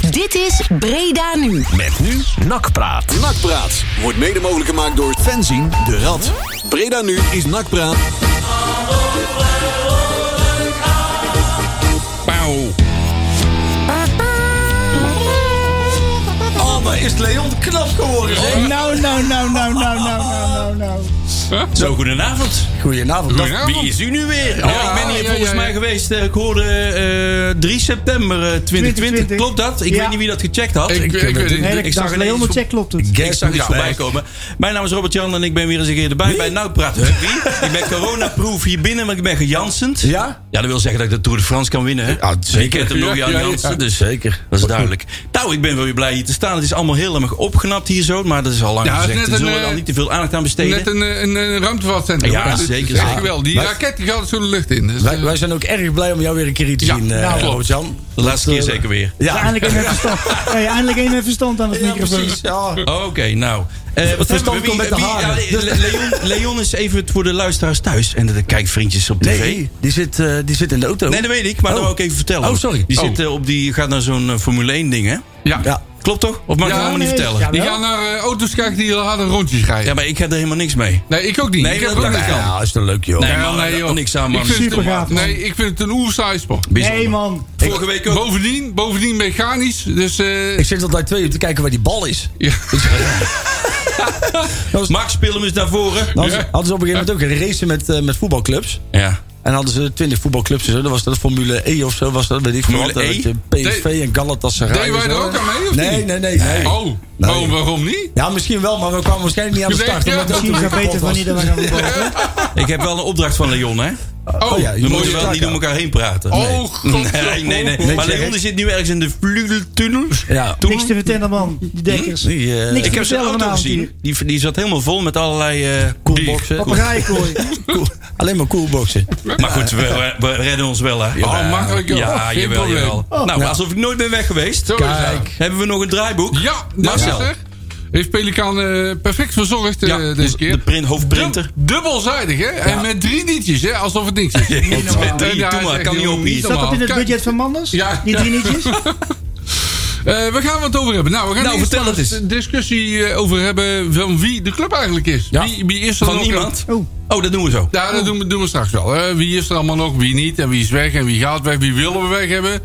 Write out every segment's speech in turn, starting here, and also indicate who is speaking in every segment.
Speaker 1: Dit is Breda Nu.
Speaker 2: Met nu Nakpraat.
Speaker 3: Nakpraat wordt mede mogelijk gemaakt door Fenzien de Rad. Breda nu is Nakpraat.
Speaker 4: Pauw.
Speaker 3: Oh, maar is Leon knap geworden, zeg.
Speaker 5: Nou, nou, nou, nou, nou, nou, nou, nou.
Speaker 2: Zo, goedenavond.
Speaker 5: Goedenavond. Dat-
Speaker 4: Goedenavond.
Speaker 2: Wie is u nu weer?
Speaker 4: Ja,
Speaker 2: oh, ik ben hier
Speaker 4: ja,
Speaker 2: volgens
Speaker 4: ja, ja.
Speaker 2: mij geweest. eh, Ik hoorde eh, 3 september eh, 2020.
Speaker 5: 2020.
Speaker 2: Klopt dat? Ik
Speaker 5: Ja.
Speaker 2: weet niet wie dat gecheckt had.
Speaker 4: Ik- ik weet het niet.
Speaker 5: Nee, ik
Speaker 2: zag
Speaker 5: zag
Speaker 2: ineens
Speaker 5: helemaal
Speaker 2: op-
Speaker 5: check klopt het.
Speaker 2: Ik zag iets
Speaker 4: Ja,
Speaker 2: voorbij
Speaker 4: nee.
Speaker 2: komen. Mijn naam is Robert Jan en ik ben weer eens een keer erbij bij Nauwpraat. Huh, Wie? Ik ben coronaproof hier binnen, maar ik ben gejansend.
Speaker 4: Ja?
Speaker 2: Ja, dat wil zeggen dat ik de Tour de France kan winnen. Hè?
Speaker 4: Ja, zeker.
Speaker 2: Wie kent hem nog,
Speaker 4: Ja,
Speaker 2: Jan
Speaker 4: ja, ja.
Speaker 2: Jansen? Dus zeker. Dat is duidelijk. Nou, ik ben wel weer blij hier te staan. Het is allemaal heel erg opgeknapt hier zo, maar dat is al lang
Speaker 4: Ja, het is
Speaker 2: gezegd.
Speaker 4: net
Speaker 2: Daar zullen
Speaker 4: een,
Speaker 2: we
Speaker 4: eh,
Speaker 2: al niet te veel aandacht aan besteden.
Speaker 4: Net een, eh, een, een ruimtevaartcentrum.
Speaker 2: Ja,
Speaker 4: Dus het is
Speaker 2: zeker,
Speaker 4: echt
Speaker 2: zeker.
Speaker 4: geweldig. Die
Speaker 6: Wij-
Speaker 4: raket die gaat zo de lucht in. Dus,
Speaker 6: Wij,
Speaker 4: eh,
Speaker 6: wij zijn ook erg blij om jou weer een keer hier te
Speaker 4: Ja,
Speaker 6: zien, eh,
Speaker 4: nou, klopt.
Speaker 6: Robert-Jan.
Speaker 2: De laatste keer zeker weer.
Speaker 5: Ja, Eindelijk één met verstand. Hey, eindelijk één met verstand aan het microfoon.
Speaker 2: Oké, nou. Eh, wat
Speaker 6: Verstand
Speaker 2: hebben we?
Speaker 6: komt met de haren.
Speaker 2: ja, Le- Leon, Leon is even voor de luisteraars thuis en de kijkvriendjes op tv.
Speaker 6: Nee, die zit, eh, die zit in de auto.
Speaker 2: Nee, dat weet ik, maar dat
Speaker 6: Oh.
Speaker 2: wil ik even vertellen.
Speaker 6: Oh, sorry.
Speaker 2: Die,
Speaker 6: Oh.
Speaker 2: Zit, eh, op die gaat naar zo'n eh, Formule 1 ding, hè?
Speaker 4: ja.
Speaker 6: Ja.
Speaker 2: Klopt toch? Of mag ik
Speaker 4: Ja,
Speaker 2: dat helemaal niet
Speaker 5: nee,
Speaker 2: vertellen? Ja.
Speaker 5: ja.
Speaker 4: Die gaan naar eh, auto's kijken die harde rondjes rijden.
Speaker 2: maar ik heb er helemaal niks mee.
Speaker 4: Nee, ik ook niet.
Speaker 2: Nee,
Speaker 4: ik heb
Speaker 2: dat
Speaker 4: er ook
Speaker 2: dacht
Speaker 4: niks
Speaker 2: ik
Speaker 4: aan.
Speaker 2: al.
Speaker 6: Ja, is dat leuk, joh.
Speaker 2: Nee,
Speaker 4: Ja,
Speaker 2: man,
Speaker 4: nee,
Speaker 2: daar-
Speaker 4: joh.
Speaker 2: niks aan, man.
Speaker 4: Ik vind het
Speaker 5: Super
Speaker 4: een-
Speaker 5: gaaf, man.
Speaker 4: Nee, ik vind het een oersaaisport.
Speaker 2: Bijzonder.
Speaker 5: Nee, man.
Speaker 2: Vorige week ook.
Speaker 4: Bovendien, bovendien mechanisch. Dus eh,
Speaker 6: Ik zit altijd twee uur te kijken waar die bal is.
Speaker 4: ja.
Speaker 2: Max spelen is naar voren.
Speaker 6: Dan hadden ze- hadden ze op een gegeven moment ook een race met, eh, met voetbalclubs.
Speaker 2: Ja.
Speaker 6: En hadden ze twintig voetbalclubs en zo. Dan was dat Formule E of zo, was dat, weet ik veel
Speaker 2: Formule
Speaker 6: wat. Dan
Speaker 2: E?
Speaker 6: had je PSV en Galatasaray.
Speaker 4: Deden wij
Speaker 6: en zo.
Speaker 4: er ook aan mee, of
Speaker 6: Nee,
Speaker 4: niet?
Speaker 6: nee, nee. nee.
Speaker 4: Oh, waarom- waarom niet?
Speaker 6: Ja, misschien wel, maar we kwamen waarschijnlijk niet aan de
Speaker 4: Je
Speaker 6: start.
Speaker 4: weet-
Speaker 6: omdat de
Speaker 4: ja,
Speaker 5: Misschien
Speaker 6: auto
Speaker 5: zou
Speaker 6: kapot
Speaker 5: weten
Speaker 6: was.
Speaker 5: wanneer dat we gaan voetballen.
Speaker 2: Ik heb wel een opdracht van Leon, hè?
Speaker 4: Oh,
Speaker 6: ja,
Speaker 2: We
Speaker 6: je moet
Speaker 2: moeten wel niet
Speaker 6: elkaar.
Speaker 2: door elkaar heen praten.
Speaker 4: Oh, god.
Speaker 2: Nee, nee, nee.
Speaker 6: Nee,
Speaker 2: Maar
Speaker 6: zeg
Speaker 2: Leon
Speaker 6: ik.
Speaker 2: die zit nu ergens in de vlugeltunnel.
Speaker 6: Ja.
Speaker 2: Toen-
Speaker 5: Niks te vertellen, man. Die dekkers.
Speaker 6: Die, eh,
Speaker 5: Niks
Speaker 2: Ik heb zijn
Speaker 5: vertellen
Speaker 2: auto
Speaker 5: vanavond hier.
Speaker 2: gezien. Die, die zat helemaal vol met allerlei eh
Speaker 6: Koelboxen.
Speaker 2: koelboxen.
Speaker 5: Papegaaienkooi.
Speaker 6: Cool. Alleen maar coolboxen.
Speaker 2: Maar goed, we, we redden ons wel, hè?
Speaker 4: Oh, makkelijk, joh.
Speaker 2: Ja,
Speaker 4: Geen
Speaker 2: jawel,
Speaker 4: probleem.
Speaker 2: jawel. Nou, alsof ik nooit ben weg geweest.
Speaker 4: Zo is het.
Speaker 2: Hebben we nog een draaiboek?
Speaker 4: Ja, dat is
Speaker 2: Marcel.
Speaker 4: er. Heeft Pelikaan eh, perfect verzorgd eh,
Speaker 2: Ja, dus
Speaker 4: deze keer.
Speaker 2: de print, hoofdprinter.
Speaker 4: Dub- dubbelzijdig, hè? En met drie nietjes, hè? Alsof het niks is.
Speaker 2: Niet normaal.
Speaker 4: Eh,
Speaker 2: Drie,
Speaker 4: ja,
Speaker 2: doe
Speaker 4: is
Speaker 2: maar,
Speaker 4: echt
Speaker 2: kan niet
Speaker 4: heel-
Speaker 2: op hier.
Speaker 5: Zat dat in het
Speaker 4: Oh, Kijk,
Speaker 5: budget van Manders?
Speaker 4: Ja.
Speaker 5: Die drie nietjes? Oh,
Speaker 4: eh, waar gaan we het over hebben? Nou, we gaan
Speaker 2: Nou,
Speaker 4: eerst
Speaker 2: vertel
Speaker 4: maar
Speaker 2: het eens.
Speaker 4: een discussie eh, over hebben van wie de club eigenlijk is.
Speaker 6: Ja.
Speaker 4: Wie, wie is er
Speaker 2: Van
Speaker 4: nog-
Speaker 2: niemand?
Speaker 5: Oh.
Speaker 2: Oh, dat doen we zo.
Speaker 4: Ja, dat doen we, doen we straks wel. hè. Wie is er allemaal nog, wie niet en wie is weg en wie gaat weg, wie willen we weg hebben.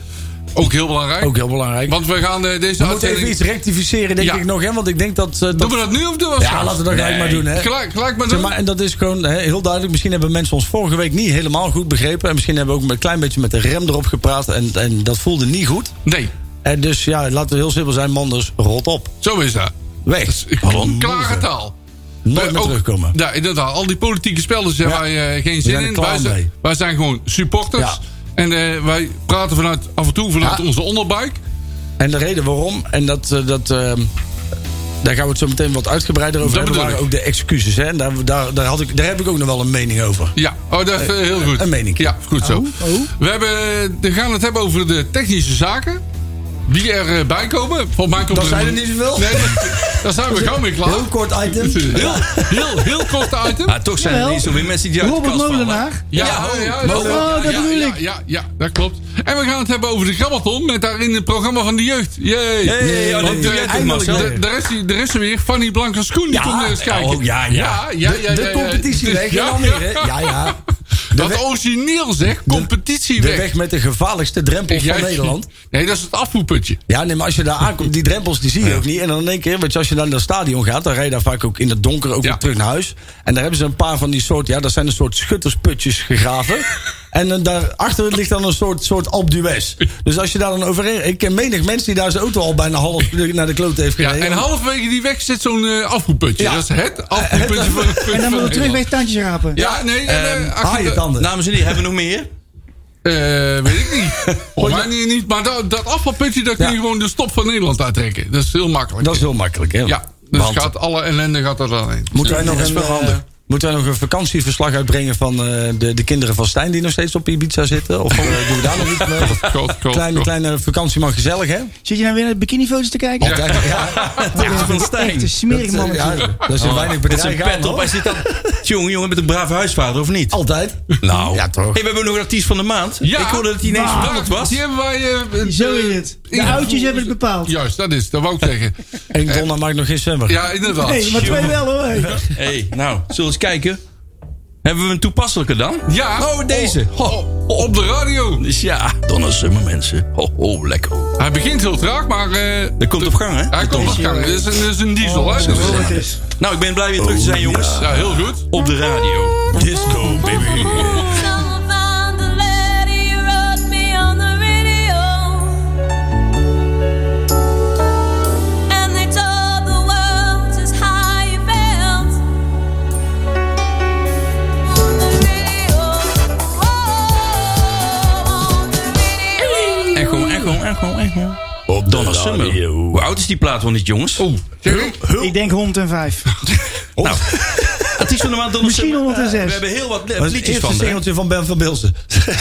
Speaker 4: Ook heel belangrijk.
Speaker 6: Ook heel belangrijk.
Speaker 4: Want we gaan eh, deze
Speaker 6: We moeten even
Speaker 4: uitzending...
Speaker 6: iets rectificeren, denk
Speaker 4: Ja.
Speaker 6: ik nog, hè? Want ik denk dat. eh, dat-
Speaker 4: Doen we dat nu of doen we dat
Speaker 6: ja,
Speaker 4: straks?
Speaker 6: laten we dat gelijk
Speaker 2: Nee.
Speaker 6: maar doen, hè?
Speaker 4: Gelijk, gelijk maar
Speaker 6: Zeg
Speaker 4: doen.
Speaker 6: maar, en dat is gewoon hè, heel duidelijk. Misschien hebben mensen ons vorige week niet helemaal goed begrepen. En misschien hebben we ook een klein beetje met de rem erop gepraat. En, en dat voelde niet goed.
Speaker 4: Nee,
Speaker 6: En dus ja, laten we heel simpel zijn: Manders, rot op.
Speaker 4: zo is dat. Dus
Speaker 6: Weg.
Speaker 4: Klare taal.
Speaker 6: Nooit
Speaker 4: Eh,
Speaker 6: meer
Speaker 4: ook-
Speaker 6: terugkomen.
Speaker 4: Ja, inderdaad. Al die politieke spelletjes hebben wij eh, geen zin
Speaker 6: zijn er
Speaker 4: in.
Speaker 6: klaar
Speaker 4: Wij
Speaker 6: mee.
Speaker 4: zijn, wij zijn gewoon supporters.
Speaker 6: Ja.
Speaker 4: En eh, wij praten vanuit, af en toe vanuit
Speaker 6: Ja.
Speaker 4: onze onderbuik.
Speaker 6: En de reden waarom, en dat, eh, dat, eh, daar gaan we het zo meteen wat uitgebreider over
Speaker 4: Dat
Speaker 6: hebben,
Speaker 4: bedoel
Speaker 6: waren
Speaker 4: ik.
Speaker 6: ook de excuses. Hè? En daar, daar, daar, had ik, daar heb ik ook nog wel een mening over.
Speaker 4: Ja, oh, dat is eh, heel goed.
Speaker 6: een mening.
Speaker 4: Ja, goed zo. We, hebben, eh, we gaan het hebben over de technische zaken. Die erbij komen. Volgens mij komt
Speaker 6: Dat
Speaker 4: er
Speaker 6: zijn
Speaker 4: een-
Speaker 6: er niet zoveel.
Speaker 4: Nee, dat- daar zijn we gauw mee klaar.
Speaker 6: Heel kort item.
Speaker 4: Heel, heel, heel kort item.
Speaker 2: Ah, toch zijn er
Speaker 5: Jawel.
Speaker 2: niet zoveel mensen die uit de
Speaker 5: Robert
Speaker 2: kast vallen.
Speaker 5: Molenaar.
Speaker 4: Ja,
Speaker 2: Ja,
Speaker 4: ja,
Speaker 2: oh,
Speaker 4: dat-
Speaker 5: oh, dat
Speaker 4: ja,
Speaker 5: bedoel
Speaker 4: ja,
Speaker 5: ik.
Speaker 4: Ja, ja, dat klopt. En we gaan het hebben over de Grammaton met daarin het programma van de jeugd. Jee.
Speaker 2: Hey, oh, dat
Speaker 4: Want,
Speaker 2: doe
Speaker 4: eh,
Speaker 2: jij toch,
Speaker 6: eindelijk
Speaker 2: Marcel?
Speaker 6: weer.
Speaker 4: de- Daar is, die- daar is ze weer, Fanny Blankers-Koen, die
Speaker 6: Ja,
Speaker 4: komt weer eens kijken.
Speaker 2: oh, ja, ja.
Speaker 4: eh, ja, ja, ja,
Speaker 6: de
Speaker 4: ja, ja.
Speaker 6: competitie
Speaker 4: Dus-
Speaker 6: weg.
Speaker 4: ja,
Speaker 6: Ja, dan
Speaker 4: ja.
Speaker 6: weer, hè? ja, ja.
Speaker 4: Dat origineel zeg, competitie
Speaker 6: De
Speaker 4: weg.
Speaker 6: weg met de gevaarlijkste drempel van
Speaker 4: Juist.
Speaker 6: Nederland.
Speaker 4: Nee, dat is het afvoerputje.
Speaker 6: Ja, nee, maar als je daar aankomt, die drempels die zie je ook niet. En dan in één keer, want als je dan naar het stadion gaat, dan rij je daar vaak ook in het donker ook
Speaker 4: Ja.
Speaker 6: weer terug naar huis. En daar hebben ze een paar van die soort, ja, dat zijn een soort schuttersputjes gegraven. en dan daarachter ligt dan een soort, soort Alpe d'Huez. Dus als je daar dan overheen, ik ken menig mensen die daar zijn auto al bijna half naar de klote heeft
Speaker 4: Ja,
Speaker 6: gereden.
Speaker 4: en halverwege die weg zit zo'n eh afvoerputje.
Speaker 6: Ja.
Speaker 4: Dat is het afvoerputje van het
Speaker 5: En dan moeten we terug bij het tandjes rapen.
Speaker 4: Ja, nee. en, eh, achter
Speaker 6: Haai Ehm, je
Speaker 4: de-
Speaker 6: tanden.
Speaker 2: Dames en heren, hebben we nog meer?
Speaker 4: Eh, weet ik niet. Volgens mij niet, niet. Maar dat, dat afvalputje, daar kun je
Speaker 6: Ja.
Speaker 4: gewoon de stop van Nederland uittrekken. Dat is heel makkelijk.
Speaker 6: dat is heel makkelijk, hè?
Speaker 4: ja, dus
Speaker 6: Want-
Speaker 4: gaat alle ellende gaat er dan heen.
Speaker 6: Moeten wij nog een, eh, moeten Moeten wij nog een vakantieverslag uitbrengen van eh, de, de kinderen van Stijn die nog steeds op Ibiza zitten? Of eh, doen we daar nog iets mee? Of
Speaker 4: God, God,
Speaker 6: Kleine,
Speaker 4: God.
Speaker 6: kleine vakantie, maar gezellig, hè?
Speaker 5: Zit je nou weer naar bikinifoto's te kijken?
Speaker 6: Ja, ja,
Speaker 2: van Stijn.
Speaker 5: Echt een smerig
Speaker 6: dat, eh,
Speaker 5: mannetje.
Speaker 6: ja, dat is een weinig
Speaker 2: Met zijn
Speaker 6: bedrijf.
Speaker 2: pet op. Hij zit dan... Jongen, jongen, met een brave huisvader, of niet?
Speaker 6: Altijd.
Speaker 2: Nou.
Speaker 6: Ja, toch.
Speaker 2: Hey, we hebben nog een artiest van de maand.
Speaker 4: Ja.
Speaker 2: Ik hoorde dat hij ineens
Speaker 4: Ah,
Speaker 2: veranderd was.
Speaker 4: Die hebben wij... eh, eh,
Speaker 5: Zo is het. De
Speaker 4: ingevoerd.
Speaker 5: oudjes hebben het bepaald.
Speaker 4: Juist, dat is. Dat wou ik zeggen.
Speaker 6: En Donna maakt nog geen zwemmer.
Speaker 4: Ja, inderdaad.
Speaker 5: Nee, maar twee wel hoor. Hey.
Speaker 2: hey, nou, zullen we eens kijken? Hebben we een toepasselijke dan?
Speaker 4: Ja.
Speaker 2: Oh, deze.
Speaker 4: Oh, oh, op de radio.
Speaker 2: Dus ja, Donna Summer, mensen. Ho, ho, lekker. hoor.
Speaker 4: Hij begint heel traag, maar... eh,
Speaker 2: Dat komt op gang, hè?
Speaker 4: hij komt op gang. Dat is een, dat is een diesel, hè? Dat is-
Speaker 5: Zo het is.
Speaker 2: Nou, ik ben blij weer terug te zijn, jongens.
Speaker 4: Oh, Ja, heel goed.
Speaker 2: Op de radio. Disco, baby.
Speaker 7: Someone found the letter you wrote me on the radio, and they told the world just how you felt on the radio. Oh, on the radio.
Speaker 2: Echo, echo, echo, echo. Op Donna Summer. Hoe oud is die plaat wel niet, jongens?
Speaker 4: Oeh. Jerry?
Speaker 5: Ik denk 105.
Speaker 2: Nou, artiest van de maand Donna
Speaker 5: Misschien
Speaker 2: Summer. We
Speaker 5: 106.
Speaker 2: hebben heel wat
Speaker 6: Dat is het
Speaker 2: liedjes van
Speaker 6: eerste
Speaker 2: haar.
Speaker 6: singeltje van Ben van Bilsen.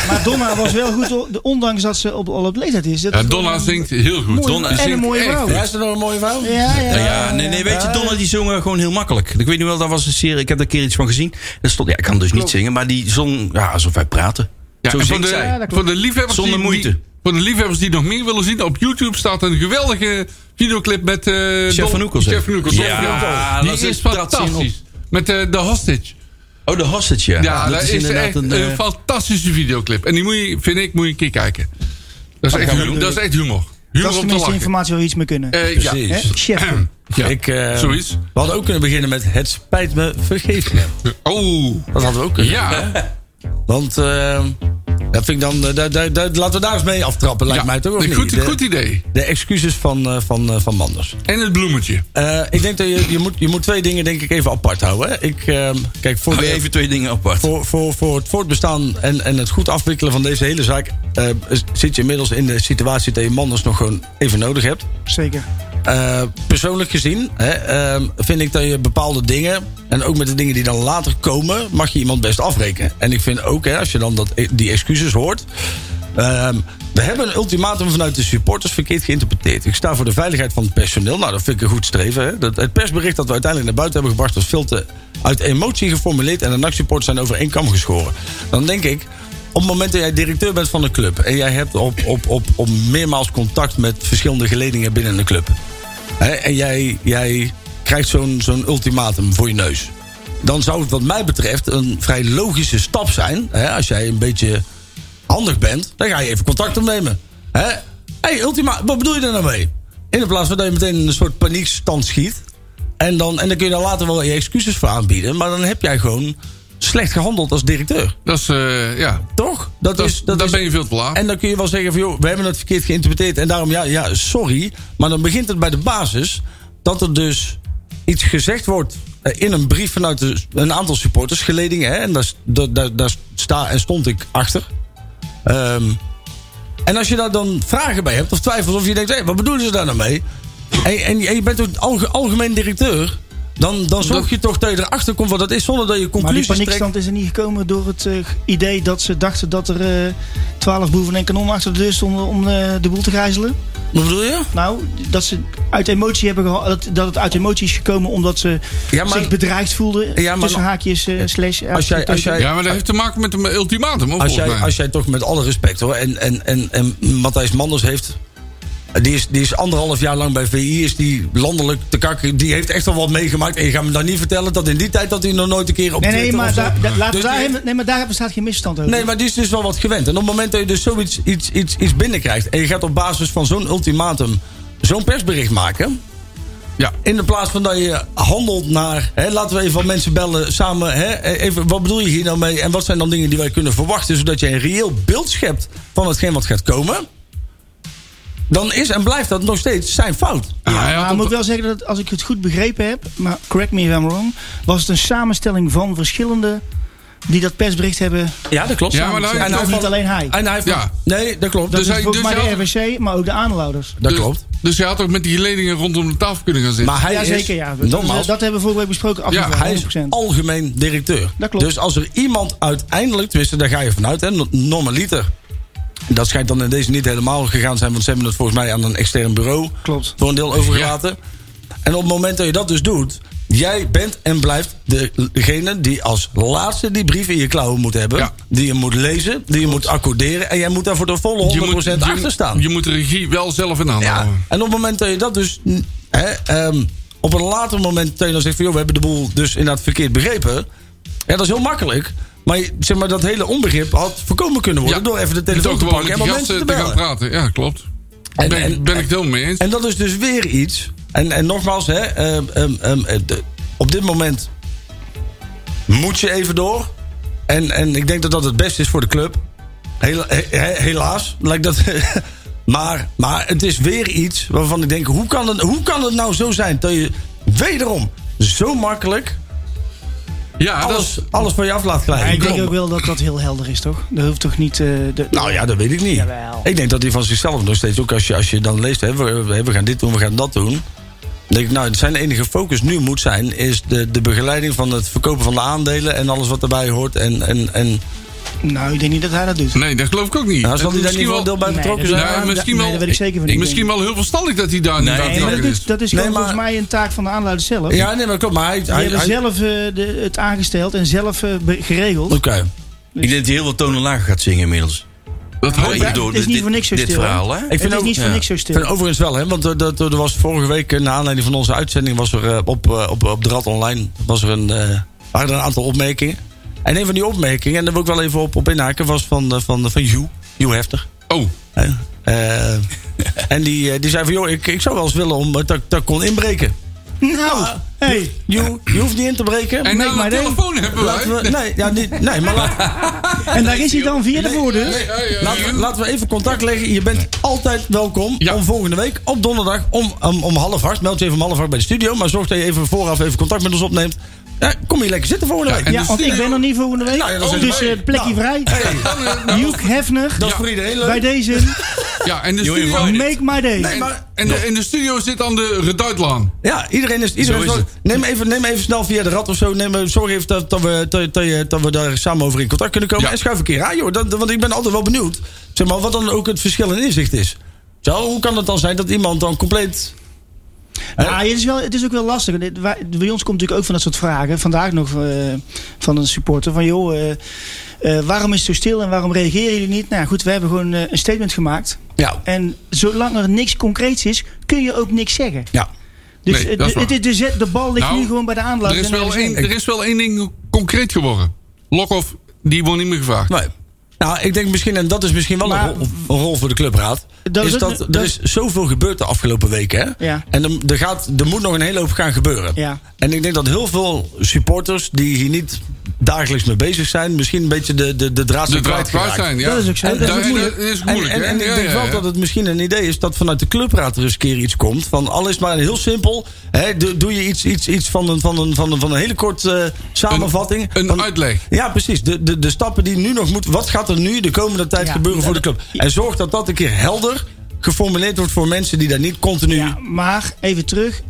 Speaker 5: Maar Donna was wel goed, o- de- ondanks dat ze op, al op leeftijd is. Dat
Speaker 4: Ja,
Speaker 5: is
Speaker 4: Donna
Speaker 5: gewoon-
Speaker 4: zingt heel goed.
Speaker 2: Donna
Speaker 4: Die
Speaker 5: en een
Speaker 4: zingt
Speaker 5: mooie
Speaker 4: echt
Speaker 5: vrouw.
Speaker 4: goed.
Speaker 6: Ja, is er nog een mooie vrouw?
Speaker 5: Ja, ja.
Speaker 2: Nou ja, nee, nee, weet je, Donna die zong eh, gewoon heel makkelijk. Ik weet nu wel, dat was een serie, ik heb daar een keer iets van gezien. Er stond, ja, ik kan dus niet zingen, maar die zong ja, alsof wij praten.
Speaker 4: Ja,
Speaker 2: Zo
Speaker 4: en van
Speaker 2: zingt
Speaker 4: de,
Speaker 2: zij.
Speaker 5: Ja, dat klopt.
Speaker 4: van de liefhebbers
Speaker 2: Zonder
Speaker 4: die,
Speaker 2: moeite.
Speaker 4: die- voor de liefhebbers die nog meer willen zien, op YouTube staat een geweldige videoclip met... eh Don-
Speaker 2: van Oekel, zeg.
Speaker 4: Chef van Oekel.
Speaker 2: Ja,
Speaker 4: Don-
Speaker 2: dat
Speaker 4: die
Speaker 2: is
Speaker 4: is fantastisch. Met eh The Hostage.
Speaker 2: Oh, de Hostage, ja.
Speaker 4: Ja, dat, is, echt een,
Speaker 2: eh,
Speaker 4: fantastische videoclip. En die moet je, vind ik, moet je een keer kijken. Dat is, echt,
Speaker 2: gaan we
Speaker 4: humor,
Speaker 2: doen.
Speaker 4: dat is echt humor.
Speaker 5: Dat is
Speaker 4: Humor om te
Speaker 5: tenminste
Speaker 4: lachen.
Speaker 5: informatie waar we iets mee kunnen.
Speaker 4: Eh, ja.
Speaker 6: Precies.
Speaker 5: Hè? Chef.
Speaker 4: Ja.
Speaker 6: Ik, eh,
Speaker 4: Zoiets.
Speaker 6: We hadden ook kunnen beginnen met Het spijt me, vergeef me.
Speaker 4: Oh,
Speaker 6: Dat hadden we ook kunnen.
Speaker 4: ja.
Speaker 6: Want eh, dat vind ik dan, eh, daar- daar- daar- laten we daar eens mee aftrappen, lijkt
Speaker 4: Ja,
Speaker 6: mij toch? of niet?
Speaker 4: goed,
Speaker 6: de,
Speaker 4: goed idee.
Speaker 6: de excuses van, eh, van, eh, van Manders.
Speaker 4: En het bloemetje.
Speaker 6: Eh, ik denk dat je, je, moet, je moet twee dingen denk ik even apart houden. Hè. Ik, eh, kijk, voor,
Speaker 2: hou
Speaker 6: de-
Speaker 2: je even twee dingen apart.
Speaker 6: voor, voor, voor het voortbestaan en, en het goed afwikkelen van deze hele zaak... eh, zit je inmiddels in de situatie dat je Manders nog gewoon even nodig hebt.
Speaker 5: Zeker.
Speaker 6: Eh, persoonlijk gezien hè, ehm, vind ik dat je bepaalde dingen... en ook met de dingen die dan later komen... mag je iemand best afrekenen. En ik vind ook, hè, als je dan dat, eh, die excuses hoort... ehm, we hebben een ultimatum vanuit de supporters verkeerd geïnterpreteerd. Ik sta voor de veiligheid van het personeel. Nou, dat vind ik een goed streven. Hè. Dat, het persbericht dat we uiteindelijk naar buiten hebben gebracht... was veel te uit emotie geformuleerd... en de NAC-supporters zijn over één kam geschoren. Dan denk ik, op het moment dat jij directeur bent van een club... en jij hebt op, op, op, op meermaals contact met verschillende geledingen binnen de club... Hè, en jij, jij krijgt zo'n zo'n ultimatum voor je neus. Dan zou het wat mij betreft een vrij logische stap zijn. Hè, als jij een beetje handig bent, dan ga je even contact opnemen. Hè? hey, ultima, wat bedoel je daar nou mee? In de plaats van dat je meteen in een soort paniekstand schiet. En dan, en dan kun je daar later wel je excuses voor aanbieden. Maar dan heb jij gewoon slecht gehandeld als directeur.
Speaker 4: Dat is, eh, ja.
Speaker 6: Toch? Dat,
Speaker 4: Dat,
Speaker 6: is, dat
Speaker 4: daar
Speaker 6: is,
Speaker 4: ben je veel te laat.
Speaker 6: en dan kun je wel zeggen van, joh, we hebben het verkeerd geïnterpreteerd. En daarom, ja, ja, sorry. Maar dan begint het bij de basis dat er dus iets gezegd wordt eh, in een brief vanuit de, een aantal supporters, geledingen. Hè, en daar, s- da- da- daar sta en stond ik achter. Ehm, en als je daar dan vragen bij hebt of twijfels of je denkt, hé, wat bedoelen ze daar nou mee? En, en, en je bent ook alge- algemeen directeur. Dan, dan zorg je toch dat je erachter komt wat dat is, zonder dat je
Speaker 5: Maar die
Speaker 6: conclusies trekt.
Speaker 5: paniekstand is er niet gekomen door het eh, idee dat ze dachten dat er eh, twaalf boeven en kanonnen achter de deur stonden om eh, de boel te gijzelen.
Speaker 6: Wat bedoel je?
Speaker 5: Nou, dat ze uit emotie hebben geha- dat, dat het uit emotie is gekomen omdat ze
Speaker 6: Ja, maar-
Speaker 5: zich bedreigd voelden.
Speaker 6: Ja, maar-
Speaker 5: tussen haakjes eh, slash.
Speaker 6: Als jij, als jij,
Speaker 4: ja, maar dat heeft te maken met een ultimatum, hoor,
Speaker 6: Als
Speaker 4: volgens
Speaker 6: jij,
Speaker 4: mij.
Speaker 6: als jij toch met alle respect hoor. En, en, en, en Matthijs Manders heeft. Die is, die is anderhalf jaar lang bij VI. Is die landelijk te kakken. Die heeft echt al wat meegemaakt. En je gaat me dan niet vertellen dat in die tijd dat hij nog nooit een keer op
Speaker 5: Nee, nee,
Speaker 6: Twitter
Speaker 5: maar,
Speaker 6: of zo-
Speaker 5: daar- daar- laten we
Speaker 6: Dus
Speaker 5: daar,
Speaker 6: die-
Speaker 5: helemaal- nee, maar daar bestaat geen misstand over.
Speaker 6: Nee, maar die is dus wel wat gewend. En op het moment dat je dus zoiets iets, iets, iets binnenkrijgt... en je gaat op basis van zo'n ultimatum zo'n persbericht maken...
Speaker 4: Ja.
Speaker 6: in de plaats van dat je handelt naar... Hè, laten we even wat mensen bellen samen. Hè, e- even, wat bedoel je hier nou mee? En wat zijn dan dingen die wij kunnen verwachten... zodat je een reëel beeld schept van hetgeen wat gaat komen... dan is en blijft dat nog steeds zijn fout.
Speaker 4: Ah, hij
Speaker 5: Ja,
Speaker 4: had
Speaker 5: maar
Speaker 4: op-
Speaker 5: ik moet wel zeggen dat als ik het goed begrepen heb, maar correct me if I'm wrong, was het een samenstelling van verschillende die dat persbericht hebben.
Speaker 6: Ja, dat klopt.
Speaker 4: Ja, maar nou-
Speaker 6: en
Speaker 5: En
Speaker 6: hij
Speaker 5: ook niet
Speaker 6: valt-
Speaker 5: alleen hij.
Speaker 6: En hij valt-
Speaker 4: Ja.
Speaker 6: Nee, dat klopt.
Speaker 5: Dat
Speaker 4: dus
Speaker 5: is
Speaker 4: hij-
Speaker 5: ook
Speaker 4: dus
Speaker 5: maar
Speaker 4: hij
Speaker 5: de RWC, maar ook de aanhouders.
Speaker 6: dat
Speaker 4: Dus-
Speaker 6: klopt.
Speaker 4: Dus je had ook met die leningen rondom de tafel kunnen gaan zitten.
Speaker 6: Maar hij
Speaker 5: ja, zeker.
Speaker 6: is,
Speaker 5: Ja. Dat,
Speaker 6: nogmaals,
Speaker 5: dat hebben we vorige week besproken.
Speaker 4: Ja,
Speaker 5: afgelopen,
Speaker 6: hij is
Speaker 5: 100%.
Speaker 6: algemeen directeur.
Speaker 5: Dat klopt.
Speaker 6: Dus als er iemand uiteindelijk, tenminste daar ga je vanuit, hè, normaliter. Dat schijnt dan in deze niet helemaal gegaan te zijn, want ze hebben het volgens mij aan een extern bureau
Speaker 5: Klopt.
Speaker 6: voor een deel overgelaten. En op het moment dat je dat dus doet, jij bent en blijft degene die als laatste die brief in je klauwen moet hebben.
Speaker 4: Ja.
Speaker 6: Die je moet lezen, die je moet accorderen en jij moet daar voor de volle 100% achter staan.
Speaker 4: Je moet de regie wel zelf in handen
Speaker 6: Ja.
Speaker 4: houden.
Speaker 6: En op het moment dat je dat dus. n- Hè, ehm, op een later moment dat je dan zegt van joh, we hebben de boel dus inderdaad verkeerd begrepen. Ja, dat is heel makkelijk. Maar je- zeg maar, dat hele onbegrip had voorkomen kunnen worden
Speaker 4: Ja.
Speaker 6: door even de
Speaker 4: Door
Speaker 6: telefoon te
Speaker 4: gewoon met
Speaker 6: pakken en
Speaker 4: die
Speaker 6: wat mensen te
Speaker 4: gasten te gaan
Speaker 6: bellen.
Speaker 4: praten. Ja, klopt.
Speaker 6: En-
Speaker 4: ben, ik-
Speaker 6: en-
Speaker 4: ben ik het helemaal mee eens.
Speaker 6: En dat is dus weer iets. En, en nogmaals, hè, ehm, ehm, ehm, eh, de- op dit moment moet je even door. En, en ik denk dat dat het beste is voor de club. Hela- he- he- helaas. Lijkt dat, maar, maar het is weer iets waarvan ik denk: hoe kan, het, hoe kan het nou zo zijn dat je wederom zo makkelijk
Speaker 4: ja, dat
Speaker 6: alles,
Speaker 4: is-
Speaker 6: alles van je af laat
Speaker 5: Ja,
Speaker 6: glijden?
Speaker 5: ik denk ook wel dat dat heel helder is, toch? Dat hoeft toch niet... eh, de,
Speaker 6: Nou ja, dat weet ik niet.
Speaker 5: Jawel.
Speaker 6: Ik denk dat hij van zichzelf nog steeds, ook als je, als je dan leest, hè, we, we- we gaan dit doen, we gaan dat doen. Dan Denk ik, nou, zijn enige focus nu moet zijn, is de, de begeleiding van het verkopen van de aandelen en alles wat daarbij hoort. En, en, en
Speaker 5: Nou, ik denk niet dat hij dat doet.
Speaker 4: nee, dat geloof ik ook niet.
Speaker 6: nou, zal
Speaker 4: En
Speaker 6: hij daar niet
Speaker 4: misschien
Speaker 6: wel een deel bij
Speaker 5: Nee,
Speaker 6: betrokken
Speaker 5: dat-
Speaker 6: zijn?
Speaker 4: Ja,
Speaker 5: Ja,
Speaker 4: misschien
Speaker 5: nee,
Speaker 4: wel,
Speaker 5: dat weet ik zeker van niet,
Speaker 4: Misschien
Speaker 5: denk
Speaker 4: wel heel verstandig dat hij daar niet aan
Speaker 5: Nee, maar
Speaker 4: betrokken
Speaker 5: dat
Speaker 4: is.
Speaker 5: is, dat is
Speaker 6: Nee,
Speaker 5: gewoon
Speaker 6: maar-
Speaker 5: volgens mij een taak van de aanluider zelf.
Speaker 6: Ja, nee, maar klopt. Maar hij,
Speaker 5: Die
Speaker 6: hij,
Speaker 5: hebben
Speaker 6: hij-
Speaker 5: zelf eh, de, het aangesteld en zelf eh, be- geregeld.
Speaker 6: Oké.
Speaker 2: Ik denk dat hij heel veel tonen lager gaat zingen inmiddels. dus
Speaker 4: Dat hoop
Speaker 5: Oh, Ja,
Speaker 4: ik.
Speaker 5: het is
Speaker 2: dit-
Speaker 5: niet voor niks zo
Speaker 2: Dit
Speaker 5: stil, hè?
Speaker 2: verhaal, hè?
Speaker 6: Ik
Speaker 5: het
Speaker 6: vind
Speaker 5: is
Speaker 6: ook-
Speaker 5: niet voor
Speaker 2: ja.
Speaker 5: niks zo
Speaker 6: Ik
Speaker 5: stil.
Speaker 6: vind overigens wel, hè, want eh, dat, er was vorige week, eh, naar aanleiding van onze uitzending, was er eh, op, eh, op, op de Rad Online was er een, eh, waren er een aantal opmerkingen. En een van die opmerkingen, en daar wil ik wel even op, op inhaken, was van, eh, van, van Hugh, Hugh Hefter.
Speaker 4: Oh,
Speaker 6: Hè? Eh, en die, eh, die zei van, joh, ik, ik zou wel eens willen om, eh, dat, dat ik kon inbreken.
Speaker 5: Nou,
Speaker 6: Ah.
Speaker 5: hey,
Speaker 6: Hugh, je hoeft niet in te breken.
Speaker 4: en
Speaker 5: Make
Speaker 4: nou,
Speaker 5: my
Speaker 4: een
Speaker 5: day.
Speaker 4: telefoon hebben
Speaker 6: Laten
Speaker 4: wij.
Speaker 6: we, nee, ja, niet, nee, maar laat,
Speaker 5: en daar is hij dan via de voordeur.
Speaker 4: Nee, hey, hey,
Speaker 6: Laten we,
Speaker 4: Hugh.
Speaker 6: laten we even contact leggen. Je bent altijd welkom
Speaker 4: Ja.
Speaker 6: om volgende week op donderdag om, om, om half acht. Meld je even om half acht bij de studio. Maar zorg dat je even vooraf even contact met ons opneemt. Ja, kom hier lekker zitten volgende
Speaker 4: Ja,
Speaker 6: week.
Speaker 4: en-
Speaker 5: Ja,
Speaker 4: de
Speaker 5: want ik
Speaker 4: studio-
Speaker 5: ben er niet volgende week.
Speaker 6: Nou ja, dan zijn
Speaker 5: dus
Speaker 4: wij.
Speaker 5: eh, plekje
Speaker 6: Nou, eh,
Speaker 5: vrij.
Speaker 4: hey.
Speaker 5: Hugh Hefner,
Speaker 6: Dat is voor iedereen leuk.
Speaker 5: bij deze
Speaker 4: Ja, en de
Speaker 2: You're
Speaker 4: studio...
Speaker 2: invited.
Speaker 5: Make My Day.
Speaker 6: Nee, maar-
Speaker 4: En, en de, in de studio zit aan de Reduitlaan.
Speaker 6: Ja, iedereen is... Iedereen
Speaker 2: Zo
Speaker 6: is wel-
Speaker 2: is
Speaker 6: neem, even, neem even snel via de rat of zo. Neem, eh, zorg even dat, dat, we, dat, dat, je- dat we daar samen over in contact kunnen komen.
Speaker 4: Ja.
Speaker 6: En schuif een keer aan, joh. Dat, want ik ben altijd wel benieuwd. Zeg maar, wat dan ook het verschil in inzicht is. Zo, hoe kan het dan zijn dat iemand dan compleet...
Speaker 5: Ja, Ah, het is, wel, het is ook wel lastig. Dit- wij- Bij ons komt natuurlijk ook van dat soort vragen. Vandaag nog eh, van een supporter. Van joh, eh, eh, waarom is het zo stil en waarom reageren jullie niet? Nou ja, goed, we hebben gewoon eh, een statement gemaakt.
Speaker 6: Ja.
Speaker 5: En zolang er niks concreets is, kun je ook niks zeggen.
Speaker 6: Ja.
Speaker 5: Dus
Speaker 4: Nee,
Speaker 5: eh,
Speaker 4: dat is
Speaker 5: de, het is de, zet- de bal ligt
Speaker 4: Nou,
Speaker 5: nu gewoon bij de aanloop.
Speaker 4: Er is, wel één, er is wel één ding concreet geworden. Lokhoff, die wordt niet meer gevraagd.
Speaker 6: Nee. Nou, ik denk misschien, en dat is misschien wel
Speaker 5: Maar-
Speaker 6: een, rol, een rol voor de clubraad.
Speaker 5: Dat
Speaker 6: is
Speaker 5: is-
Speaker 6: dat,
Speaker 5: dat-
Speaker 6: er is zoveel gebeurd de afgelopen weken. Hè?
Speaker 5: Ja.
Speaker 6: En er, er, gaat, er moet nog een hele hoop gaan gebeuren.
Speaker 5: Ja.
Speaker 6: En ik denk dat heel veel supporters die hier niet dagelijks mee bezig zijn, misschien een beetje de, de, de draad
Speaker 4: De
Speaker 6: zijn
Speaker 4: draad kwijt
Speaker 6: kwijtgeraakt.
Speaker 4: zijn, ja.
Speaker 5: Dat is ook zo.
Speaker 4: En
Speaker 5: Dat is
Speaker 4: daar-
Speaker 5: ook moeilijk.
Speaker 4: dat is
Speaker 6: En,
Speaker 4: moeilijk,
Speaker 6: en,
Speaker 4: hè?
Speaker 6: en ik
Speaker 4: Ja,
Speaker 6: denk
Speaker 4: ja,
Speaker 6: wel
Speaker 4: ja.
Speaker 6: dat het misschien een idee is dat vanuit de clubraad er eens een keer iets komt. Van al is het maar heel simpel. Hè, doe, doe je iets, iets, iets van, een, van, een, van, een, van een hele korte eh, samenvatting.
Speaker 4: Een
Speaker 6: Dan-
Speaker 4: uitleg.
Speaker 6: Ja, precies. De, de, de stappen die nu nog moeten. Wat gaat er nu de komende tijd
Speaker 5: Ja,
Speaker 6: gebeuren voor de club? En zorg dat dat een keer helder geformuleerd wordt voor mensen die daar niet continu.
Speaker 5: Ja, maar even terug.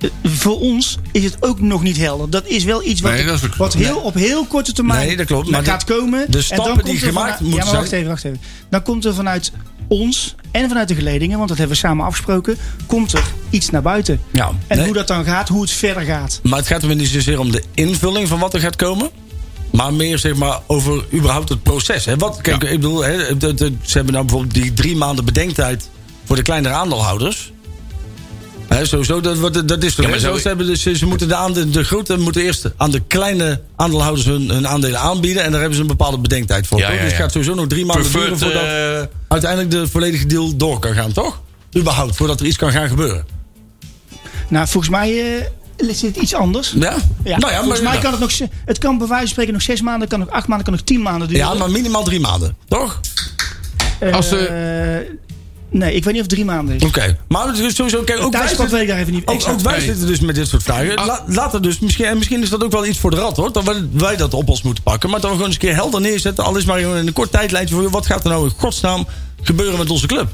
Speaker 5: Eh, Voor ons is het ook nog niet helder. Dat is wel iets wat,
Speaker 4: Nee, dat is ook-
Speaker 5: wat heel, op heel korte termijn
Speaker 6: Nee, dat klopt, maar
Speaker 5: maar gaat
Speaker 6: de-
Speaker 5: komen.
Speaker 6: de
Speaker 5: En dan
Speaker 6: stappen
Speaker 5: komt
Speaker 6: die
Speaker 5: er vanuit-
Speaker 6: gemaakt moeten
Speaker 5: Ja, maar wacht
Speaker 6: zijn-
Speaker 5: even, wacht even. Dan komt er vanuit ons en vanuit de geledingen, want dat hebben we samen afgesproken, komt er iets naar buiten.
Speaker 6: Ja,
Speaker 5: En
Speaker 6: nee.
Speaker 5: hoe dat dan gaat, hoe het verder gaat.
Speaker 6: Maar het gaat me niet zozeer om de invulling van wat er gaat komen. Maar meer zeg maar over überhaupt het proces. Hè? Wat, kijk, ik bedoel, hè, het- het- het- ze hebben nou bijvoorbeeld die drie maanden bedenktijd voor de kleinere aandeelhouders. Hè, sowieso, dat, wordt- dat is toch.
Speaker 2: Ja, maar
Speaker 6: hè,
Speaker 2: zo-
Speaker 6: ze, hebben, dus- ze, ze moeten de, aande- de grote moeten eerst aan de kleine aandeelhouders hun, hun aandelen aanbieden. En daar hebben ze een bepaalde bedenktijd voor.
Speaker 2: Ja,
Speaker 6: toch?
Speaker 2: ja,
Speaker 6: Dus het
Speaker 2: ja.
Speaker 6: gaat sowieso nog drie maanden duren
Speaker 2: Preferred,
Speaker 6: voordat
Speaker 2: eh,
Speaker 6: uiteindelijk de volledige deal door kan gaan, toch? Überhaupt, voordat er iets kan gaan gebeuren.
Speaker 5: Nou, volgens mij eh zit het iets anders.
Speaker 6: Ja?
Speaker 5: Ja,
Speaker 6: Nou ja,
Speaker 5: volgens
Speaker 6: maar-
Speaker 5: mij kan het nog, ze- het kan bij wijze van spreken nog zes maanden, het kan nog acht maanden, het kan nog tien maanden duren.
Speaker 6: Ja, maar minimaal drie maanden, toch?
Speaker 5: Eh,
Speaker 4: Als ze-
Speaker 5: eh, Nee, ik weet niet of het drie maanden is.
Speaker 6: Oké, maar het is sowieso... Kijk, ook wij,
Speaker 5: Tijdens weet
Speaker 6: zitten,
Speaker 5: ik daar even niet.
Speaker 6: ook,
Speaker 5: exact.
Speaker 6: ook wij
Speaker 4: Nee.
Speaker 6: zitten dus met dit soort vragen.
Speaker 4: Ah.
Speaker 6: La- laat het dus, misschien, en misschien is dat ook wel iets voor de rat, hoor. Dat wij, wij dat op ons moeten pakken. Maar dat we gewoon eens een keer helder neerzetten. Al is maar gewoon in een kort tijdlijntje voor... Wat gaat er nou in godsnaam gebeuren met onze club?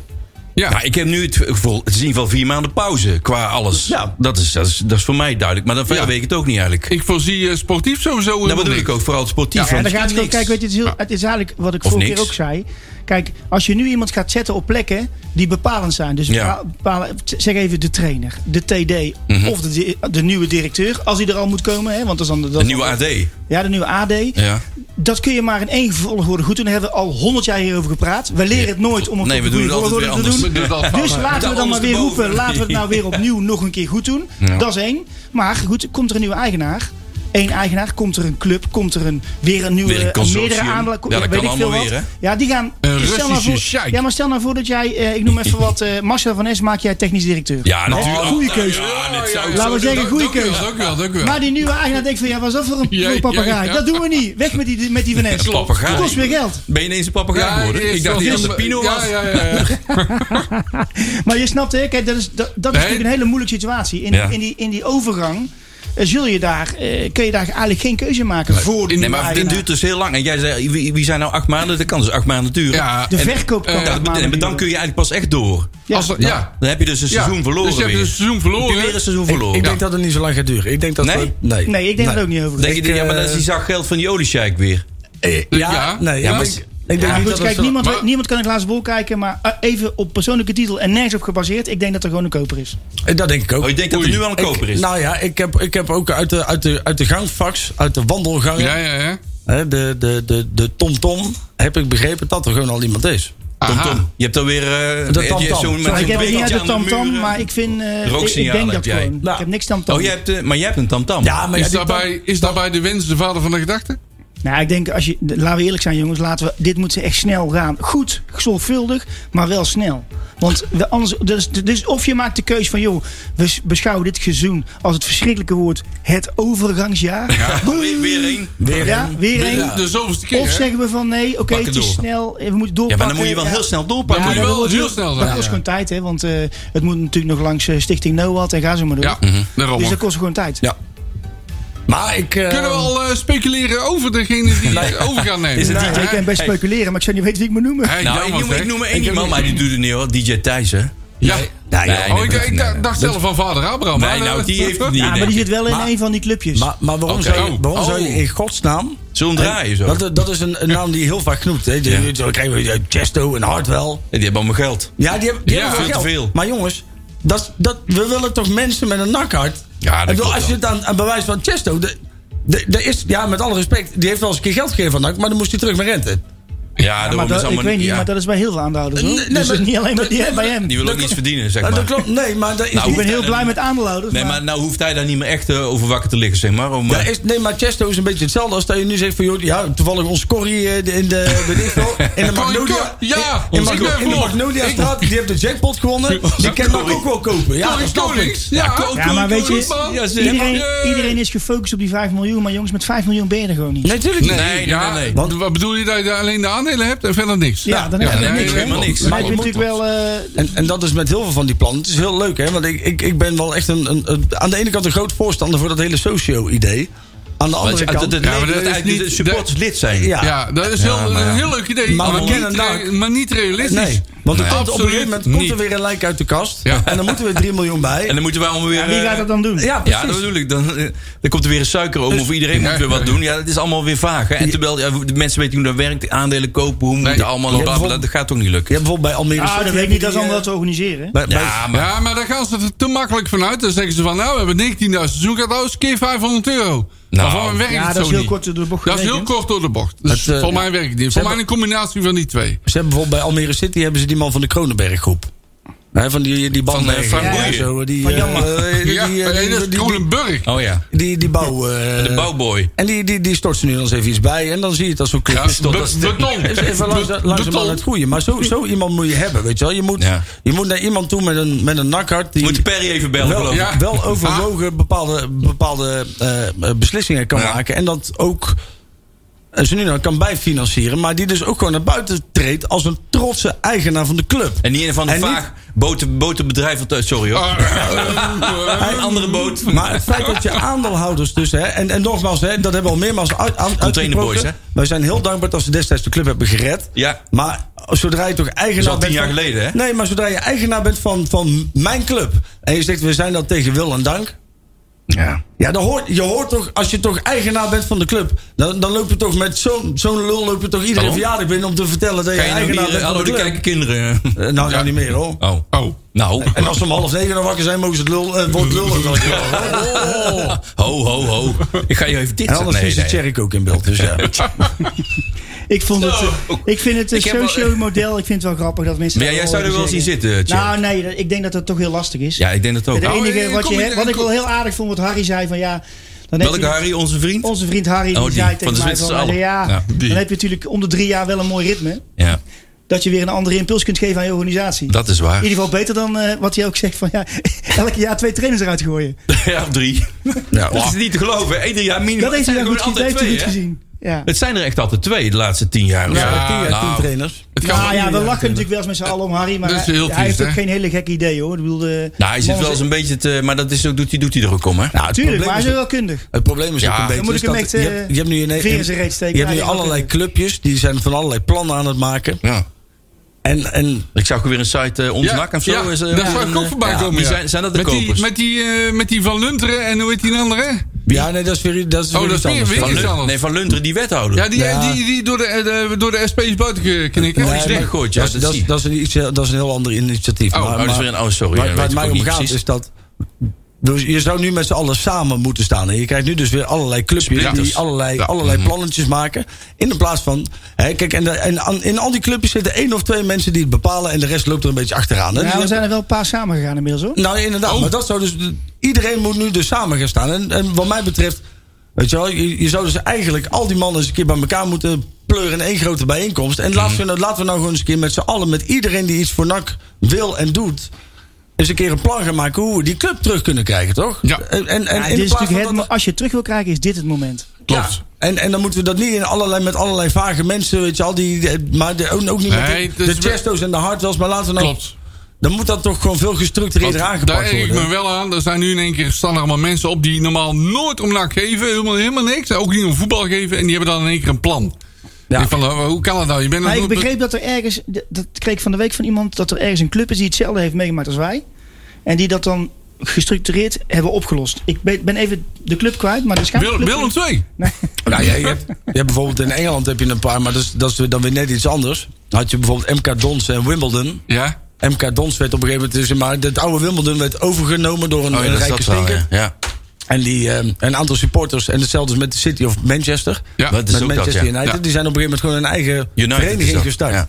Speaker 4: Ja.
Speaker 2: Maar nou, ik heb nu het gevoel, het is in ieder geval vier maanden pauze qua alles.
Speaker 6: Ja.
Speaker 2: Dat, is, dat, is, dat is voor mij duidelijk. Maar dan verder
Speaker 4: Ja.
Speaker 2: weet ik het ook niet eigenlijk.
Speaker 4: Ik voorzie eh, sportief sowieso
Speaker 2: Nou, dat
Speaker 4: helemaal
Speaker 2: bedoel ik
Speaker 4: niks.
Speaker 2: ook, vooral het sportief.
Speaker 4: Ja,
Speaker 5: Ja,
Speaker 2: want
Speaker 5: dan gaat het
Speaker 2: niks.
Speaker 5: ook- kijk, weet je, het is, heel- het is eigenlijk wat ik
Speaker 2: Of
Speaker 5: vorige keer
Speaker 2: niks.
Speaker 5: ook zei. Kijk, als je nu iemand gaat zetten op plekken die bepalend zijn. Dus
Speaker 2: Ja. Mhm.
Speaker 5: bepa- bepalen, zeg even de trainer, de TD of de, di- de nieuwe directeur. Als hij er al moet komen. Hè, want dat is dan, dat
Speaker 2: Een nieuwe AD.
Speaker 5: Ja, de nieuwe AD.
Speaker 2: Ja.
Speaker 5: Dat kun je maar in één volgorde goed doen. Daar hebben we al honderd jaar hierover gepraat. We leren het nooit om het
Speaker 2: Nee,
Speaker 5: op
Speaker 2: we
Speaker 5: de
Speaker 2: doen
Speaker 5: goede
Speaker 2: het altijd
Speaker 5: volgorde
Speaker 2: weer
Speaker 5: te
Speaker 4: We
Speaker 5: doen.
Speaker 4: doen dat
Speaker 5: Dus
Speaker 4: van-
Speaker 5: laten
Speaker 2: daar
Speaker 5: we dan maar weer
Speaker 2: ondersteboven.
Speaker 5: roepen. Laten we het nou weer opnieuw nog een keer goed doen.
Speaker 2: Ja.
Speaker 5: Dat is één. Maar goed, komt er een nieuwe eigenaar. Eén eigenaar, komt er een club, komt er een, weer een nieuwe
Speaker 2: Weer een
Speaker 5: eh,
Speaker 2: consortium.
Speaker 5: meerdere aanla-
Speaker 2: Ja, dat
Speaker 5: weet
Speaker 2: kan
Speaker 5: ik veel
Speaker 2: allemaal
Speaker 5: wat.
Speaker 2: weer, hè?
Speaker 5: Ja, die gaan.
Speaker 4: Een
Speaker 5: stel nou
Speaker 4: Russische
Speaker 5: voor-
Speaker 4: sheik.
Speaker 5: Ja, maar stel nou voor dat jij, eh, ik noem even wat, eh, Marcel van Es, maak jij technisch directeur. Oh,
Speaker 2: Ja, natuurlijk.
Speaker 5: goeie keuze.
Speaker 2: Ja, net Ah, zou ik
Speaker 5: Laten
Speaker 2: zo-
Speaker 5: we zeggen,
Speaker 4: Dank-
Speaker 5: goede
Speaker 4: dank u wel,
Speaker 5: keuze.
Speaker 4: Dank u wel, dank u wel.
Speaker 5: Maar die nieuwe eigenaar denkt van, ja, was dat voor een
Speaker 4: Ja,
Speaker 5: voor een papagaai?
Speaker 4: ja, ja.
Speaker 5: Dat doen we niet. Weg met die, met die Van Es.
Speaker 4: Klopt.
Speaker 2: Papagaai.
Speaker 5: Dat kost weer geld.
Speaker 2: Ben je ineens een papegaai geworden?
Speaker 4: eerst
Speaker 2: ik dacht dat je
Speaker 4: was-
Speaker 2: een Pino
Speaker 4: ja,
Speaker 2: was.
Speaker 4: Ja, ja, ja.
Speaker 5: Maar je snapt, hè? Kijk, dat is, dat, dat is
Speaker 4: Nee.
Speaker 5: natuurlijk een hele moeilijke situatie. In,
Speaker 2: Ja.
Speaker 5: in, die, in die overgang eh, zul je daar, eh, kun je daar eigenlijk geen keuze maken voor de
Speaker 2: Nee,
Speaker 5: nieuwe
Speaker 2: maar dit
Speaker 5: eigenaar.
Speaker 2: duurt dus heel lang. En jij zei, wie, wie zijn nou acht maanden? Dat kan dus acht maanden duren.
Speaker 4: Ja.
Speaker 5: De
Speaker 2: En-
Speaker 5: verkoop kan
Speaker 4: eh,
Speaker 5: acht
Speaker 2: Ja, dat betekent-
Speaker 5: maanden
Speaker 2: maar dan
Speaker 5: duren.
Speaker 2: kun je eigenlijk pas echt door.
Speaker 5: Ja.
Speaker 4: Als er- ja.
Speaker 2: Dan heb je dus een
Speaker 4: Ja,
Speaker 2: seizoen verloren
Speaker 4: Dus je hebt
Speaker 2: weer.
Speaker 4: een seizoen
Speaker 2: Heb je
Speaker 4: verloren.
Speaker 2: weer een seizoen verloren.
Speaker 6: Ik
Speaker 2: Ja.
Speaker 6: denk dat het niet zo lang gaat duren. Ik denk dat
Speaker 2: Nee?
Speaker 6: we- nee.
Speaker 5: Nee, ik denk dat ook niet over.
Speaker 2: Denk je,
Speaker 6: Ik,
Speaker 2: ja, maar dat is
Speaker 6: eh,
Speaker 2: die zag geld van die oliesjijk weer.
Speaker 6: Eh, Ja,
Speaker 4: Ja.
Speaker 6: nee.
Speaker 2: Dus Ja,
Speaker 6: Ja,
Speaker 2: maar-
Speaker 6: maar ik, ik denk
Speaker 5: Ja,
Speaker 6: niet
Speaker 5: goed,
Speaker 6: dat het
Speaker 5: kijk,
Speaker 6: zo-
Speaker 5: niemand,
Speaker 4: maar-
Speaker 5: weet- niemand kan een glazen bol kijken, maar eh, even op persoonlijke titel en nergens op gebaseerd. Ik denk dat er gewoon een koper is.
Speaker 6: Eh, Dat denk ik ook.
Speaker 2: Oh, je denkt dat er
Speaker 4: Oei.
Speaker 2: nu al een koper is?
Speaker 6: Ik- nou ja, ik heb, ik heb ook uit de, uit de, uit de gangfax, uit de wandelgangen,
Speaker 4: Ja, ja, ja.
Speaker 6: hè, de de de de tom-tom, heb ik begrepen dat er gewoon al iemand is.
Speaker 2: Tom,
Speaker 4: Aha.
Speaker 2: Tom. Je hebt alweer... eh,
Speaker 6: De
Speaker 2: je- je-
Speaker 6: tamtam.
Speaker 2: zo'n- met
Speaker 6: Sorry,
Speaker 2: zo'n
Speaker 5: ik heb het niet uit
Speaker 2: bekertje
Speaker 5: de
Speaker 2: aan
Speaker 5: tamtam,
Speaker 2: muren.
Speaker 5: maar ik vind. eh, ik- ik,
Speaker 2: Rooksignaal
Speaker 5: denk
Speaker 2: heb
Speaker 5: dat
Speaker 2: jij.
Speaker 5: gewoon.
Speaker 6: Nou.
Speaker 5: Ik heb niks tamtam.
Speaker 2: Oh, jij hebt, eh, maar jij hebt een tamtam.
Speaker 6: maar
Speaker 4: Is daarbij, is daarbij de wens de vader van de gedachte?
Speaker 5: Nou, ik denk, als je, laten we eerlijk zijn, jongens. Laten we, dit moet ze echt snel gaan. Goed, zorgvuldig, maar wel snel. Want we- anders, dus, dus of je maakt de keuze van, joh, we s- beschouwen dit seizoen als het verschrikkelijke woord het overgangsjaar.
Speaker 2: Ja, weer, weer één. Dus
Speaker 6: weer
Speaker 5: Ja,
Speaker 6: een-
Speaker 5: weer één.
Speaker 4: De zoveelste keer.
Speaker 5: Of
Speaker 4: hè?
Speaker 5: zeggen we van, nee, oké,
Speaker 2: Pak het
Speaker 5: het is
Speaker 2: door.
Speaker 5: snel, eh, we moeten doorpakken.
Speaker 2: Ja, maar dan moet je wel
Speaker 5: Ja.
Speaker 2: heel snel doorpakken.
Speaker 4: Ja, maar
Speaker 2: Ja,
Speaker 5: dat
Speaker 4: wel
Speaker 5: wordt
Speaker 4: heel snel
Speaker 5: Dat
Speaker 4: zijn.
Speaker 5: kost gewoon tijd, hè? Want eh, het moet natuurlijk nog langs eh, Stichting NOAD en ga zo maar door.
Speaker 4: Ja, Mhm. daarom.
Speaker 5: Dus dat kost gewoon tijd.
Speaker 6: Ja. Maar ik. eh,
Speaker 4: Kunnen we al eh, speculeren over degene die het over gaan nemen?
Speaker 2: Is het
Speaker 5: Nou,
Speaker 2: DJ?
Speaker 5: ik kan best
Speaker 2: Hey.
Speaker 5: speculeren, maar ik zou niet weten wie ik moet noemen.
Speaker 4: Hey,
Speaker 2: nou, ik
Speaker 4: jammer,
Speaker 2: noem,
Speaker 4: zeg.
Speaker 2: ik noem maar één
Speaker 4: Ik heb
Speaker 2: iemand,
Speaker 4: ook-
Speaker 2: maar die doet het niet hoor. DJ Thijs, hè?
Speaker 4: Ja.
Speaker 2: Nee, nee,
Speaker 4: Oh, ik,
Speaker 2: nee,
Speaker 4: ik
Speaker 2: nee,
Speaker 4: da-
Speaker 2: nee.
Speaker 4: dacht zelf van vader Abraham.
Speaker 2: Nee,
Speaker 4: maar, eh,
Speaker 2: nou, die heeft het niet.
Speaker 5: ja, maar
Speaker 2: denk
Speaker 5: die
Speaker 2: ik.
Speaker 5: zit wel in
Speaker 6: Maar-
Speaker 5: een van die clubjes.
Speaker 6: Maar, maar waarom,
Speaker 4: Oké.
Speaker 6: zou je, waarom
Speaker 4: Oh.
Speaker 6: zou je in godsnaam.
Speaker 2: Zullen we hem draaien zo?
Speaker 6: Dat, dat is een, een naam die heel vaak genoemd. Hè? Die,
Speaker 2: Ja.
Speaker 6: Zo krijgen we eh, Chesto en Hartwell.
Speaker 2: Die hebben allemaal geld.
Speaker 6: Ja, die hebben, die
Speaker 4: Ja,
Speaker 6: hebben wel
Speaker 2: veel te
Speaker 6: geld.
Speaker 2: veel.
Speaker 6: Maar jongens, dat, dat, we willen toch mensen met een nakhart?
Speaker 2: Ja, dat
Speaker 6: Ik bedoel,
Speaker 2: klopt
Speaker 6: Als je het aan, aan bewijs van Chesto... De, de, de is, ja, met alle respect, die heeft wel eens een keer geld gegeven van NAC... maar dan moest hij terug met rente.
Speaker 2: Ja, daarom
Speaker 5: maar
Speaker 2: is
Speaker 5: dat, ik
Speaker 2: allemaal
Speaker 5: weet niet,
Speaker 2: ja.
Speaker 5: maar dat is bij heel veel aandeelhouders. Hoor.
Speaker 6: Nee, nee,
Speaker 5: dus
Speaker 6: maar-
Speaker 5: het is niet alleen maar die, bij hem.
Speaker 2: Die wil ook niets verdienen, zeg
Speaker 6: Nou,
Speaker 2: maar.
Speaker 6: dat klopt, nee, maar dat is
Speaker 2: Nou,
Speaker 5: Ik
Speaker 6: niet...
Speaker 5: ben heel blij met aandeelhouders.
Speaker 2: Nee, maar nou hoeft hij daar niet meer echt eh, over wakker te liggen, zeg maar. Om,
Speaker 6: dat
Speaker 2: eh,
Speaker 6: is, nee, maar Chesto is een beetje hetzelfde als dat je nu zegt van... Joh, ja, toevallig ons Corrie eh, de- in de... weet ik veel, In de
Speaker 4: Corrie Kok,
Speaker 6: Magnolia...
Speaker 4: ja,
Speaker 6: in, in,
Speaker 4: ons
Speaker 6: Magno-
Speaker 4: Corrie.
Speaker 6: in de Magnolia straat, die heeft de jackpot gewonnen. Die kan NAC ook wel kopen. Ja,
Speaker 4: Corrie
Speaker 6: dat snap ik.
Speaker 4: Konings. Ja,
Speaker 5: Ja, maar weet je,
Speaker 4: Ja, zeg.
Speaker 5: iedereen,
Speaker 4: Yeah.
Speaker 5: iedereen is gefocust op die 5 miljoen, maar jongens, met 5 miljoen ben je er gewoon niet.
Speaker 6: Nee, natuurlijk niet.
Speaker 2: Nee, nee,
Speaker 4: ja,
Speaker 2: nee, nee.
Speaker 4: Want, wat bedoel je dat je daar alleen de aandelen hebt en verder niks?
Speaker 5: Ja, dan heb je
Speaker 2: nee,
Speaker 5: niks, hè?
Speaker 2: helemaal niks.
Speaker 5: Maar ik
Speaker 6: je
Speaker 5: ben
Speaker 6: moet
Speaker 5: natuurlijk wel... eh,
Speaker 6: En, en dat is met heel veel van die plannen. Het is heel leuk, hè? Want ik, ik, ik ben wel echt een, een, een- aan de ene kant een groot voorstander voor dat hele socio-idee. Aan de
Speaker 2: want-
Speaker 6: andere
Speaker 2: eh, dat-
Speaker 6: kant.
Speaker 2: dat-
Speaker 4: Ja, maar
Speaker 2: nee,
Speaker 4: dat
Speaker 2: dat
Speaker 4: is
Speaker 2: hij- de
Speaker 4: niet-
Speaker 2: supporters lid zijn.
Speaker 6: Ja.
Speaker 4: Ja, dat is heel,
Speaker 2: Ja, maar ja.
Speaker 4: een heel leuk idee,
Speaker 6: Maar
Speaker 4: maar,
Speaker 6: we
Speaker 4: niet,
Speaker 6: kennen
Speaker 4: re-
Speaker 6: NAC.
Speaker 4: maar niet realistisch.
Speaker 6: nee, want er
Speaker 2: Nee.
Speaker 6: komt op een gegeven moment
Speaker 4: Absoluut
Speaker 6: komt er
Speaker 4: niet.
Speaker 6: weer een lijk uit de kast.
Speaker 4: Ja.
Speaker 6: En dan moeten we 3 miljoen bij.
Speaker 2: En dan moeten wij allemaal weer...
Speaker 5: ja, wie
Speaker 2: eh,
Speaker 5: gaat dat dan doen? Ah,
Speaker 6: ja,
Speaker 2: Ja,
Speaker 6: precies.
Speaker 2: dat bedoel ik. Dan, eh, dan komt er weer een suikeroom of iedereen
Speaker 4: Ja.
Speaker 2: moet weer wat doen. Ja, dat is allemaal weer vaag. Hè? En terwijl ja, de mensen weten hoe dat werkt, aandelen kopen, hoe moet
Speaker 4: Nee.
Speaker 2: het allemaal, en bla, bla, bla. dat gaat toch niet
Speaker 6: Je
Speaker 2: lukken.
Speaker 6: hebt bijvoorbeeld bij Almere
Speaker 5: Ah,
Speaker 6: City
Speaker 5: dat weet ik
Speaker 6: heb je
Speaker 5: niet, dat is
Speaker 6: die,
Speaker 5: allemaal
Speaker 6: eh,
Speaker 5: wat te organiseren. hè?
Speaker 6: bij- bij-
Speaker 2: Ja, maar
Speaker 4: Ja, maar daar gaan ze er te makkelijk vanuit. Dan zeggen ze van, nou, we hebben 19.000 seizoen gaat alles keer 500 euro.
Speaker 2: Nou.
Speaker 4: Nou, voor mij werkt het
Speaker 5: Ja, dat
Speaker 4: zo
Speaker 5: is heel
Speaker 4: niet.
Speaker 5: kort door de bocht
Speaker 4: Dat is heel
Speaker 5: gerekend.
Speaker 4: kort door de bocht. Dus
Speaker 6: Het, eh,
Speaker 4: voor mij werkt het niet. Voor mij een combinatie van die twee.
Speaker 6: Ze hebben bijvoorbeeld bij Almere City hebben ze die man van de Kronenberg groep. Hè, van die, die banden.
Speaker 2: Van, eh, Frank Boeien.
Speaker 6: zo, die, eh, eh, die,
Speaker 4: Ja,
Speaker 6: eh,
Speaker 4: nee, dat is
Speaker 6: die- die-
Speaker 4: Kronenburg.
Speaker 2: Oh ja,
Speaker 6: die, die bouw... eh,
Speaker 2: de bouwboy.
Speaker 6: En die, die, die stort ze nu dan eens even iets bij. En dan zie je het als zo'n
Speaker 4: Ja,
Speaker 6: clubje.
Speaker 4: be- beton.
Speaker 6: Is even langzaam, langzaam aan het
Speaker 4: Beton.
Speaker 6: groeien. Maar zo, zo iemand moet je hebben, weet je wel. Je moet,
Speaker 2: Ja.
Speaker 6: je moet naar iemand toe met een, met een nakhart die
Speaker 2: Moet je Perry even bellen,
Speaker 6: wel,
Speaker 2: geloof ik.
Speaker 4: Ja.
Speaker 6: wel overwogen bepaalde, bepaalde eh, eh, beslissingen kan
Speaker 2: Ja.
Speaker 6: maken. En dat ook en ze nu nou kan bijfinancieren. Maar die dus ook gewoon naar buiten treedt als een trotse eigenaar van de club.
Speaker 2: En niet een van de
Speaker 6: En niet- Oh,
Speaker 2: vaag boten, botenbedrijf. uit- Sorry hoor.
Speaker 4: Ah,
Speaker 2: Een andere boot.
Speaker 6: Maar het feit dat je aandeelhouders dus... Hè, en, en nogmaals, hè, dat hebben we al meermaals uit, aan-
Speaker 2: Containerboys, hè?
Speaker 6: uitgesproken. Wij zijn heel dankbaar dat ze destijds de club hebben gered.
Speaker 2: Ja.
Speaker 6: Maar zodra je toch eigenaar
Speaker 2: Dat is al tien
Speaker 6: bent
Speaker 2: jaar
Speaker 6: van-
Speaker 2: geleden, hè?
Speaker 6: Nee, maar zodra je eigenaar bent van, van mijn club... en je zegt, we zijn dat tegen wil en dank...
Speaker 2: Ja.
Speaker 6: Ja, dan hoort, je hoort toch, als je toch eigenaar bent van de club... dan, dan loop je toch met zo'n zo'n lul loop je toch iedere
Speaker 2: Waarom?
Speaker 6: verjaardag binnen... om te vertellen dat je,
Speaker 2: Ga je nou
Speaker 6: eigenaar
Speaker 2: hier,
Speaker 6: bent van
Speaker 2: hallo,
Speaker 6: de
Speaker 2: die
Speaker 6: club.
Speaker 2: kijken kinderen.
Speaker 6: Eh, nou, nou niet meer, hoor.
Speaker 2: Oh.
Speaker 4: Oh.
Speaker 2: Nou.
Speaker 6: En als ze om half negen dan wakker zijn, mogen ze het lul, eh, wordt lul ook wel eens horen, hoor.
Speaker 2: oh. Ho, ho, ho. Ik ga je even dit
Speaker 6: En anders is de Tjerk ook in beeld. Dus ja.
Speaker 5: Ik, vond het, eh, ik vind het
Speaker 2: Nou,
Speaker 5: een
Speaker 2: Ik heb wel-
Speaker 5: socio-model. Ik vind het wel grappig dat mensen.
Speaker 2: Maar ja,
Speaker 5: dat
Speaker 2: jij zou er wel eens in
Speaker 5: zeggen.
Speaker 2: zitten, Tjerk.
Speaker 5: Nou, nee, dat- ik denk dat dat toch heel lastig is.
Speaker 2: Ja, ik denk dat ook.
Speaker 5: Het
Speaker 2: Nou,
Speaker 5: enige
Speaker 4: eh,
Speaker 5: wat,
Speaker 4: kom
Speaker 5: je
Speaker 4: in-
Speaker 5: hebt, wat ik
Speaker 4: kom-
Speaker 5: wel heel aardig vond, wat Harry zei van ja. Dan heb
Speaker 2: Welke
Speaker 5: je-
Speaker 2: Harry, onze vriend?
Speaker 5: Onze vriend Harry die
Speaker 2: Oh, die,
Speaker 5: zei
Speaker 2: van
Speaker 5: tegen
Speaker 2: de
Speaker 5: mij
Speaker 2: Zwitserse
Speaker 5: van,
Speaker 2: Allen.
Speaker 5: ja,
Speaker 2: Ja,
Speaker 5: dan
Speaker 4: die.
Speaker 5: heb je natuurlijk om de drie jaar wel een mooi ritme.
Speaker 2: Ja,
Speaker 5: Dat je weer een andere impuls kunt geven aan je organisatie.
Speaker 2: dat is
Speaker 5: in
Speaker 2: waar.
Speaker 5: ieder geval beter dan eh, wat hij ook zegt van ja, elke jaar twee trainers eruit gooien.
Speaker 2: Ja, of drie.
Speaker 6: Ja,
Speaker 2: Dat is niet te geloven. hè. Ieder jaar minimum.
Speaker 5: Dat heeft hij dan
Speaker 2: Het zijn er gewoon
Speaker 5: goed, gezien,
Speaker 2: altijd
Speaker 5: dat heeft hij
Speaker 2: twee,
Speaker 5: goed
Speaker 2: hè?
Speaker 5: gezien. Ja.
Speaker 2: Het zijn er echt altijd twee de laatste tien jaar. of zo.
Speaker 4: Ja, tien jaar,
Speaker 2: Nou,
Speaker 6: trainers.
Speaker 4: Het kan
Speaker 5: Nou
Speaker 4: wel.
Speaker 5: ja, we lachen natuurlijk wel eens met z'n allen om Harry, maar
Speaker 4: Dat is
Speaker 5: hij,
Speaker 4: heel
Speaker 5: hij
Speaker 4: triest,
Speaker 5: heeft ook
Speaker 4: hè?
Speaker 5: geen hele gekke idee hoor. Ik bedoel, eh, de
Speaker 2: nou, hij zit wel eens een beetje te... Maar dat is ook, doet, hij, doet hij er ook om, hè?
Speaker 6: Nou, het
Speaker 5: Tuurlijk,
Speaker 6: probleem
Speaker 5: maar hij
Speaker 6: is
Speaker 5: is
Speaker 6: ook-
Speaker 5: wel kundig.
Speaker 6: Het probleem is
Speaker 2: Ja.
Speaker 6: ook een
Speaker 2: Dan
Speaker 6: beetje...
Speaker 5: moet ik
Speaker 6: is
Speaker 5: hem
Speaker 6: dat
Speaker 5: echt,
Speaker 6: je,
Speaker 5: eh,
Speaker 6: hebt- je hebt nu, in
Speaker 5: veren in zijn reet steken.
Speaker 6: je hebt nu
Speaker 5: Ja, dat
Speaker 6: allerlei
Speaker 5: ook, eh.
Speaker 6: clubjes, die zijn van allerlei plannen aan het maken.
Speaker 2: Ja.
Speaker 6: En, en
Speaker 2: Ik zag ook weer een site, eh, Ons Nak of zo.
Speaker 4: ja,
Speaker 2: is, eh,
Speaker 4: daar
Speaker 2: een,
Speaker 4: zou ik ook
Speaker 2: eh,
Speaker 4: voorbij
Speaker 2: ja,
Speaker 4: komen.
Speaker 2: die
Speaker 4: ja.
Speaker 2: zijn, zijn dat de
Speaker 4: met
Speaker 2: kopers?
Speaker 4: Die, met, die, eh, met die Van Lunteren en hoe heet die andere?
Speaker 6: ja, nee, dat is weer, dat is
Speaker 4: Oh,
Speaker 6: weer
Speaker 4: dat
Speaker 6: iets
Speaker 4: is weer-
Speaker 6: anders.
Speaker 4: weer
Speaker 2: van
Speaker 4: is
Speaker 2: Lun-
Speaker 4: anders.
Speaker 2: nee, van Lunteren, die wethouder.
Speaker 4: Ja, die,
Speaker 6: Ja.
Speaker 4: die, die door, de, eh, de, door de SP is buiten geknikken.
Speaker 2: Nee, maar- weggegooid, ja,
Speaker 6: dat, is- dat,
Speaker 2: dat
Speaker 6: is-
Speaker 2: zie je.
Speaker 6: dat, is een iets, eh, dat is een heel ander initiatief.
Speaker 4: Oh,
Speaker 2: oh, dat is weer een... Oh, sorry.
Speaker 6: waar
Speaker 2: ja,
Speaker 6: waar
Speaker 2: weet
Speaker 6: het
Speaker 2: ik
Speaker 6: mij
Speaker 2: ook
Speaker 6: om
Speaker 2: niet
Speaker 6: gaat
Speaker 2: precies.
Speaker 6: is dat... Dus je zou nu met z'n allen samen moeten staan. En je krijgt nu dus weer allerlei clubjes
Speaker 2: Splinters.
Speaker 6: die allerlei,
Speaker 2: Ja. Mhm.
Speaker 6: allerlei plannetjes maken. In de plaats van. Hè, kijk, en, de- en aan- in al die clubjes zitten één of twee mensen die het bepalen. En de rest loopt er een beetje achteraan. hè. Dus
Speaker 5: Ja,
Speaker 6: je
Speaker 5: Nou,
Speaker 6: hebt-
Speaker 5: we zijn er wel een paar samen gegaan inmiddels hoor.
Speaker 6: Nou, inderdaad.
Speaker 4: Oh.
Speaker 6: Maar dat zou dus. Iedereen moet nu dus samen gaan staan. En, en wat mij betreft. Weet je wel, je, je zou dus eigenlijk al die mannen eens een keer bij elkaar moeten pleuren in één grote bijeenkomst. En laten,
Speaker 4: Mhm.
Speaker 6: we, nou- laten we nou gewoon eens een keer met z'n allen, met iedereen die iets voor NAC wil en doet. eens een keer een plan gaan maken hoe we die club terug kunnen krijgen, toch?
Speaker 4: Ja.
Speaker 6: En, en, en
Speaker 5: Ja,
Speaker 6: in
Speaker 5: dit is
Speaker 6: plaats van
Speaker 5: natuurlijk het,
Speaker 6: dat-
Speaker 5: mo- als je het terug wil krijgen, is dit het moment.
Speaker 4: Klopt.
Speaker 6: Ja. En, en dan moeten we dat niet in allerlei, met allerlei vage mensen, weet je al, die, die- maar de, ook, ook niet
Speaker 4: Nee,
Speaker 6: met de,
Speaker 4: dus
Speaker 6: de
Speaker 4: we-
Speaker 6: Chesto's en de Hartwells, maar laten we nou...
Speaker 4: Klopt.
Speaker 6: Dan moet dat toch gewoon veel
Speaker 4: Want
Speaker 6: gestructureerder aangepakt
Speaker 4: daar
Speaker 6: worden.
Speaker 4: erg ik me wel aan. Er zijn nu in één keer staan er allemaal mensen op die normaal nooit om nak geven. Helemaal, helemaal niks. Ook niet om voetbal geven. En die hebben dan in één keer een plan.
Speaker 6: Ja.
Speaker 4: Ik van, oh, hoe kan dat nou? Je bent
Speaker 5: Maar
Speaker 4: een-
Speaker 5: ik begreep dat er ergens, d- dat kreeg ik van de week van iemand, dat er ergens een club is die hetzelfde heeft meegemaakt als wij. En die dat dan gestructureerd hebben opgelost. Ik ben ben even de club kwijt, maar de
Speaker 4: Wil-
Speaker 5: schaamclub...
Speaker 4: Willem II.
Speaker 6: Nou, ja, je, hebt, je hebt bijvoorbeeld in Engeland heb je een paar, maar dat is, dat is dan weer net iets anders. Dan had je bijvoorbeeld MK Dons en Wimbledon.
Speaker 4: Ja.
Speaker 6: MK Dons werd op een gegeven moment, dus, maar het oude Wimbledon werd overgenomen door een,
Speaker 2: Oh, ja,
Speaker 6: een
Speaker 2: dat is
Speaker 6: rijke
Speaker 2: dat wel,
Speaker 6: stinker.
Speaker 2: ja. ja.
Speaker 6: En die, ehm, een aantal supporters, en hetzelfde is met de City of Manchester.
Speaker 4: Ja.
Speaker 2: Dat is
Speaker 6: met
Speaker 2: ook
Speaker 6: Manchester
Speaker 2: dat, ja.
Speaker 6: United.
Speaker 4: Ja.
Speaker 6: Die zijn op een gegeven moment gewoon een eigen
Speaker 2: United is
Speaker 6: vereniging
Speaker 2: dat,
Speaker 6: gestart.
Speaker 2: ja.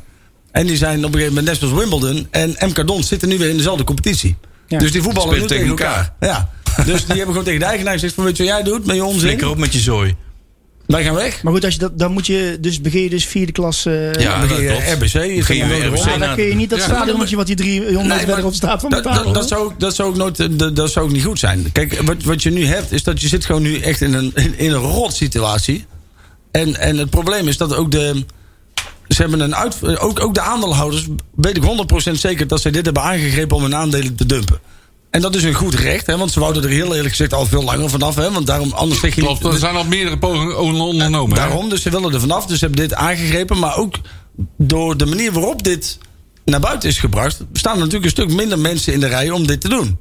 Speaker 6: En die zijn op een gegeven moment, net zoals Wimbledon en MK Dons, zitten nu weer in dezelfde competitie.
Speaker 5: Ja.
Speaker 6: Dus die voetballen nu
Speaker 2: Spelen
Speaker 6: tegen
Speaker 2: tegen
Speaker 6: elkaar. Ja. dus die hebben gewoon tegen de eigenaar gezegd van weet je wat jij doet met je onzin?
Speaker 2: Flikker op met je zooi.
Speaker 6: Wij gaan weg.
Speaker 5: Maar goed, als je dat, dan moet je dus, begin je dus vierde klas... eh,
Speaker 2: Ja,
Speaker 6: dan
Speaker 2: dat
Speaker 6: ging je
Speaker 2: klopt.
Speaker 6: RBC, je
Speaker 2: Ging
Speaker 6: ging
Speaker 2: je weer
Speaker 6: naar de
Speaker 2: RBC
Speaker 5: Maar dan
Speaker 2: na-
Speaker 5: kun je niet dat
Speaker 4: Ja.
Speaker 5: stadionnetje wat die 300 meter
Speaker 6: Nee, maar
Speaker 5: verderop staat van
Speaker 6: Dat,
Speaker 5: betalen.
Speaker 6: dat, dat, zou, ook- dat, zou ook nooit, eh, dat, dat zou ook niet goed zijn. Kijk, wat, wat je nu hebt, is dat je zit gewoon nu echt in een, in, in een rot situatie. En, en het probleem is dat ook de. Ze hebben een uit, eh, ook, ook de aandeelhouders, weet ik 100% zeker dat ze dit hebben aangegrepen om hun aandelen te dumpen. En dat is een goed recht, hè, want ze wouden er heel eerlijk gezegd al veel langer vanaf. Hè, want daarom, anders zeg je
Speaker 4: Klopt.
Speaker 6: niet,
Speaker 4: Er zijn al meerdere pogingen ondernomen. hè?
Speaker 6: Daarom, dus ze willen er vanaf. Dus ze hebben dit aangegrepen. Maar ook door de manier waarop dit naar buiten is gebracht... staan er natuurlijk een stuk minder mensen in de rij om dit te doen.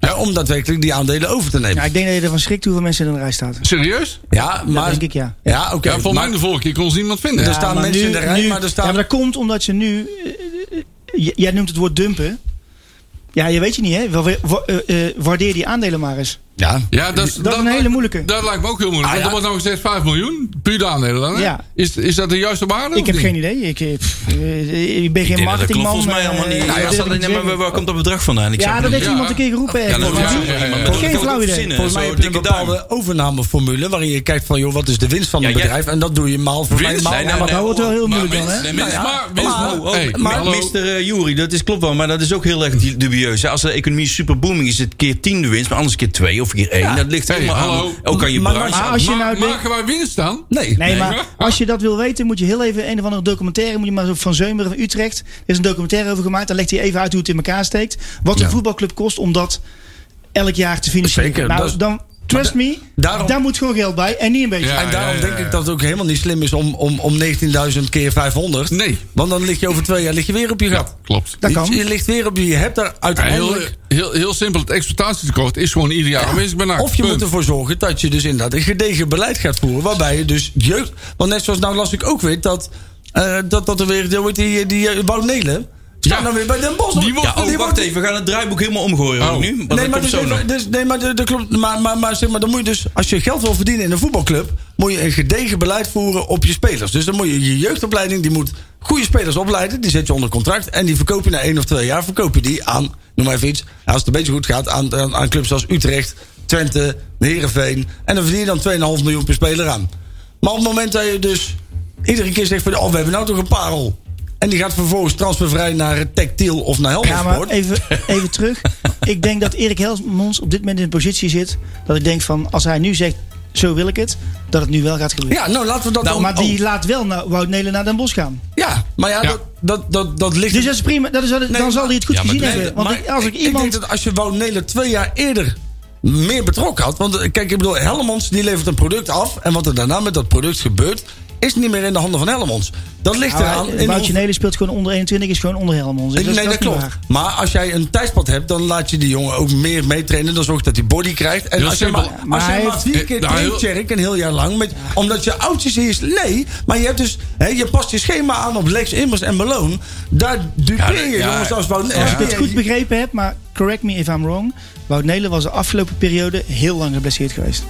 Speaker 6: Ja, om daadwerkelijk die aandelen over te nemen.
Speaker 5: Ja,
Speaker 6: Ja,
Speaker 5: ik denk dat je ervan schrikt hoeveel mensen in de rij staan.
Speaker 4: Serieus?
Speaker 6: maar...
Speaker 5: denk ik, ja.
Speaker 6: Ja, oké.
Speaker 4: Ja, volgens
Speaker 6: maar- Dus
Speaker 4: mij de vorige keer kon ze niemand vinden.
Speaker 6: Er staan
Speaker 5: maar
Speaker 6: mensen in de rij, maar er staan-
Speaker 5: Ja, maar dat komt omdat ze nu... eh, eh, j- jij noemt het woord dumpen. Ja, je weet je niet, hè? Wel, wa- wa- eh, eh, waardeer die aandelen maar eens.
Speaker 6: ja.
Speaker 4: Ja, dat, is-
Speaker 5: Dat is een hele moeilijke.
Speaker 4: Dat lijkt me ook heel moeilijk.
Speaker 6: Ah,
Speaker 4: want er
Speaker 6: ja.
Speaker 4: wordt nou gezegd 5 miljoen. Puur de aandelen dan, hè?
Speaker 5: Ja.
Speaker 4: Is, is dat de juiste waarde?
Speaker 5: Ik
Speaker 4: of
Speaker 5: heb
Speaker 4: niet?
Speaker 5: geen idee. Ik, eh, pff, eh, ik ben geen
Speaker 2: Ja, dat klopt
Speaker 5: marketingman.
Speaker 2: volgens mij allemaal
Speaker 5: eh,
Speaker 2: niet. Nou
Speaker 5: ik
Speaker 2: Ja, dat
Speaker 5: durf het
Speaker 2: staat
Speaker 5: niet
Speaker 2: er-
Speaker 5: te
Speaker 2: nee, maar waar
Speaker 5: zeggen.
Speaker 2: waar komt dat bedrag vandaan? Ik
Speaker 5: Ja,
Speaker 2: zeg
Speaker 5: dat
Speaker 2: maar
Speaker 5: heeft
Speaker 4: Ja.
Speaker 5: iemand een keer geroepen.
Speaker 2: Ja,
Speaker 5: eh,
Speaker 2: dat
Speaker 5: volgens
Speaker 2: heeft
Speaker 5: mij.
Speaker 4: ja, ja, ja.
Speaker 2: iemand.
Speaker 5: Geen flauw idee.
Speaker 6: Volgens mij heb je een bepaalde overnameformule... waarin je kijkt van, joh, wat is de winst van
Speaker 2: Ja,
Speaker 6: een
Speaker 2: jij-
Speaker 6: bedrijf? En dat doe je maal voor mij
Speaker 2: Winst?
Speaker 6: maal.
Speaker 2: Nee, nee,
Speaker 6: ja, maar
Speaker 2: nee.
Speaker 5: Dat wordt wel heel moeilijk dan, hè?
Speaker 4: Maar, maar,
Speaker 6: maar-
Speaker 4: maar,
Speaker 6: oh,
Speaker 4: hey,
Speaker 2: maar
Speaker 4: hallo.
Speaker 2: Mister eh, Jury, dat is klopt wel, maar dat is ook heel erg dubieus. hè. Als de economie super booming is, het keer 10 de winst, maar anders keer 2 2 of keer 1. Dat ligt
Speaker 4: Hey,
Speaker 2: helemaal
Speaker 4: hallo.
Speaker 2: aan. Ook aan je
Speaker 6: Maar
Speaker 2: branche.
Speaker 5: maar als je
Speaker 4: Ma-
Speaker 5: nou denkt-
Speaker 4: Maken wij winst dan?
Speaker 6: Nee.
Speaker 5: Nee, maar als je dat wil weten, moet je heel even een of andere documentaire. Moet je maar zo van Zeumer van Utrecht. Er is een documentaire over gemaakt. Daar legt hij even uit hoe het in elkaar steekt. Wat een
Speaker 4: Ja.
Speaker 5: voetbalclub kost om dat elk jaar te financieren.
Speaker 6: Zeker,
Speaker 5: nou,
Speaker 6: dat is-
Speaker 5: dan, trust me,
Speaker 6: daarom-
Speaker 5: daar moet gewoon geld bij. En niet een beetje.
Speaker 4: Ja.
Speaker 6: En daarom
Speaker 4: ja,
Speaker 6: denk
Speaker 4: ja.
Speaker 6: ik dat het ook helemaal niet slim is om, om, om 19.000 keer 500.
Speaker 4: Nee.
Speaker 6: Want dan lig je over twee jaar lig je weer op je gat.
Speaker 4: Klopt.
Speaker 5: Dat kan.
Speaker 6: Je, je ligt weer op je. Je hebt daar
Speaker 4: Ja, heel,
Speaker 6: uiteindelijk.
Speaker 4: heel, heel simpel, het exploitatietekort is gewoon ieder jaar aanwezig bij NAC.
Speaker 6: Of je
Speaker 4: Punt.
Speaker 6: moet ervoor zorgen dat je dus inderdaad een gedegen beleid gaat voeren. Waarbij je dus jeugd. Want net zoals nou las ik ook weer dat. eh, dat, dat er weer. hoe heet Die, die eh, Wout Nelen. Staat
Speaker 4: Ja.
Speaker 6: nou weer bij Den Bosch.
Speaker 4: Die wordt-
Speaker 2: Ja, oh, wacht even. We gaan het draaiboek helemaal omgooien
Speaker 4: Oh.
Speaker 2: hoor, nu. Want
Speaker 6: nee,
Speaker 2: dat
Speaker 6: maar
Speaker 2: komt
Speaker 6: dus
Speaker 2: zo nog.
Speaker 6: even- dus- nee, maar dat- dat klopt. Maar, maar, maar, zeg maar, dan moet je dus, als je geld wil verdienen in een voetbalclub, moet je een gedegen beleid voeren op je spelers. Dus dan moet je je jeugdopleiding, die moet goede spelers opleiden, die zet je onder contract en die verkoop je na één of twee jaar, verkoop je die aan, noem maar even iets, als het een beetje goed gaat, aan, aan, aan clubs als Utrecht, Twente, Herenveen. En dan verdien je dan 2,5 miljoen per speler aan. Maar op het moment dat je dus iedere keer zegt van, oh, we hebben nou toch een parel. En die gaat vervolgens transfervrij naar eh, Tactiel of naar
Speaker 5: Ja, maar
Speaker 6: Helmond.
Speaker 5: even, even terug. Ik denk dat Erik Helmons op dit moment in een positie zit. Dat ik denk van, als hij nu zegt, zo wil ik het. Dat het nu wel gaat gebeuren.
Speaker 6: Ja, nou laten we dat
Speaker 5: Nou,
Speaker 6: dan...
Speaker 5: maar
Speaker 6: oh.
Speaker 5: die laat wel naar Wout Nelen naar Den Bosch gaan.
Speaker 6: Ja, maar ja,
Speaker 4: Ja.
Speaker 6: Dat, dat, dat, dat ligt...
Speaker 5: Dus dat is prima. Dat is, wel-
Speaker 6: Nee,
Speaker 5: dan zal hij het goed
Speaker 2: ja, maar
Speaker 5: gezien
Speaker 2: nee,
Speaker 5: hebben. Want
Speaker 6: maar
Speaker 5: ik- als ik
Speaker 6: Ik denk
Speaker 5: iemand...
Speaker 6: dat als je Wout Nelen twee jaar eerder meer betrokken had... Want eh, kijk, ik bedoel, Helmonds die levert een product af... en wat er daarna met dat product gebeurt... is niet meer in de handen van Helmonds. Dat ligt eraan...
Speaker 5: Ja, eh,
Speaker 6: in
Speaker 5: Woutje
Speaker 6: hoe-
Speaker 5: Nelen speelt gewoon onder 21, is gewoon onder Helmond. Dus
Speaker 6: nee, dat
Speaker 5: is niet
Speaker 6: klopt.
Speaker 5: waar.
Speaker 6: Maar als jij een tijdspad hebt, dan laat je die jongen ook meer meetrainen. Dan zorg je dat hij body krijgt. En
Speaker 4: Heel
Speaker 6: als je
Speaker 4: simpel.
Speaker 6: maar,
Speaker 4: Ja,
Speaker 5: maar
Speaker 6: als jij
Speaker 5: hij
Speaker 6: maar
Speaker 5: heeft-
Speaker 6: vier keer
Speaker 4: Eh, nou,
Speaker 6: traint,
Speaker 4: heel-
Speaker 6: Tjerk, een heel jaar lang. Met, Omdat je oudjes hier is nee. Maar je hebt dus, hè, je past je schema aan op Lex Immers en Malone. Daar dupeer je
Speaker 2: ja,
Speaker 6: jongens als Wout.
Speaker 5: Als ik het goed begrepen heb, maar correct me if I'm wrong. Wout Nelen was de afgelopen periode heel lang geblesseerd geweest.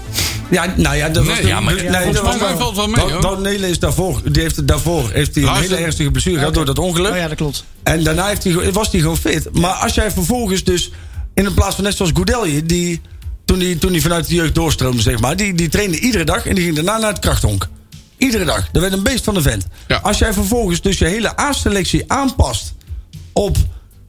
Speaker 6: Ja, nou ja, dat was
Speaker 4: Nee,
Speaker 6: de-
Speaker 4: ja, maar-
Speaker 6: nee,
Speaker 4: ja,
Speaker 6: dat
Speaker 4: volgens
Speaker 6: was
Speaker 4: mij
Speaker 6: wel-
Speaker 4: valt wel mee,
Speaker 6: Wout-
Speaker 4: hoor.
Speaker 6: Wout Nelen is daarvoor, die heeft, daarvoor heeft hij een
Speaker 4: Luister.
Speaker 6: hele ernstige blessure gehad door dat ongeluk.
Speaker 5: Oh ja, dat klopt.
Speaker 6: En daarna heeft hij, ge- was hij gewoon fit. Maar als jij vervolgens dus, in de plaats van net zoals Goudelje, die toen hij toen die vanuit de jeugd doorstroomde, zeg maar, die, die trainde iedere dag en die ging daarna naar het krachthonk. Iedere dag. Dat werd een beest van de vent.
Speaker 4: Ja.
Speaker 6: Als jij vervolgens dus je hele A-selectie aanpast op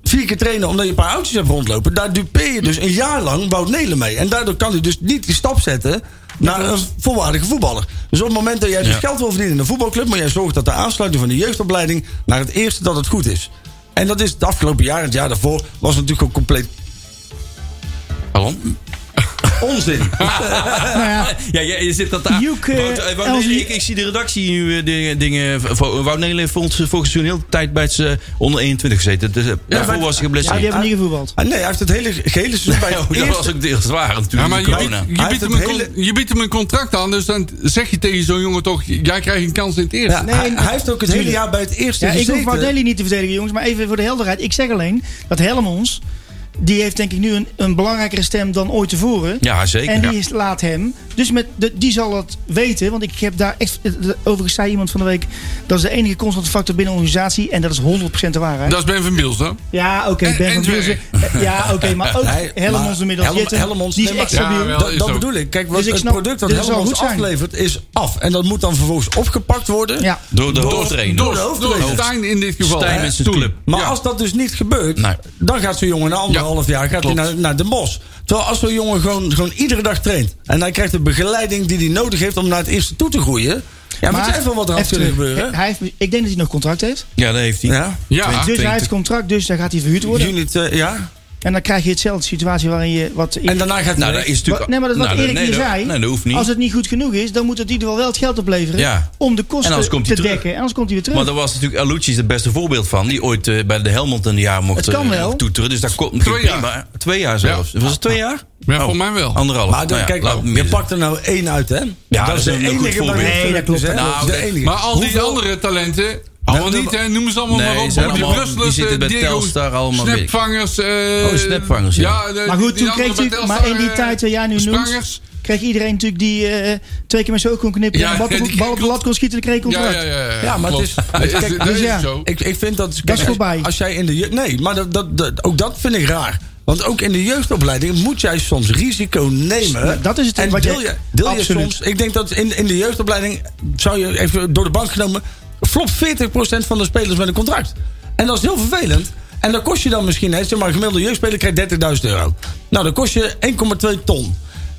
Speaker 6: vier keer trainen omdat je een paar oudjes hebt rondlopen, daar dupeer je dus een jaar lang Wout Nelen mee. En daardoor kan hij dus niet die stap zetten naar een volwaardige voetballer. Dus op het moment dat jij dus
Speaker 2: Ja.
Speaker 6: geld wil verdienen in een voetbalclub, maar jij zorgt dat de aansluiting van de jeugdopleiding naar het eerste dat het goed is. En dat is het afgelopen jaar en het jaar daarvoor was natuurlijk ook compleet
Speaker 2: Pardon?
Speaker 6: onzin.
Speaker 5: Nou
Speaker 2: Ja, ja, je zit dat aan.
Speaker 5: Joek, eh,
Speaker 2: Wout- eh, Wout
Speaker 5: Elsie-
Speaker 2: Nelen, ik, ik zie de redactie nu eh, dingen- dingen. voor- eh, Wout Nelen heeft volgens, volgens toen heel de tijd bij het eh, onder 21 gezeten. Dus, eh, daarvoor was hij
Speaker 5: Ja,
Speaker 2: geblesseerd.
Speaker 5: die hebben niet gevoetbald.
Speaker 6: Ah, nee, hij heeft het hele gehele seizoen bij
Speaker 2: Oh,
Speaker 6: het
Speaker 2: dat was
Speaker 6: eerste-
Speaker 2: ook deels waar natuurlijk.
Speaker 4: Ja, maar je,
Speaker 2: corona.
Speaker 4: biedt- je, biedt
Speaker 6: Hij heeft
Speaker 4: hem
Speaker 6: het
Speaker 4: een con-
Speaker 6: hele-
Speaker 4: je biedt hem een contract aan, dus dan zeg je tegen zo'n jongen toch... jij krijgt een kans in het eerste.
Speaker 6: Ja, hij, hij heeft ook het hele jaar bij het eerste
Speaker 5: Ja, ik hoef
Speaker 6: gezeten.
Speaker 5: Wout Nelen niet te verdedigen, jongens. Maar even voor de helderheid. Ik zeg alleen dat Helmonds, die heeft denk ik nu een, een belangrijkere stem dan ooit tevoren.
Speaker 2: Ja, zeker.
Speaker 5: En
Speaker 2: ja.
Speaker 5: die is- laat hem. Dus met de, die zal het weten. Want ik heb daar echt. eh, Overigens zei iemand van de week. Dat is de enige constante factor binnen een organisatie. En dat is 100% de waarheid.
Speaker 4: Dat is Ben van Biels, hè?
Speaker 5: Ja, oké,
Speaker 4: En-
Speaker 5: Ben
Speaker 4: en
Speaker 5: van Bielsen. Ja, oké, maar ook
Speaker 6: Nee,
Speaker 5: Helmonds
Speaker 6: maar
Speaker 5: inmiddels.
Speaker 6: Helm-
Speaker 5: Jetten,
Speaker 6: Helmonds,
Speaker 5: die is
Speaker 6: nee, maar-
Speaker 5: echt stabiel.
Speaker 4: Ja, wel.
Speaker 6: Dat,
Speaker 4: is
Speaker 6: dat
Speaker 4: ook.
Speaker 6: bedoel ik. Kijk,
Speaker 5: Dus
Speaker 6: wat
Speaker 5: ik
Speaker 6: het
Speaker 5: snap,
Speaker 6: product dat
Speaker 5: dit zal
Speaker 6: helemaal ons
Speaker 5: goed zijn.
Speaker 6: aflevert is af. En dat moet dan vervolgens opgepakt worden.
Speaker 5: Ja.
Speaker 2: Door de
Speaker 4: Door-
Speaker 2: hoofdtrainer.
Speaker 4: Door,
Speaker 6: Door de
Speaker 4: door
Speaker 6: hoofdtrainer.
Speaker 4: Stijn in dit geval.
Speaker 2: Stijn
Speaker 4: hè?
Speaker 2: met zijn
Speaker 4: Toen.
Speaker 2: club.
Speaker 6: Maar
Speaker 4: Ja.
Speaker 6: als dat dus niet gebeurt,
Speaker 2: Nee.
Speaker 6: dan gaat zo'n jongen na anderhalf jaar gaat hij
Speaker 4: klopt.
Speaker 6: naar, naar Den Bosch. Terwijl als zo'n jongen gewoon, gewoon iedere dag traint... en hij krijgt de begeleiding die hij nodig heeft om naar het eerste toe te groeien... ja, maar weet je even wat er had
Speaker 5: even
Speaker 6: kunnen
Speaker 5: terug.
Speaker 6: gebeuren?
Speaker 5: Hij heeft, ik denk dat hij nog contract heeft.
Speaker 2: Ja, dat heeft hij.
Speaker 6: Ja,
Speaker 4: Ja,
Speaker 5: dus hij heeft contract, dus dan gaat hij verhuurd worden.
Speaker 6: juni, twee- eh, ja.
Speaker 5: En dan krijg je hetzelfde situatie waarin je wat.
Speaker 6: En daarna gaat hij
Speaker 2: Nou,
Speaker 6: weg.
Speaker 2: dat is natuurlijk...
Speaker 5: Wat- nee, maar dat is wat
Speaker 2: nou,
Speaker 5: Erik
Speaker 2: nee,
Speaker 5: hier
Speaker 2: dat-
Speaker 5: zei.
Speaker 2: Nee, dat hoeft niet.
Speaker 5: Als het niet goed genoeg is, dan moet het in ieder geval wel het geld opleveren.
Speaker 2: Ja.
Speaker 5: Om de
Speaker 2: En anders
Speaker 5: kosten
Speaker 2: komt
Speaker 5: te
Speaker 2: hij terug.
Speaker 5: dekken. En anders komt hij weer terug.
Speaker 2: Maar daar was natuurlijk Alucci het beste voorbeeld van. Die ooit eh, bij de Helmond een jaar mocht
Speaker 5: Het kan
Speaker 2: eh,
Speaker 5: wel.
Speaker 2: toeteren. Dus daar komt misschien
Speaker 4: Twee jaar.
Speaker 2: prima. Twee jaar zelfs. Was het twee jaar?
Speaker 4: Ja, voor mij wel.
Speaker 2: Anderhalf.
Speaker 6: Maar dan,
Speaker 2: Nou ja,
Speaker 6: kijk,
Speaker 2: laat-
Speaker 6: je pakt er nou één uit, hè?
Speaker 2: dat is een goed voorbeeld.
Speaker 6: bij
Speaker 5: Nee, dat klopt.
Speaker 6: Philips, hè?
Speaker 2: Nou,
Speaker 6: Dat is de
Speaker 2: oké.
Speaker 6: enige.
Speaker 4: Maar al die
Speaker 6: Hoeveel-
Speaker 4: andere talenten... Allemaal
Speaker 6: dat-
Speaker 4: niet, hè? Noem ze allemaal
Speaker 2: Nee,
Speaker 4: maar op.
Speaker 2: ze zijn
Speaker 4: die
Speaker 2: allemaal- die
Speaker 4: Brusselers,
Speaker 2: zitten bij
Speaker 4: eh, Diego's,
Speaker 2: Telstar allemaal weg.
Speaker 4: Snapvangers. eh,
Speaker 2: Oh, snapvangers, ja.
Speaker 4: de-
Speaker 5: Maar goed,
Speaker 4: die
Speaker 5: toen kreeg
Speaker 4: andere bij
Speaker 5: hij, maar
Speaker 4: Telstar,
Speaker 5: in die
Speaker 4: eh,
Speaker 5: tijd waar jij nu noemt,
Speaker 4: Sprangers.
Speaker 5: kreeg iedereen natuurlijk die eh, twee keer met zijn oog kon knippen
Speaker 4: Ja,
Speaker 5: en
Speaker 4: ja,
Speaker 5: wat
Speaker 4: die
Speaker 5: bal op de
Speaker 4: klopt.
Speaker 5: lat kon schieten, dan kreeg je
Speaker 4: Ja,
Speaker 5: contract.
Speaker 4: ja, ja. Ja,
Speaker 6: Ja, maar het is-
Speaker 4: klopt.
Speaker 6: het is-
Speaker 4: Dat
Speaker 6: kijk,
Speaker 4: dat
Speaker 5: dus ja.
Speaker 4: zo.
Speaker 6: Ik, ik vind dat... Kijk,
Speaker 5: Dat is voorbij.
Speaker 6: Als jij in de je- nee, maar dat, dat, dat- ook dat vind ik raar. Want ook in de jeugdopleiding moet jij soms risico
Speaker 5: Ja,
Speaker 6: nemen.
Speaker 5: dat is het
Speaker 6: En
Speaker 5: wat
Speaker 6: deel
Speaker 5: je-
Speaker 6: je, deel je
Speaker 5: absoluut.
Speaker 6: soms... Ik denk dat in, in de jeugdopleiding, zou je even door de bank genomen... flopt 40% van de spelers met een contract. En dat is heel vervelend. En dan kost je dan misschien... Hè, zeg maar, een gemiddelde jeugdspeler krijgt 30.000 euro. Nou, dan kost je 1,2 ton.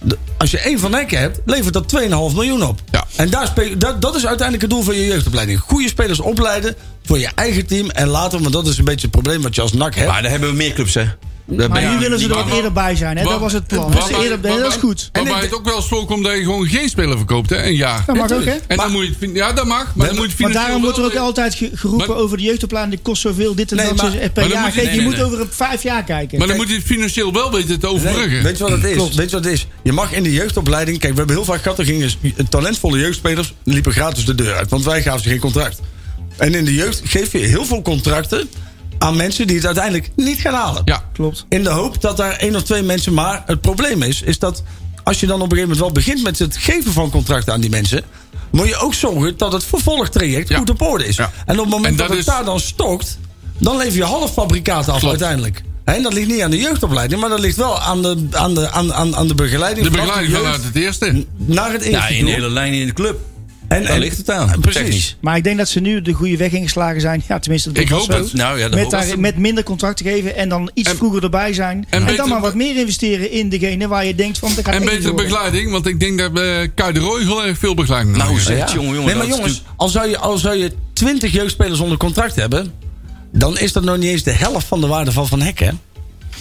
Speaker 6: d- als je één van Hekken hebt, levert dat 2,5 miljoen op.
Speaker 4: Ja.
Speaker 6: En daar spe- dat, dat is uiteindelijk het doel van je jeugdopleiding. Goede spelers opleiden voor je eigen team. En later, want dat is een beetje het probleem wat je als NAC hebt.
Speaker 2: Maar daar hebben we meer clubs, hè? Daar
Speaker 5: Maar
Speaker 2: ben
Speaker 5: nu
Speaker 2: je...
Speaker 5: willen ze er
Speaker 4: maar-
Speaker 5: wat eerder bij zijn. Hè? Dat
Speaker 4: Waar-
Speaker 5: was het plan.
Speaker 4: waar-
Speaker 5: Dat ze eerder,
Speaker 4: waar-
Speaker 5: nee, dat is goed.
Speaker 4: Waarbij
Speaker 6: En ik-
Speaker 4: het ook wel zo komt dat je gewoon geen speler verkoopt, hè? Een jaar.
Speaker 5: Dat mag ook, hè?
Speaker 4: En dan moet je het, fin- ja, dat mag. Maar dan moet je het
Speaker 5: Maar
Speaker 4: financieel
Speaker 5: daarom wordt er
Speaker 4: wel-
Speaker 5: ook altijd ge- geroepen
Speaker 4: Maar-
Speaker 5: over de jeugdopleiding. Die kost zoveel, dit en
Speaker 6: Nee,
Speaker 5: dat
Speaker 6: maar-
Speaker 5: zo- per
Speaker 4: dan
Speaker 5: jaar.
Speaker 4: moet je-
Speaker 5: Kijk,
Speaker 4: nee,
Speaker 5: je
Speaker 4: nee,
Speaker 5: moet
Speaker 4: nee.
Speaker 5: over een vijf jaar kijken.
Speaker 4: Maar dan moet je het financieel wel weten te
Speaker 6: Nee,
Speaker 4: overbruggen.
Speaker 6: weet je wat het is?
Speaker 5: Klopt.
Speaker 6: Weet je wat het is? Je mag in de jeugdopleiding. Kijk, we hebben heel vaak gehad. Er gingen talentvolle jeugdspelers liepen gratis de deur uit. Want wij gaven ze geen contract. En in de jeugd geef je heel veel contracten aan mensen die het uiteindelijk niet gaan halen.
Speaker 4: ja.
Speaker 5: Klopt.
Speaker 6: In de hoop dat daar één of twee mensen. Maar het probleem is, is dat als je dan op een gegeven moment wel begint met het geven van contracten aan die mensen. Moet je ook zorgen dat het vervolgtraject
Speaker 4: Ja.
Speaker 6: goed op orde is.
Speaker 4: Ja.
Speaker 6: En op het moment
Speaker 4: En
Speaker 6: dat,
Speaker 4: dat
Speaker 6: het
Speaker 4: is-
Speaker 6: daar dan stokt, dan lever je halffabrikaten af
Speaker 4: Klopt.
Speaker 6: uiteindelijk. Hè, En dat ligt niet aan de jeugdopleiding, maar dat ligt wel aan de, aan de, aan, aan, aan de begeleiding.
Speaker 4: De
Speaker 6: vanaf
Speaker 4: begeleiding
Speaker 6: jeugd
Speaker 4: vanuit het eerste.
Speaker 6: Naar het
Speaker 2: Ja,
Speaker 6: eerste
Speaker 2: in
Speaker 6: toe.
Speaker 2: de hele lijn in de club.
Speaker 6: en,
Speaker 2: Daar ligt het aan.
Speaker 6: Precies.
Speaker 2: Technisch.
Speaker 5: Maar ik denk dat ze nu de goede weg ingeslagen zijn. Ja, tenminste, dat
Speaker 4: Ik
Speaker 5: was
Speaker 4: hoop
Speaker 5: zo.
Speaker 4: het.
Speaker 2: Nou ja, dat
Speaker 5: Met,
Speaker 2: hoop ik.
Speaker 5: daar, met minder contract te geven en dan iets
Speaker 4: En-
Speaker 5: vroeger erbij zijn. En,
Speaker 4: beter-
Speaker 5: dan maar wat meer investeren in degene waar je denkt van... dat gaat
Speaker 4: En
Speaker 5: echt niet
Speaker 4: betere
Speaker 5: worden.
Speaker 4: begeleiding, want ik denk dat eh Kuij de Roy heel erg veel begeleiding
Speaker 2: Nou,
Speaker 4: nodig
Speaker 2: zeg,
Speaker 4: heeft.
Speaker 6: Ja.
Speaker 2: jongen, jongen.
Speaker 6: nee, maar
Speaker 2: dat is
Speaker 6: jongens, al zou, je, al zou je 20 jeugdspelers onder contract hebben, dan is dat nog niet eens de helft van de waarde van Van Hekken. hè?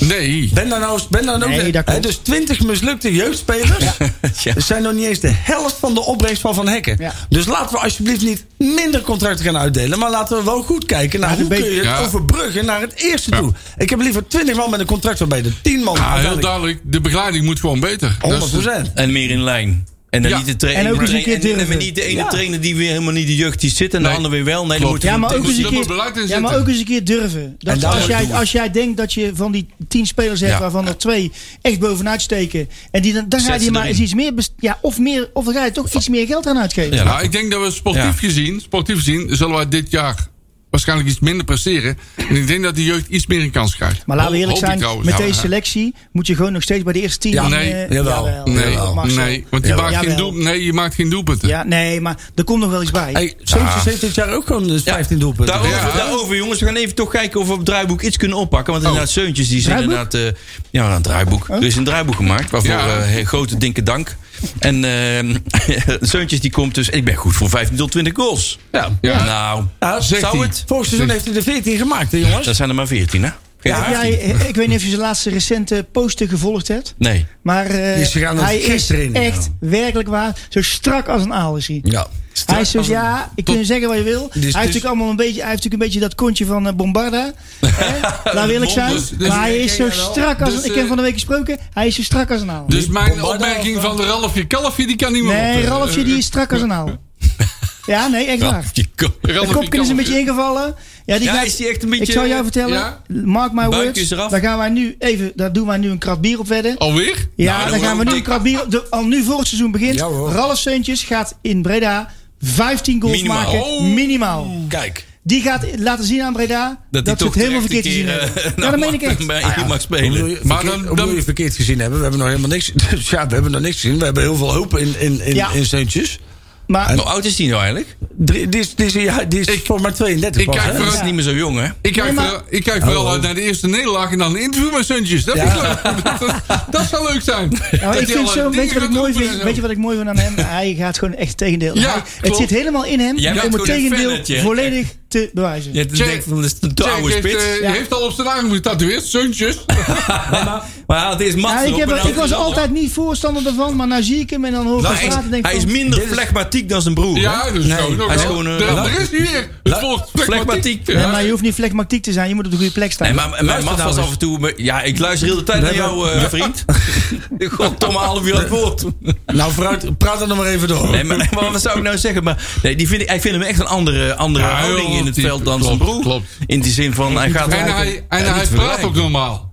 Speaker 4: Nee. Ah,
Speaker 6: Ben daar nou, ben daar nou
Speaker 5: Nee, dat
Speaker 6: hè,
Speaker 5: klopt.
Speaker 6: dus 20 mislukte jeugdspelers
Speaker 2: natuurlijk- Ja.
Speaker 6: dat zijn nog niet eens de helft van de opbrengst van Van Hekken.
Speaker 5: Ja.
Speaker 6: Dus laten we alsjeblieft niet minder contracten gaan uitdelen, maar laten we wel goed kijken naar
Speaker 5: Maar
Speaker 6: hoe
Speaker 5: een
Speaker 6: kun
Speaker 5: beetje-
Speaker 6: je het
Speaker 4: Ja.
Speaker 6: overbruggen naar het eerste
Speaker 4: Ja.
Speaker 6: toe. Ik heb liever 20 man met een contract waarbij de 10 man.
Speaker 4: Ja, heel
Speaker 6: uiteindelijk-
Speaker 4: duidelijk. De begeleiding moet gewoon beter. Dat is-
Speaker 6: 100%.
Speaker 2: En meer in lijn. En dan
Speaker 4: Ja.
Speaker 2: niet de trainer.
Speaker 5: En ook eens een
Speaker 2: en-
Speaker 5: keer
Speaker 2: en- en- en
Speaker 5: durven.
Speaker 2: niet de ene
Speaker 6: Ja.
Speaker 2: trainer die weer helemaal niet de jeugd die zit en de
Speaker 4: Nee.
Speaker 2: ander weer wel. Nee, dan
Speaker 4: Klopt.
Speaker 2: moet
Speaker 5: Ja, maar ook
Speaker 4: moet-
Speaker 5: eens een
Speaker 4: daar moet beleid in
Speaker 5: keer, ja,
Speaker 4: zitten.
Speaker 5: maar ook eens een keer durven.
Speaker 6: En
Speaker 5: Dat
Speaker 6: daar
Speaker 5: als,
Speaker 6: moet je
Speaker 5: jij,
Speaker 6: doen.
Speaker 5: als jij denkt dat je van die tien spelers hebt,
Speaker 2: Ja.
Speaker 5: waarvan er twee echt bovenuit steken. En die, dan, dan ga
Speaker 2: Zet
Speaker 5: je
Speaker 2: ze
Speaker 5: die maar
Speaker 2: erin.
Speaker 5: eens iets meer. best- Ja, of, meer, of dan ga je toch iets meer geld aan uitgeven.
Speaker 2: Ja.
Speaker 4: Nou, ik denk dat we sportief
Speaker 2: Ja.
Speaker 4: gezien, sportief gezien, zullen wij dit jaar waarschijnlijk iets minder presteren. En ik denk dat de jeugd iets meer een kans krijgt.
Speaker 5: Maar laten we
Speaker 4: Ho-
Speaker 5: eerlijk
Speaker 4: hoop ik
Speaker 5: zijn,
Speaker 4: trouwens.
Speaker 5: met
Speaker 4: Ja,
Speaker 5: deze
Speaker 4: ja.
Speaker 5: selectie moet je gewoon nog steeds bij de eerste tien.
Speaker 6: Ja,
Speaker 4: nee,
Speaker 5: eh,
Speaker 6: jawel.
Speaker 4: Nee,
Speaker 6: Jawel.
Speaker 5: Marcel.
Speaker 4: nee, want je
Speaker 6: Jawel.
Speaker 4: maakt, geen
Speaker 5: Jawel.
Speaker 4: doel, nee, je maakt geen doelpunten.
Speaker 5: Ja, nee, maar er komt nog wel iets bij.
Speaker 6: Hey, Sanchez heeft dit jaar ook gewoon eh, 15 doelpunten.
Speaker 2: Daarover,
Speaker 4: Ja.
Speaker 2: daarover, jongens, we gaan even toch kijken of we op het draaiboek iets kunnen oppakken. Want inderdaad, Zeuntjes die zijn
Speaker 5: Draaiboek? Oh.
Speaker 2: inderdaad... eh, ja, een draaiboek. Er is een draaiboek gemaakt, waarvoor
Speaker 4: Ja.
Speaker 2: eh, he- grote dikke dank. En ehm Zeuntjes die komt dus... Ik ben goed voor 15 tot 20 goals. Ja.
Speaker 4: Ja.
Speaker 2: Nou,
Speaker 6: Ja,
Speaker 4: zegt
Speaker 2: zou
Speaker 4: hij.
Speaker 2: het?
Speaker 6: Vorig seizoen heeft hij de 14 gemaakt, hè, jongens.
Speaker 2: Dat zijn er maar 14, hè? Geen
Speaker 5: Heb
Speaker 2: 18.
Speaker 5: jij, ik weet niet of je zijn laatste recente posten gevolgd hebt.
Speaker 2: Nee.
Speaker 5: Maar eh,
Speaker 6: Die is gegaan als
Speaker 5: hij is
Speaker 6: gisteren in,
Speaker 5: echt werkelijk waar. Zo strak als een aal is hij.
Speaker 6: Ja.
Speaker 5: Hij is dus, ja, ik kun je zeggen wat je wil. hij, heeft
Speaker 6: dus-
Speaker 5: natuurlijk allemaal een beetje, hij heeft natuurlijk een beetje dat kontje van eh, Bombarda. Hè? Laat eerlijk zijn.
Speaker 4: Dus- dus-
Speaker 5: maar hij is zo strak als
Speaker 4: Dus,
Speaker 5: een... Ik
Speaker 4: eh,
Speaker 5: heb van de week gesproken. Hij is zo strak als een aal.
Speaker 4: Dus mijn
Speaker 6: Bombarda
Speaker 4: opmerking
Speaker 6: of,
Speaker 4: van de Ralfje Kalfje, die kan niet meer
Speaker 5: nee,
Speaker 4: op. eh,
Speaker 5: Ralfje die is strak als een aal. Ja, nee, echt waar.
Speaker 2: Die kop.
Speaker 5: De kopkin is een beetje ingevallen. Ja, die
Speaker 2: Ja,
Speaker 5: gaat-
Speaker 2: is die echt een beetje...
Speaker 5: Ik zal jou vertellen,
Speaker 4: ja?
Speaker 5: mark my
Speaker 2: Buikje
Speaker 5: words,
Speaker 2: is eraf.
Speaker 5: daar gaan wij nu even, daar doen wij nu een krat bier op wedden.
Speaker 4: Alweer?
Speaker 5: Ja,
Speaker 2: Nou, dan
Speaker 5: daar gaan we
Speaker 2: gaan
Speaker 5: nu
Speaker 2: we
Speaker 5: een krat bier op, de- al nu voor het seizoen begint,
Speaker 6: Ja, hoor.
Speaker 5: Ralf Seuntjes gaat in Breda 15 goals
Speaker 2: Minimaal.
Speaker 5: maken,
Speaker 4: Oh.
Speaker 5: minimaal.
Speaker 2: Kijk.
Speaker 5: Die gaat laten zien aan Breda
Speaker 2: Dat,
Speaker 5: dat,
Speaker 2: die
Speaker 5: ze
Speaker 2: toch
Speaker 5: het helemaal
Speaker 2: terecht
Speaker 5: verkeerd gezien
Speaker 2: een keer, eh,
Speaker 5: hebben. ja, dat meen ik echt.
Speaker 4: Ah,
Speaker 2: bij je mag spelen.
Speaker 4: Maar
Speaker 6: maar
Speaker 4: dan-
Speaker 6: dan,
Speaker 4: dan-
Speaker 6: moet je verkeerd gezien hebben. We hebben nog helemaal niks. Dus ja, we hebben nog niks gezien. We hebben heel veel hoop in, in, in,
Speaker 5: Ja.
Speaker 6: in Seuntjes.
Speaker 5: Maar Oh,
Speaker 2: Hoe oud is die nou eigenlijk?
Speaker 6: Drie- Die is, die is, een jaar- die is
Speaker 4: Ik-
Speaker 6: voor maar 32
Speaker 4: ik
Speaker 6: pas,
Speaker 4: kijk
Speaker 6: hè?
Speaker 4: vooruit.
Speaker 2: Dat is niet meer zo jong, hè?
Speaker 4: Ik kijk,
Speaker 5: Nee, maar-
Speaker 4: vooral- ik kijk vooral uit naar de eerste nederlaag en dan een interview met Suntjes. Dat, is leuk. dat, dat- dat zou leuk zijn.
Speaker 5: nou,
Speaker 4: Dat
Speaker 5: ik
Speaker 4: hij
Speaker 5: vind
Speaker 4: al
Speaker 5: zo,
Speaker 4: aan
Speaker 5: weet je wat ik
Speaker 4: dingen
Speaker 5: mooi
Speaker 4: gaat roepen en
Speaker 5: vind?
Speaker 4: zo.
Speaker 5: Weet je wat ik mooi vind aan hem? Hij gaat gewoon echt het tegendeel.
Speaker 4: Ja,
Speaker 5: Hij- het
Speaker 4: klopt.
Speaker 5: zit helemaal in hem
Speaker 2: Jij bent
Speaker 5: om het
Speaker 2: gewoon een
Speaker 5: tegendeel
Speaker 2: fannetje.
Speaker 5: volledig te bewijzen.
Speaker 2: Je hebt
Speaker 4: Jack-
Speaker 2: denkt van, dat is een te
Speaker 4: Jack
Speaker 2: oude
Speaker 4: heeft,
Speaker 2: spits.
Speaker 4: eh,
Speaker 5: Ja.
Speaker 4: heeft al op zijn arm getatoeëerd, Suntjes.
Speaker 2: Maar hij had eerst Mats
Speaker 5: Ja, ik,
Speaker 2: erop
Speaker 5: heb,
Speaker 2: en
Speaker 5: er-
Speaker 2: dan
Speaker 5: ik was
Speaker 2: erop.
Speaker 5: altijd niet voorstander ervan, maar nou zie ik hem en dan hoor ik
Speaker 2: Nou,
Speaker 5: hem
Speaker 2: hij, is,
Speaker 5: praten en denk
Speaker 2: hij
Speaker 5: ik
Speaker 2: is
Speaker 5: van,
Speaker 2: minder flegmatiek dan zijn broer.
Speaker 4: Ja, dus
Speaker 2: Nee,
Speaker 4: zo. nog
Speaker 2: hij is
Speaker 4: wel.
Speaker 2: gewoon, eh,
Speaker 4: Er-
Speaker 2: la-
Speaker 4: er is niet meer. Het volgt flegmatiek.
Speaker 2: flegmatiek.
Speaker 4: Ja.
Speaker 5: Nee, maar je hoeft niet flegmatiek te zijn, je moet op de goede plek staan.
Speaker 2: Nee, maar mijn
Speaker 6: Luister
Speaker 2: man
Speaker 6: nou
Speaker 2: was
Speaker 6: eens.
Speaker 2: af en toe... maar- Ja, ik luister heel de tijd naar jou, eh, vriend. God, Tom, een half uur aan het woord.
Speaker 6: Nou, vooruit, praat er nog maar even door.
Speaker 2: Nee, maar, nee, maar wat zou ik nou zeggen? Maar, nee, die vind ik, ik vind hem echt een andere, andere
Speaker 4: Ja,
Speaker 2: houding
Speaker 4: joh,
Speaker 2: in het
Speaker 4: die-
Speaker 2: veld dan
Speaker 4: klopt,
Speaker 2: zijn broer.
Speaker 4: klopt.
Speaker 2: In die zin van, hij gaat...
Speaker 4: En hij, en
Speaker 2: Ja,
Speaker 4: hij
Speaker 2: niet te
Speaker 4: praat ook
Speaker 2: vergelijken.
Speaker 4: normaal.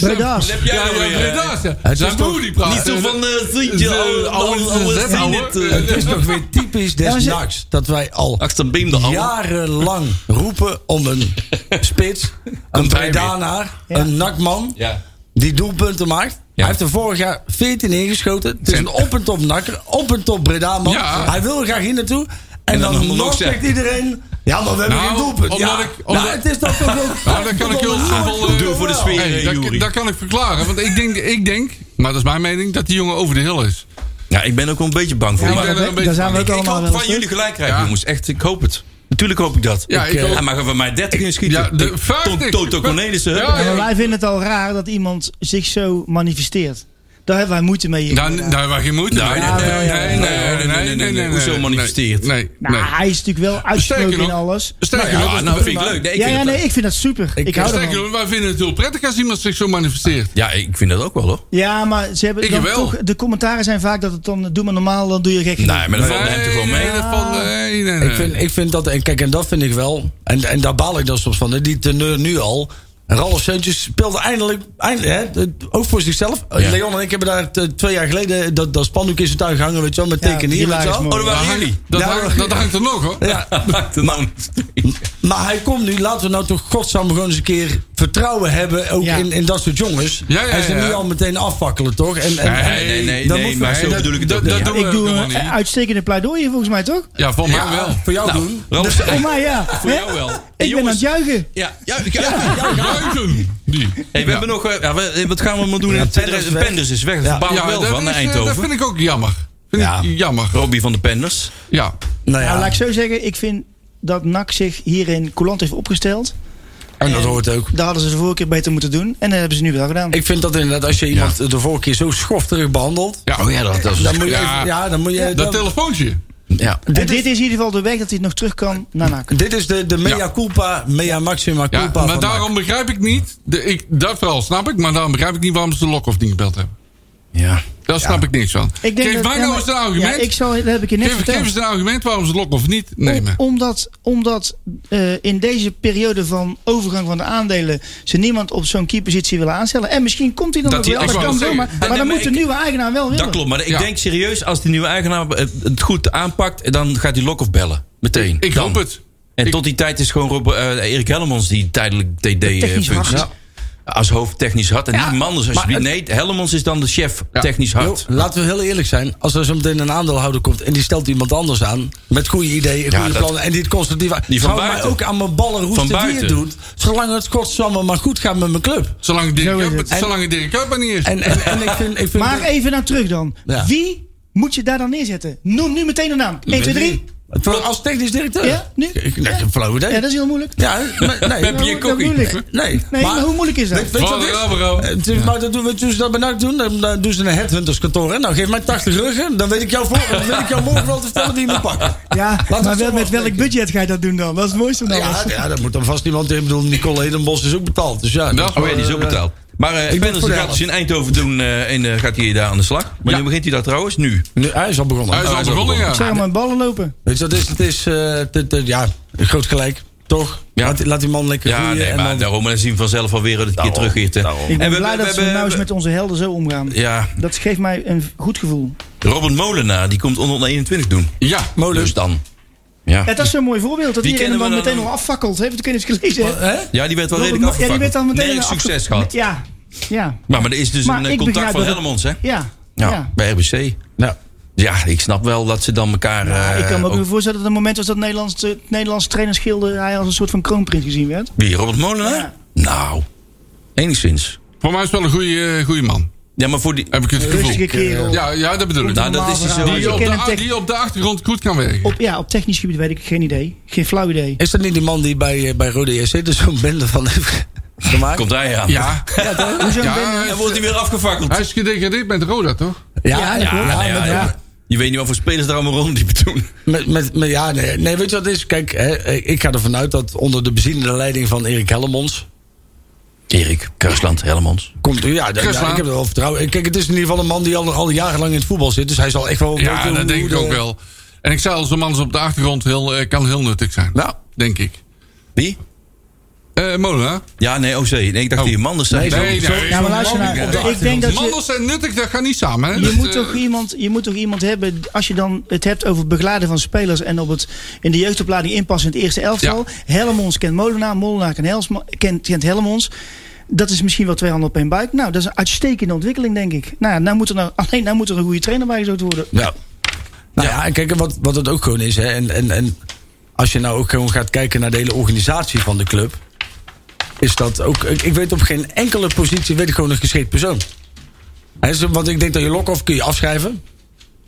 Speaker 5: Breda's.
Speaker 2: Dan heb jij
Speaker 4: Ja,
Speaker 2: nou
Speaker 4: ja,
Speaker 2: weer, eh,
Speaker 4: inderdaad. ja.
Speaker 6: Het is
Speaker 4: Zijn
Speaker 6: toch
Speaker 4: broer die praat.
Speaker 2: Niet zo van, eh, zie
Speaker 4: Eh,
Speaker 2: je,
Speaker 4: oude
Speaker 2: oude- oude
Speaker 4: zet,
Speaker 2: zien
Speaker 4: ouwe.
Speaker 2: het, eh.
Speaker 6: Het is toch weer typisch
Speaker 5: Ja, maar
Speaker 6: des
Speaker 5: ze-
Speaker 6: nachts dat wij al
Speaker 2: Achter Beem de oude.
Speaker 6: jarenlang roepen om een spits, een
Speaker 2: hij weer.
Speaker 6: Bredanaar, een nakman
Speaker 2: Ja.
Speaker 6: die doelpunten maakt. Hij heeft er vorig jaar 14 ingeschoten. Het is een op en top nakker, op en top Bredaman.
Speaker 4: Ja.
Speaker 6: Hij wil er graag hier naartoe. En,
Speaker 2: En dan
Speaker 6: dan,
Speaker 2: allemaal nog
Speaker 6: nog zegt
Speaker 2: zeggen.
Speaker 6: iedereen, Ja, maar we hebben
Speaker 4: Nou,
Speaker 6: geen doelpunt. Ja.
Speaker 4: omdat ik- omdat-
Speaker 6: nou, het is toch toch ook...
Speaker 4: Nou, dat kan ik heel simpel... eh,
Speaker 2: Doe voor de sfeer,
Speaker 4: Hey,
Speaker 2: eh,
Speaker 4: dat,
Speaker 2: Joeri.
Speaker 4: dat kan ik verklaren. Want ik denk, ik denk, maar dat is mijn mening, dat die jongen over de hill is.
Speaker 2: Ja, ik ben ook wel een beetje bang voor.
Speaker 4: Ja,
Speaker 2: maar
Speaker 4: maar-
Speaker 2: ik,
Speaker 4: ben er een beetje
Speaker 5: Daar zijn we ook
Speaker 2: ik
Speaker 5: allemaal
Speaker 2: hoop
Speaker 5: wel
Speaker 2: van
Speaker 5: eens, hoor.
Speaker 2: jullie gelijk krijgen,
Speaker 4: Ja.
Speaker 2: jongens. Echt, ik hoop het. Natuurlijk hoop ik dat.
Speaker 4: Ja, ik
Speaker 2: Hij
Speaker 4: ook.
Speaker 2: mag er van mij 30 in schieten.
Speaker 4: Ja, de 50.
Speaker 2: Toto Cornelissen.
Speaker 4: Ja,
Speaker 5: Ja, maar wij vinden het al raar dat iemand zich zo manifesteert. Daar hebben wij moeite mee. hier. Ah,
Speaker 4: Daar, daar hebben wij geen moeite
Speaker 2: Nee,
Speaker 4: mee.
Speaker 2: nee, nee, nee, nee, nee, nee, nee. Hoezo
Speaker 4: nee,
Speaker 2: manifesteert?
Speaker 4: Nee,
Speaker 5: nou,
Speaker 4: nee.
Speaker 5: hij is natuurlijk wel
Speaker 4: Sterker
Speaker 5: uitgesproken
Speaker 4: nog-
Speaker 5: in alles.
Speaker 4: Sterker
Speaker 2: Ja,
Speaker 4: nog, dat is
Speaker 2: nou
Speaker 4: de-
Speaker 2: vind ik leuk. Nee, ik
Speaker 5: ja,
Speaker 2: vind
Speaker 5: ja
Speaker 2: het
Speaker 5: nee,
Speaker 2: leuk.
Speaker 5: ik vind dat super. Ik,
Speaker 6: Ik-
Speaker 5: hou
Speaker 4: Sterker
Speaker 5: ervan.
Speaker 4: nog, wij vinden het heel prettig als iemand zich zo manifesteert.
Speaker 2: Ja, ik vind dat ook wel hoor.
Speaker 5: Ja, maar ze hebben
Speaker 4: Ik
Speaker 5: dan
Speaker 4: wel.
Speaker 5: toch... De commentaren zijn vaak dat het dan... eh, Doe maar normaal, dan doe je gek.
Speaker 2: Nee,
Speaker 5: genoeg.
Speaker 2: maar dat valt hem toch wel mee.
Speaker 4: Nee, dat valt- nee, nee, nee.
Speaker 6: Ik vind, ik vind dat, en kijk, en dat vind ik wel, en, en daar baal ik dan soms van, hè, die teneur nu al. Ralf Seuntjes speelde eindelijk, eindelijk hè, eh, ook voor zichzelf. Eh,
Speaker 2: Ja.
Speaker 6: Leon en ik hebben daar eh, twee jaar geleden dat, dat spandoek in zijn tuin gehangen, weet je wel, met
Speaker 5: Ja,
Speaker 6: tekenen hier, weet je
Speaker 5: hilarisch
Speaker 6: wel.
Speaker 5: mooi.
Speaker 2: Oh, dat waren jullie.
Speaker 4: Dat,
Speaker 6: Ja,
Speaker 4: hangt, dat hangt er nog hoor.
Speaker 6: Ja,
Speaker 2: Maakt het nou niet.
Speaker 6: maar hij komt nu, laten we nou toch godsam gewoon eens een keer vertrouwen hebben, ook
Speaker 5: Ja.
Speaker 6: in, in dat soort jongens.
Speaker 4: Ja, ja,
Speaker 6: hij ze
Speaker 4: ja.
Speaker 6: nu al meteen afvakkelen, toch? En, en, en-
Speaker 2: Nee, nee, nee,
Speaker 6: dat
Speaker 2: nee,
Speaker 6: moet-
Speaker 2: maar zo
Speaker 6: dat-
Speaker 2: bedoel ik het
Speaker 4: dat-
Speaker 2: ook niet.
Speaker 4: dat doen we
Speaker 5: Ik doe
Speaker 4: helemaal
Speaker 5: een
Speaker 4: niet.
Speaker 5: eh, uitstekende pleidooi volgens mij, toch?
Speaker 4: Ja, voor mij wel.
Speaker 6: voor jou
Speaker 2: Nou.
Speaker 6: doen.
Speaker 2: Ralf,
Speaker 5: Voor mij, ja.
Speaker 2: Voor
Speaker 5: Hè?
Speaker 2: jou wel. Hey,
Speaker 5: Ik ben aan
Speaker 2: jongens.
Speaker 5: het juichen.
Speaker 2: Ja, ja, ja. ja.
Speaker 4: Juichen! Die.
Speaker 2: Hey, we hebben nog. eh, Ja, we- wat gaan we maar doen?
Speaker 6: Ja,
Speaker 2: in
Speaker 6: Penders
Speaker 2: Penders,
Speaker 6: is weg.
Speaker 2: Penders is weg. Dat
Speaker 6: Ja.
Speaker 2: verbaal ik
Speaker 4: Ja,
Speaker 2: wel
Speaker 4: dat,
Speaker 2: van
Speaker 4: is,
Speaker 2: naar
Speaker 4: eh, dat
Speaker 2: Eindhoven.
Speaker 4: vind ik ook jammer. Vind
Speaker 6: Ja.
Speaker 4: ik jammer.
Speaker 2: Robbie van de Penders.
Speaker 4: Ja.
Speaker 6: Nou
Speaker 5: Nou,
Speaker 6: ja,
Speaker 5: laat ik zo zeggen. Ik vind dat NAC zich hierin coulant heeft opgesteld.
Speaker 6: en dat hoort ook.
Speaker 5: Daar hadden ze de vorige keer beter moeten doen. En dat hebben ze nu wel gedaan.
Speaker 6: Ik vind dat inderdaad, als je iemand de vorige keer zo schofterig behandelt,
Speaker 4: ja.
Speaker 2: Oh ja, dat, dat
Speaker 6: Dan
Speaker 2: was.
Speaker 6: moet je
Speaker 4: Ja.
Speaker 6: even- ja, dan moet je.
Speaker 4: Dat
Speaker 6: dan-
Speaker 4: telefoontje.
Speaker 2: Ja.
Speaker 5: En dit, is in ieder geval de weg dat hij nog terug kan naar NAC.
Speaker 6: dit is de, de mea
Speaker 4: Ja.
Speaker 6: culpa, mea maxima
Speaker 4: Ja,
Speaker 6: culpa.
Speaker 4: maar
Speaker 6: van
Speaker 4: daarom begrijp ik niet. De, ik, dat vooral snap ik, maar daarom begrijp ik niet waarom ze de Lokhoff niet gebeld hebben.
Speaker 2: ja.
Speaker 4: Daar snap ik niks van.
Speaker 5: Ik
Speaker 4: Geef mij
Speaker 5: ja,
Speaker 4: nou
Speaker 5: maar-
Speaker 4: eens een argument.
Speaker 5: Ja, ik zal, dat heb ik je net
Speaker 4: geef, geef
Speaker 5: verteld.
Speaker 4: eens een argument waarom ze de Lokhoff niet nemen.
Speaker 5: Om- omdat omdat eh, in deze periode van overgang van de aandelen ze niemand op zo'n keypositie willen aanstellen. En misschien komt hij dan
Speaker 2: Dat
Speaker 5: nog
Speaker 2: hij- ik
Speaker 5: wel. Dat
Speaker 4: wou
Speaker 5: kan
Speaker 4: het
Speaker 5: zomaar.
Speaker 4: zeggen.
Speaker 2: Nee,
Speaker 5: Maar,
Speaker 2: nee,
Speaker 5: dan
Speaker 2: maar
Speaker 5: moet de
Speaker 2: ik-
Speaker 5: nieuwe eigenaar wel willen.
Speaker 2: Dat klopt, maar ik
Speaker 4: Ja.
Speaker 2: denk serieus, als die nieuwe eigenaar het het goed aanpakt, dan gaat hij Lokhoff bellen. Meteen.
Speaker 4: Ik
Speaker 2: Dan.
Speaker 4: hoop het.
Speaker 2: En
Speaker 4: Ik-
Speaker 2: tot die tijd is gewoon Rob, eh, Erik Hellemons die tijdelijk
Speaker 5: Technisch
Speaker 2: DD-functie.
Speaker 5: hart.
Speaker 2: Als hoofdtechnisch hart. En
Speaker 6: Ja,
Speaker 2: die man dus, is alsjeblieft. Nee, Hellemons is dan de chef
Speaker 4: Ja.
Speaker 2: technisch
Speaker 6: NAC.
Speaker 2: hart.
Speaker 6: Yo, laten we heel eerlijk zijn. Als er zo meteen een aandeelhouder komt en die stelt iemand anders aan. Met goede ideeën, goede
Speaker 2: dat-
Speaker 6: plannen. En die het constructief aan-
Speaker 2: Die van
Speaker 6: zou mij
Speaker 2: buiten.
Speaker 6: ook aan mijn ballen
Speaker 2: Van
Speaker 6: roesten die het
Speaker 2: buiten.
Speaker 6: doet. Zolang het kortsamen maar goed gaat met mijn club.
Speaker 4: Zolang
Speaker 5: Zo is
Speaker 4: Dirk
Speaker 5: het.
Speaker 4: Kuip- Zolang Dirk Kuip er niet is.
Speaker 6: En, en, en ik vind. Ik vind
Speaker 5: Maar even naar terug dan.
Speaker 6: Ja.
Speaker 5: Wie moet je daar dan neerzetten? Noem nu meteen een naam. 1, 2, 3.
Speaker 6: Voor- als technisch directeur.
Speaker 5: Ja, nu?
Speaker 6: Ik, nee, een flauw idee.
Speaker 5: Ja, dat is heel moeilijk.
Speaker 6: Ja, maar- nee.
Speaker 2: Pepje en
Speaker 5: dat
Speaker 2: Kokkie.
Speaker 5: moeilijk.
Speaker 2: Nee.
Speaker 6: Nee,
Speaker 5: Nee, maar, hoe moeilijk is dat?
Speaker 6: Weet, weet je wat het is?
Speaker 4: Rabero.
Speaker 6: Eh, het is- Maar dat doen, weet je hoe ze dat bij NAC doen? Dan, dan doen ze een headhunterskantoor. Hè? Nou, geef mij 80 ruggen, dan weet ik jou, voor, dan weet ik jou morgen wel te vertellen die je moet pakken.
Speaker 5: Ja,
Speaker 6: we
Speaker 5: maar
Speaker 6: het zo
Speaker 5: wel met welk
Speaker 6: afspreken.
Speaker 5: budget ga je dat doen dan? Dat is het mooiste dan.
Speaker 6: Ja, ja, dat moet dan vast iemand in. Ik bedoel, Nicole Hedenbos is ook betaald. Dus ja,
Speaker 4: Dat-
Speaker 2: Oh ja, die is ook betaald. Maar eh
Speaker 6: het
Speaker 2: Penders
Speaker 6: voor de
Speaker 2: gaat
Speaker 6: helft.
Speaker 2: dus in Eindhoven doen eh, en eh, gaat hij daar aan de slag. Wanneer begint hij daar trouwens? Nu.
Speaker 6: nu, hij is al begonnen. Nou,
Speaker 4: Hij is al begonnen,
Speaker 5: Ik zag
Speaker 4: ja.
Speaker 5: hem aan ballen lopen.
Speaker 6: Weet je, dat is, het is eh, dit- dit- ja, groot gelijk, toch?
Speaker 2: Ja.
Speaker 6: Laat, die- laat die man lekker
Speaker 2: Ja,
Speaker 6: groeien.
Speaker 2: nee,
Speaker 6: en
Speaker 2: maar
Speaker 6: dan-
Speaker 2: daarom eh, zien we vanzelf alweer dat het keer terugkeert. hè.
Speaker 5: Ik ben
Speaker 2: we
Speaker 5: blij
Speaker 2: hebben-
Speaker 5: dat
Speaker 2: we
Speaker 5: ze nou eens
Speaker 2: hebben-
Speaker 5: met onze helden zo omgaan.
Speaker 2: Ja,
Speaker 5: Dat geeft mij een goed gevoel.
Speaker 2: Robert Molenaar, die komt onder de 21 doen.
Speaker 4: Ja.
Speaker 6: Oh,
Speaker 2: Dus dan. Ja.
Speaker 5: Ja, dat is zo'n mooi voorbeeld. Dat
Speaker 2: Die
Speaker 5: iedereen hem
Speaker 2: kennen
Speaker 5: dan
Speaker 2: we dan
Speaker 5: meteen
Speaker 2: ook.
Speaker 5: nog afvakkelt. Heeft het eens gelezen? hè?
Speaker 6: Hè?
Speaker 2: ja, die werd wel redelijk
Speaker 5: Robert Mo- ja, die
Speaker 2: afgevangen.
Speaker 5: werd dan meteen
Speaker 2: Nergens
Speaker 5: afge-
Speaker 2: succes gehad.
Speaker 5: Ja, ja.
Speaker 2: Maar, maar er is dus
Speaker 5: Maar
Speaker 2: een eh,
Speaker 5: ik
Speaker 2: contact
Speaker 5: begrijp
Speaker 2: van
Speaker 5: dat-
Speaker 2: Helmonds, hè?
Speaker 5: Ja,
Speaker 2: Ja,
Speaker 5: ja.
Speaker 2: bij RBC.
Speaker 6: Ja.
Speaker 2: Ja, ik snap wel dat ze dan elkaar...
Speaker 5: Maar
Speaker 2: eh,
Speaker 5: ik kan me ook
Speaker 2: ook-
Speaker 5: weer voorstellen dat het moment was dat Nederlands, het Nederlands trainersgilde hij als een soort van kroonprins gezien werd.
Speaker 2: Wie, Robert Molenaar?
Speaker 5: Ja.
Speaker 2: Nou, enigszins.
Speaker 4: Voor mij is wel een goede, goede man.
Speaker 2: Ja, maar voor die...
Speaker 4: Heb ik het
Speaker 5: Rustige
Speaker 4: gevoel.
Speaker 5: kerel.
Speaker 4: Ja, ja, dat bedoel ik.
Speaker 2: Nou, dat is hij
Speaker 5: verhaal.
Speaker 2: sowieso.
Speaker 4: Die op,
Speaker 5: Ik ken
Speaker 4: de,
Speaker 5: hem
Speaker 4: a-
Speaker 5: tech-
Speaker 4: die op de achtergrond goed kan werken.
Speaker 5: Op, ja, op technisch gebied weet ik geen idee. Geen flauw idee.
Speaker 6: Is dat niet die man die bij, eh, bij Rode JC er zo'n bende van heeft gemaakt?
Speaker 2: Komt hij aan.
Speaker 4: Ja.
Speaker 5: Hoezo
Speaker 4: Ja,
Speaker 5: ben je-
Speaker 4: hij
Speaker 2: Dan
Speaker 4: is-
Speaker 2: wordt hij weer afgefakkeld.
Speaker 4: hij is gedegradeerd met Roda, toch?
Speaker 6: Ja,
Speaker 5: Ja,
Speaker 6: ja,
Speaker 5: dat klopt.
Speaker 2: Ja, nou ja,
Speaker 6: met-
Speaker 2: ja. Je weet niet wat voor spelers daar allemaal rondliepen toen.
Speaker 6: Met, met, met- ja, nee, nee, weet je wat het is? Kijk, hè, ik ga ervan uit dat onder de beziende leiding van Erik Hellemons...
Speaker 2: Erik, Kruisland, Helmonds.
Speaker 6: Komt, ja, d- ja,
Speaker 4: Chrislaan.
Speaker 6: ik heb er wel vertrouwen in. Kijk, het is in ieder geval een man die al, al jarenlang in het voetbal zit. Dus hij zal echt wel...
Speaker 4: Ja,
Speaker 6: weten hoe-
Speaker 4: dat denk
Speaker 6: hoe
Speaker 4: ik ook
Speaker 5: eh.
Speaker 6: de-
Speaker 4: wel. En ik zei al, zo'n man is op de achtergrond heel, eh, kan heel nuttig zijn.
Speaker 6: Nou.
Speaker 4: Denk ik.
Speaker 2: Wie?
Speaker 4: Eh Molenaar?
Speaker 2: Ja, nee, OC. Nee, ik dacht
Speaker 4: Oh.
Speaker 2: die Manders. zei zo.
Speaker 5: Ja, maar luister nou,
Speaker 4: Op
Speaker 5: ik
Speaker 4: de
Speaker 5: denk
Speaker 4: achtergrond.
Speaker 5: dat je-
Speaker 4: Manders en nuttig, dat gaat niet samen. Hè?
Speaker 5: Je
Speaker 4: Dat,
Speaker 5: moet,
Speaker 4: eh,
Speaker 5: toch iemand, je moet toch iemand hebben, als je dan het hebt over het begeleiden van spelers en op het, in de jeugdopleiding inpassen in het eerste elftal. Helmons kent Molenaar, Molenaar kent, Helsma, kent, kent Helmons. Dat is misschien wel twee handen op één buik. Nou, dat is een uitstekende ontwikkeling, denk ik. Nou, ja, nou moet er nou, alleen nou moet er een goede trainer bijgezocht worden.
Speaker 6: Nou ja, en kijk, en wat, wat het ook gewoon is. Hè, en, en, en als je nou ook gewoon gaat kijken naar de hele organisatie van de club. Is dat ook. Ik, ik weet op geen enkele positie. weet ik gewoon een geschikt persoon. Hè, zo- want ik denk dat je Lokhoff kun je afschrijven.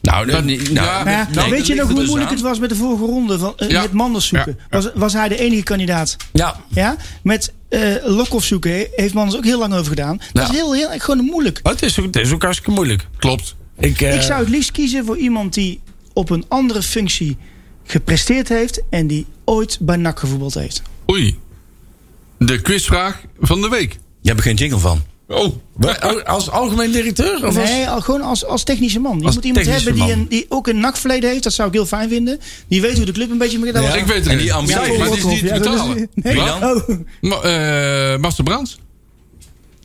Speaker 2: Nou, dat, nou,
Speaker 4: ja,
Speaker 2: nee,
Speaker 5: Ja,
Speaker 2: dat
Speaker 5: weet je
Speaker 2: ligt
Speaker 5: nog
Speaker 2: er
Speaker 5: hoe
Speaker 2: dus
Speaker 5: moeilijk
Speaker 2: aan.
Speaker 5: het was met de vorige ronde van, eh,
Speaker 4: Ja.
Speaker 5: met Manders zoeken?
Speaker 4: Ja, ja.
Speaker 5: Was, was hij de enige kandidaat?
Speaker 6: Ja.
Speaker 5: Ja? Met eh Lokhoff zoeken he- heeft Manders ook heel lang over gedaan. Dat
Speaker 6: Ja.
Speaker 5: is heel, heel, gewoon moeilijk.
Speaker 6: Maar Oh, het is, ook- het is ook hartstikke moeilijk.
Speaker 4: Klopt.
Speaker 6: Ik, eh,
Speaker 5: Ik zou het liefst kiezen voor iemand die op een andere functie gepresteerd heeft en die ooit bij NAC gevoetbald heeft.
Speaker 4: Oei. De quizvraag van de week.
Speaker 2: Je hebt er geen jingle van.
Speaker 4: Oh.
Speaker 6: wa- al- als algemeen directeur? Of als-
Speaker 5: nee, al- gewoon als, als technische man. Je
Speaker 6: Als
Speaker 5: moet iemand
Speaker 6: technische
Speaker 5: hebben die,
Speaker 6: man.
Speaker 5: een, die ook een NAC-verleden heeft. Dat zou ik heel fijn vinden. Die weet hoe de club een beetje met
Speaker 4: Dus Ik weet het
Speaker 2: En
Speaker 4: niet.
Speaker 2: die ambitie-
Speaker 4: Nee, maar het is niet te
Speaker 5: Ja, dat is-
Speaker 4: betalen.
Speaker 5: nee.
Speaker 2: Wie dan?
Speaker 5: Oh.
Speaker 4: Ma- eh, Master Brands?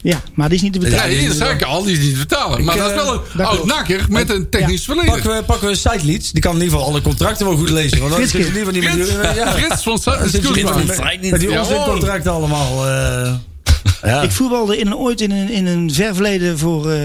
Speaker 5: Ja, maar die is niet te betalen. Nou,
Speaker 4: nee, dat zei ik al. Die is niet te betalen. Maar
Speaker 6: Ik,
Speaker 4: dat is
Speaker 6: eh,
Speaker 4: wel een
Speaker 5: dat
Speaker 4: oud
Speaker 5: klopt.
Speaker 4: nakker met een technisch verleden.
Speaker 6: Pakken we, pakken we site leads. Die kan in ieder geval alle contracten wel goed lezen. Want dan
Speaker 5: Fritske.
Speaker 6: zit je liever niet met
Speaker 4: Frits,
Speaker 5: eh,
Speaker 6: jullie. Ja.
Speaker 4: Frits van Sa-
Speaker 6: zit je
Speaker 4: Excuse
Speaker 6: met-
Speaker 4: me.
Speaker 6: met-
Speaker 2: Vrij niet.
Speaker 6: Met die
Speaker 4: Ja,
Speaker 6: onzincontracten allemaal. eh, ja.
Speaker 5: Ik voetbalde in een, ooit in een, in een ver verleden voor eh,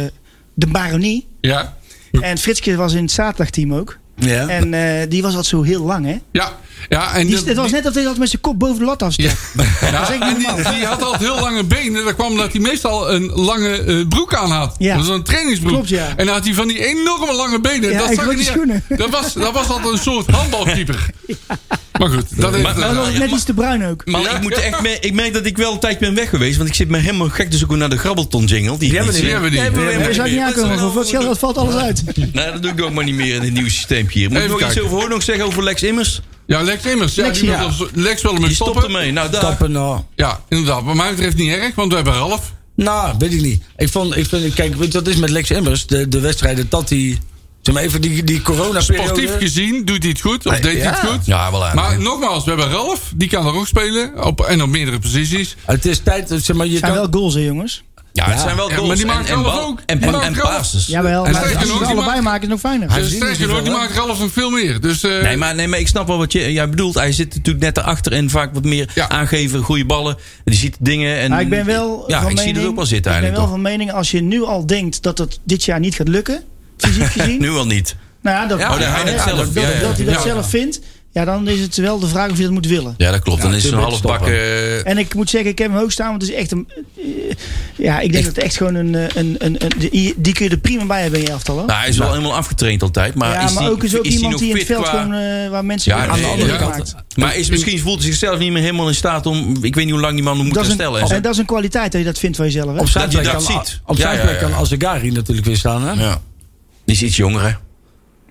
Speaker 5: de baronie.
Speaker 4: Ja.
Speaker 5: En Fritske was in het zaterdagteam ook.
Speaker 6: ja.
Speaker 5: En eh, die was al zo heel lang, hè?
Speaker 4: Ja. Ja, en
Speaker 5: Die,
Speaker 4: dat-
Speaker 5: het was net dat hij altijd met zijn kop boven de lat afstak.
Speaker 4: Ja.
Speaker 5: is
Speaker 4: Ja,
Speaker 5: echt
Speaker 4: en
Speaker 5: niet
Speaker 4: die, die had altijd heel lange benen. Dat kwam omdat hij meestal een lange eh, broek aan had.
Speaker 5: Ja.
Speaker 4: Dat was een trainingsbroek.
Speaker 5: Klopt, ja.
Speaker 4: En dan had hij van die enorme lange benen.
Speaker 5: Ja,
Speaker 4: dat
Speaker 5: en
Speaker 4: zag je
Speaker 5: grote
Speaker 4: niet.
Speaker 5: schoenen.
Speaker 4: Dat was, dat was altijd een soort handbalkeeper. Maar goed, dat is
Speaker 2: Maar-
Speaker 6: Nou,
Speaker 2: maar-
Speaker 5: Dat was net iets te bruin ook.
Speaker 2: Maar ik, moet echt me- ik merk dat ik wel een tijd ben weg geweest. Want ik zit me helemaal gek te zoeken naar de grabbelton jingle. Die,
Speaker 4: die hebben we niet.
Speaker 2: Nee,
Speaker 5: Daar zou ik niet aankomen. Voor het geld dat valt alles uit.
Speaker 2: Nou, dat doe ik ook maar niet meer in het nieuwe systeempje hier. Moet ik
Speaker 4: Even
Speaker 2: nog iets
Speaker 4: kijken.
Speaker 2: over hoor nog zeggen over Lex Immers?
Speaker 4: Ja, Lex Immers. Ja,
Speaker 5: Lex,
Speaker 4: die
Speaker 5: ja.
Speaker 4: wil- Lex wil hem
Speaker 2: Die
Speaker 4: stoppen.
Speaker 2: stopt ermee. Nou, daar.
Speaker 6: Stappen, nou.
Speaker 4: Ja, inderdaad. Wat mij betreft niet erg, want we hebben Ralf.
Speaker 6: Nou, weet ik niet. Ik vond, ik vind, kijk, weet je wat is met Lex Immers? De, de wedstrijden dat hij. Zeg maar even die, die corona-periode.
Speaker 4: Sportief gezien doet hij het goed. Of deed hij het
Speaker 6: ja.
Speaker 4: goed.
Speaker 2: Ja, wel aardig.
Speaker 4: Maar nogmaals, we hebben Ralf. Die kan er ook spelen. Op, en op meerdere posities.
Speaker 6: Het is tijd, zeg maar, je
Speaker 5: Het zijn
Speaker 6: kan,
Speaker 5: wel goals, hè, jongens?
Speaker 2: ja, het zijn wel
Speaker 4: Ja,
Speaker 2: goals.
Speaker 4: maar die
Speaker 2: en-
Speaker 4: maakt
Speaker 2: en,
Speaker 4: Ralf
Speaker 2: bal-
Speaker 4: ook.
Speaker 2: En,
Speaker 4: Die
Speaker 2: en,
Speaker 4: maakt
Speaker 2: en
Speaker 4: Ralf.
Speaker 2: passes.
Speaker 5: Jawel,
Speaker 4: En
Speaker 5: maar als
Speaker 4: sterker
Speaker 5: ze
Speaker 4: nog,
Speaker 5: het
Speaker 4: die
Speaker 5: allebei
Speaker 4: maakt-
Speaker 5: maken, is het nog fijner.
Speaker 6: Hij
Speaker 4: Dus
Speaker 6: verdient in
Speaker 4: sterker
Speaker 6: ieder
Speaker 4: hoor, die
Speaker 6: geval,
Speaker 4: maakt Ralf nog veel meer. Dus, eh,
Speaker 2: Nee maar, nee, maar ik snap wel wat je, jij bedoelt. Hij zit natuurlijk net erachter en vaak wat meer
Speaker 4: Ja.
Speaker 2: aangeven, goede ballen. Die ziet dingen. En,
Speaker 5: Maar ik ben wel
Speaker 2: Ja,
Speaker 5: van
Speaker 2: ik
Speaker 5: mening,
Speaker 2: zie het ook wel zitten
Speaker 5: Ik ben wel
Speaker 2: eigenlijk.
Speaker 5: van mening, als je nu al denkt dat het dit jaar niet gaat lukken, fysiek gezien.
Speaker 2: toch? Nu al niet.
Speaker 5: Nou ja, dat,
Speaker 2: Ja, oh, dat hij dat zelf-
Speaker 5: dat, dat,
Speaker 2: ja, ja.
Speaker 5: dat hij dat
Speaker 4: Ja.
Speaker 5: zelf vindt. Ja, dan is het wel de vraag of je dat moet willen.
Speaker 2: Ja, dat klopt. Dan is het een
Speaker 6: tuurlijk,
Speaker 2: halfbak. eh,
Speaker 5: En ik moet zeggen, ik heb hem hoog staan, want het is echt een... eh, ja, ik denk dat het echt gewoon een... eh, een, een, een- die, die kun je er prima bij hebben in je elftal, hoor.
Speaker 2: nou, hij is wel helemaal afgetraind altijd. Maar,
Speaker 5: ja,
Speaker 2: is
Speaker 5: maar
Speaker 2: die,
Speaker 5: ook is ook
Speaker 2: die
Speaker 5: iemand
Speaker 2: nog
Speaker 5: die in het
Speaker 2: fit
Speaker 5: veld
Speaker 2: qua-
Speaker 5: gewoon... eh, waar mensen
Speaker 2: Ja,
Speaker 5: aan de
Speaker 2: nee,
Speaker 5: andere
Speaker 2: ja.
Speaker 5: kant.
Speaker 2: Maar is, misschien voelt hij zichzelf niet meer helemaal in staat om. Ik weet niet hoe lang die man moet
Speaker 5: Dat is,
Speaker 2: herstellen. en
Speaker 5: een,
Speaker 2: zo.
Speaker 5: en dat is een kwaliteit dat je dat vindt van jezelf, hè?
Speaker 6: op zijn
Speaker 2: Dat je
Speaker 6: plek
Speaker 2: dat
Speaker 6: kan,
Speaker 2: ziet.
Speaker 6: op zijn
Speaker 2: Ja, ja,
Speaker 6: plek
Speaker 2: ja.
Speaker 6: kan Azegari natuurlijk weer staan. Hè?
Speaker 2: ja. Die is iets jonger, hè?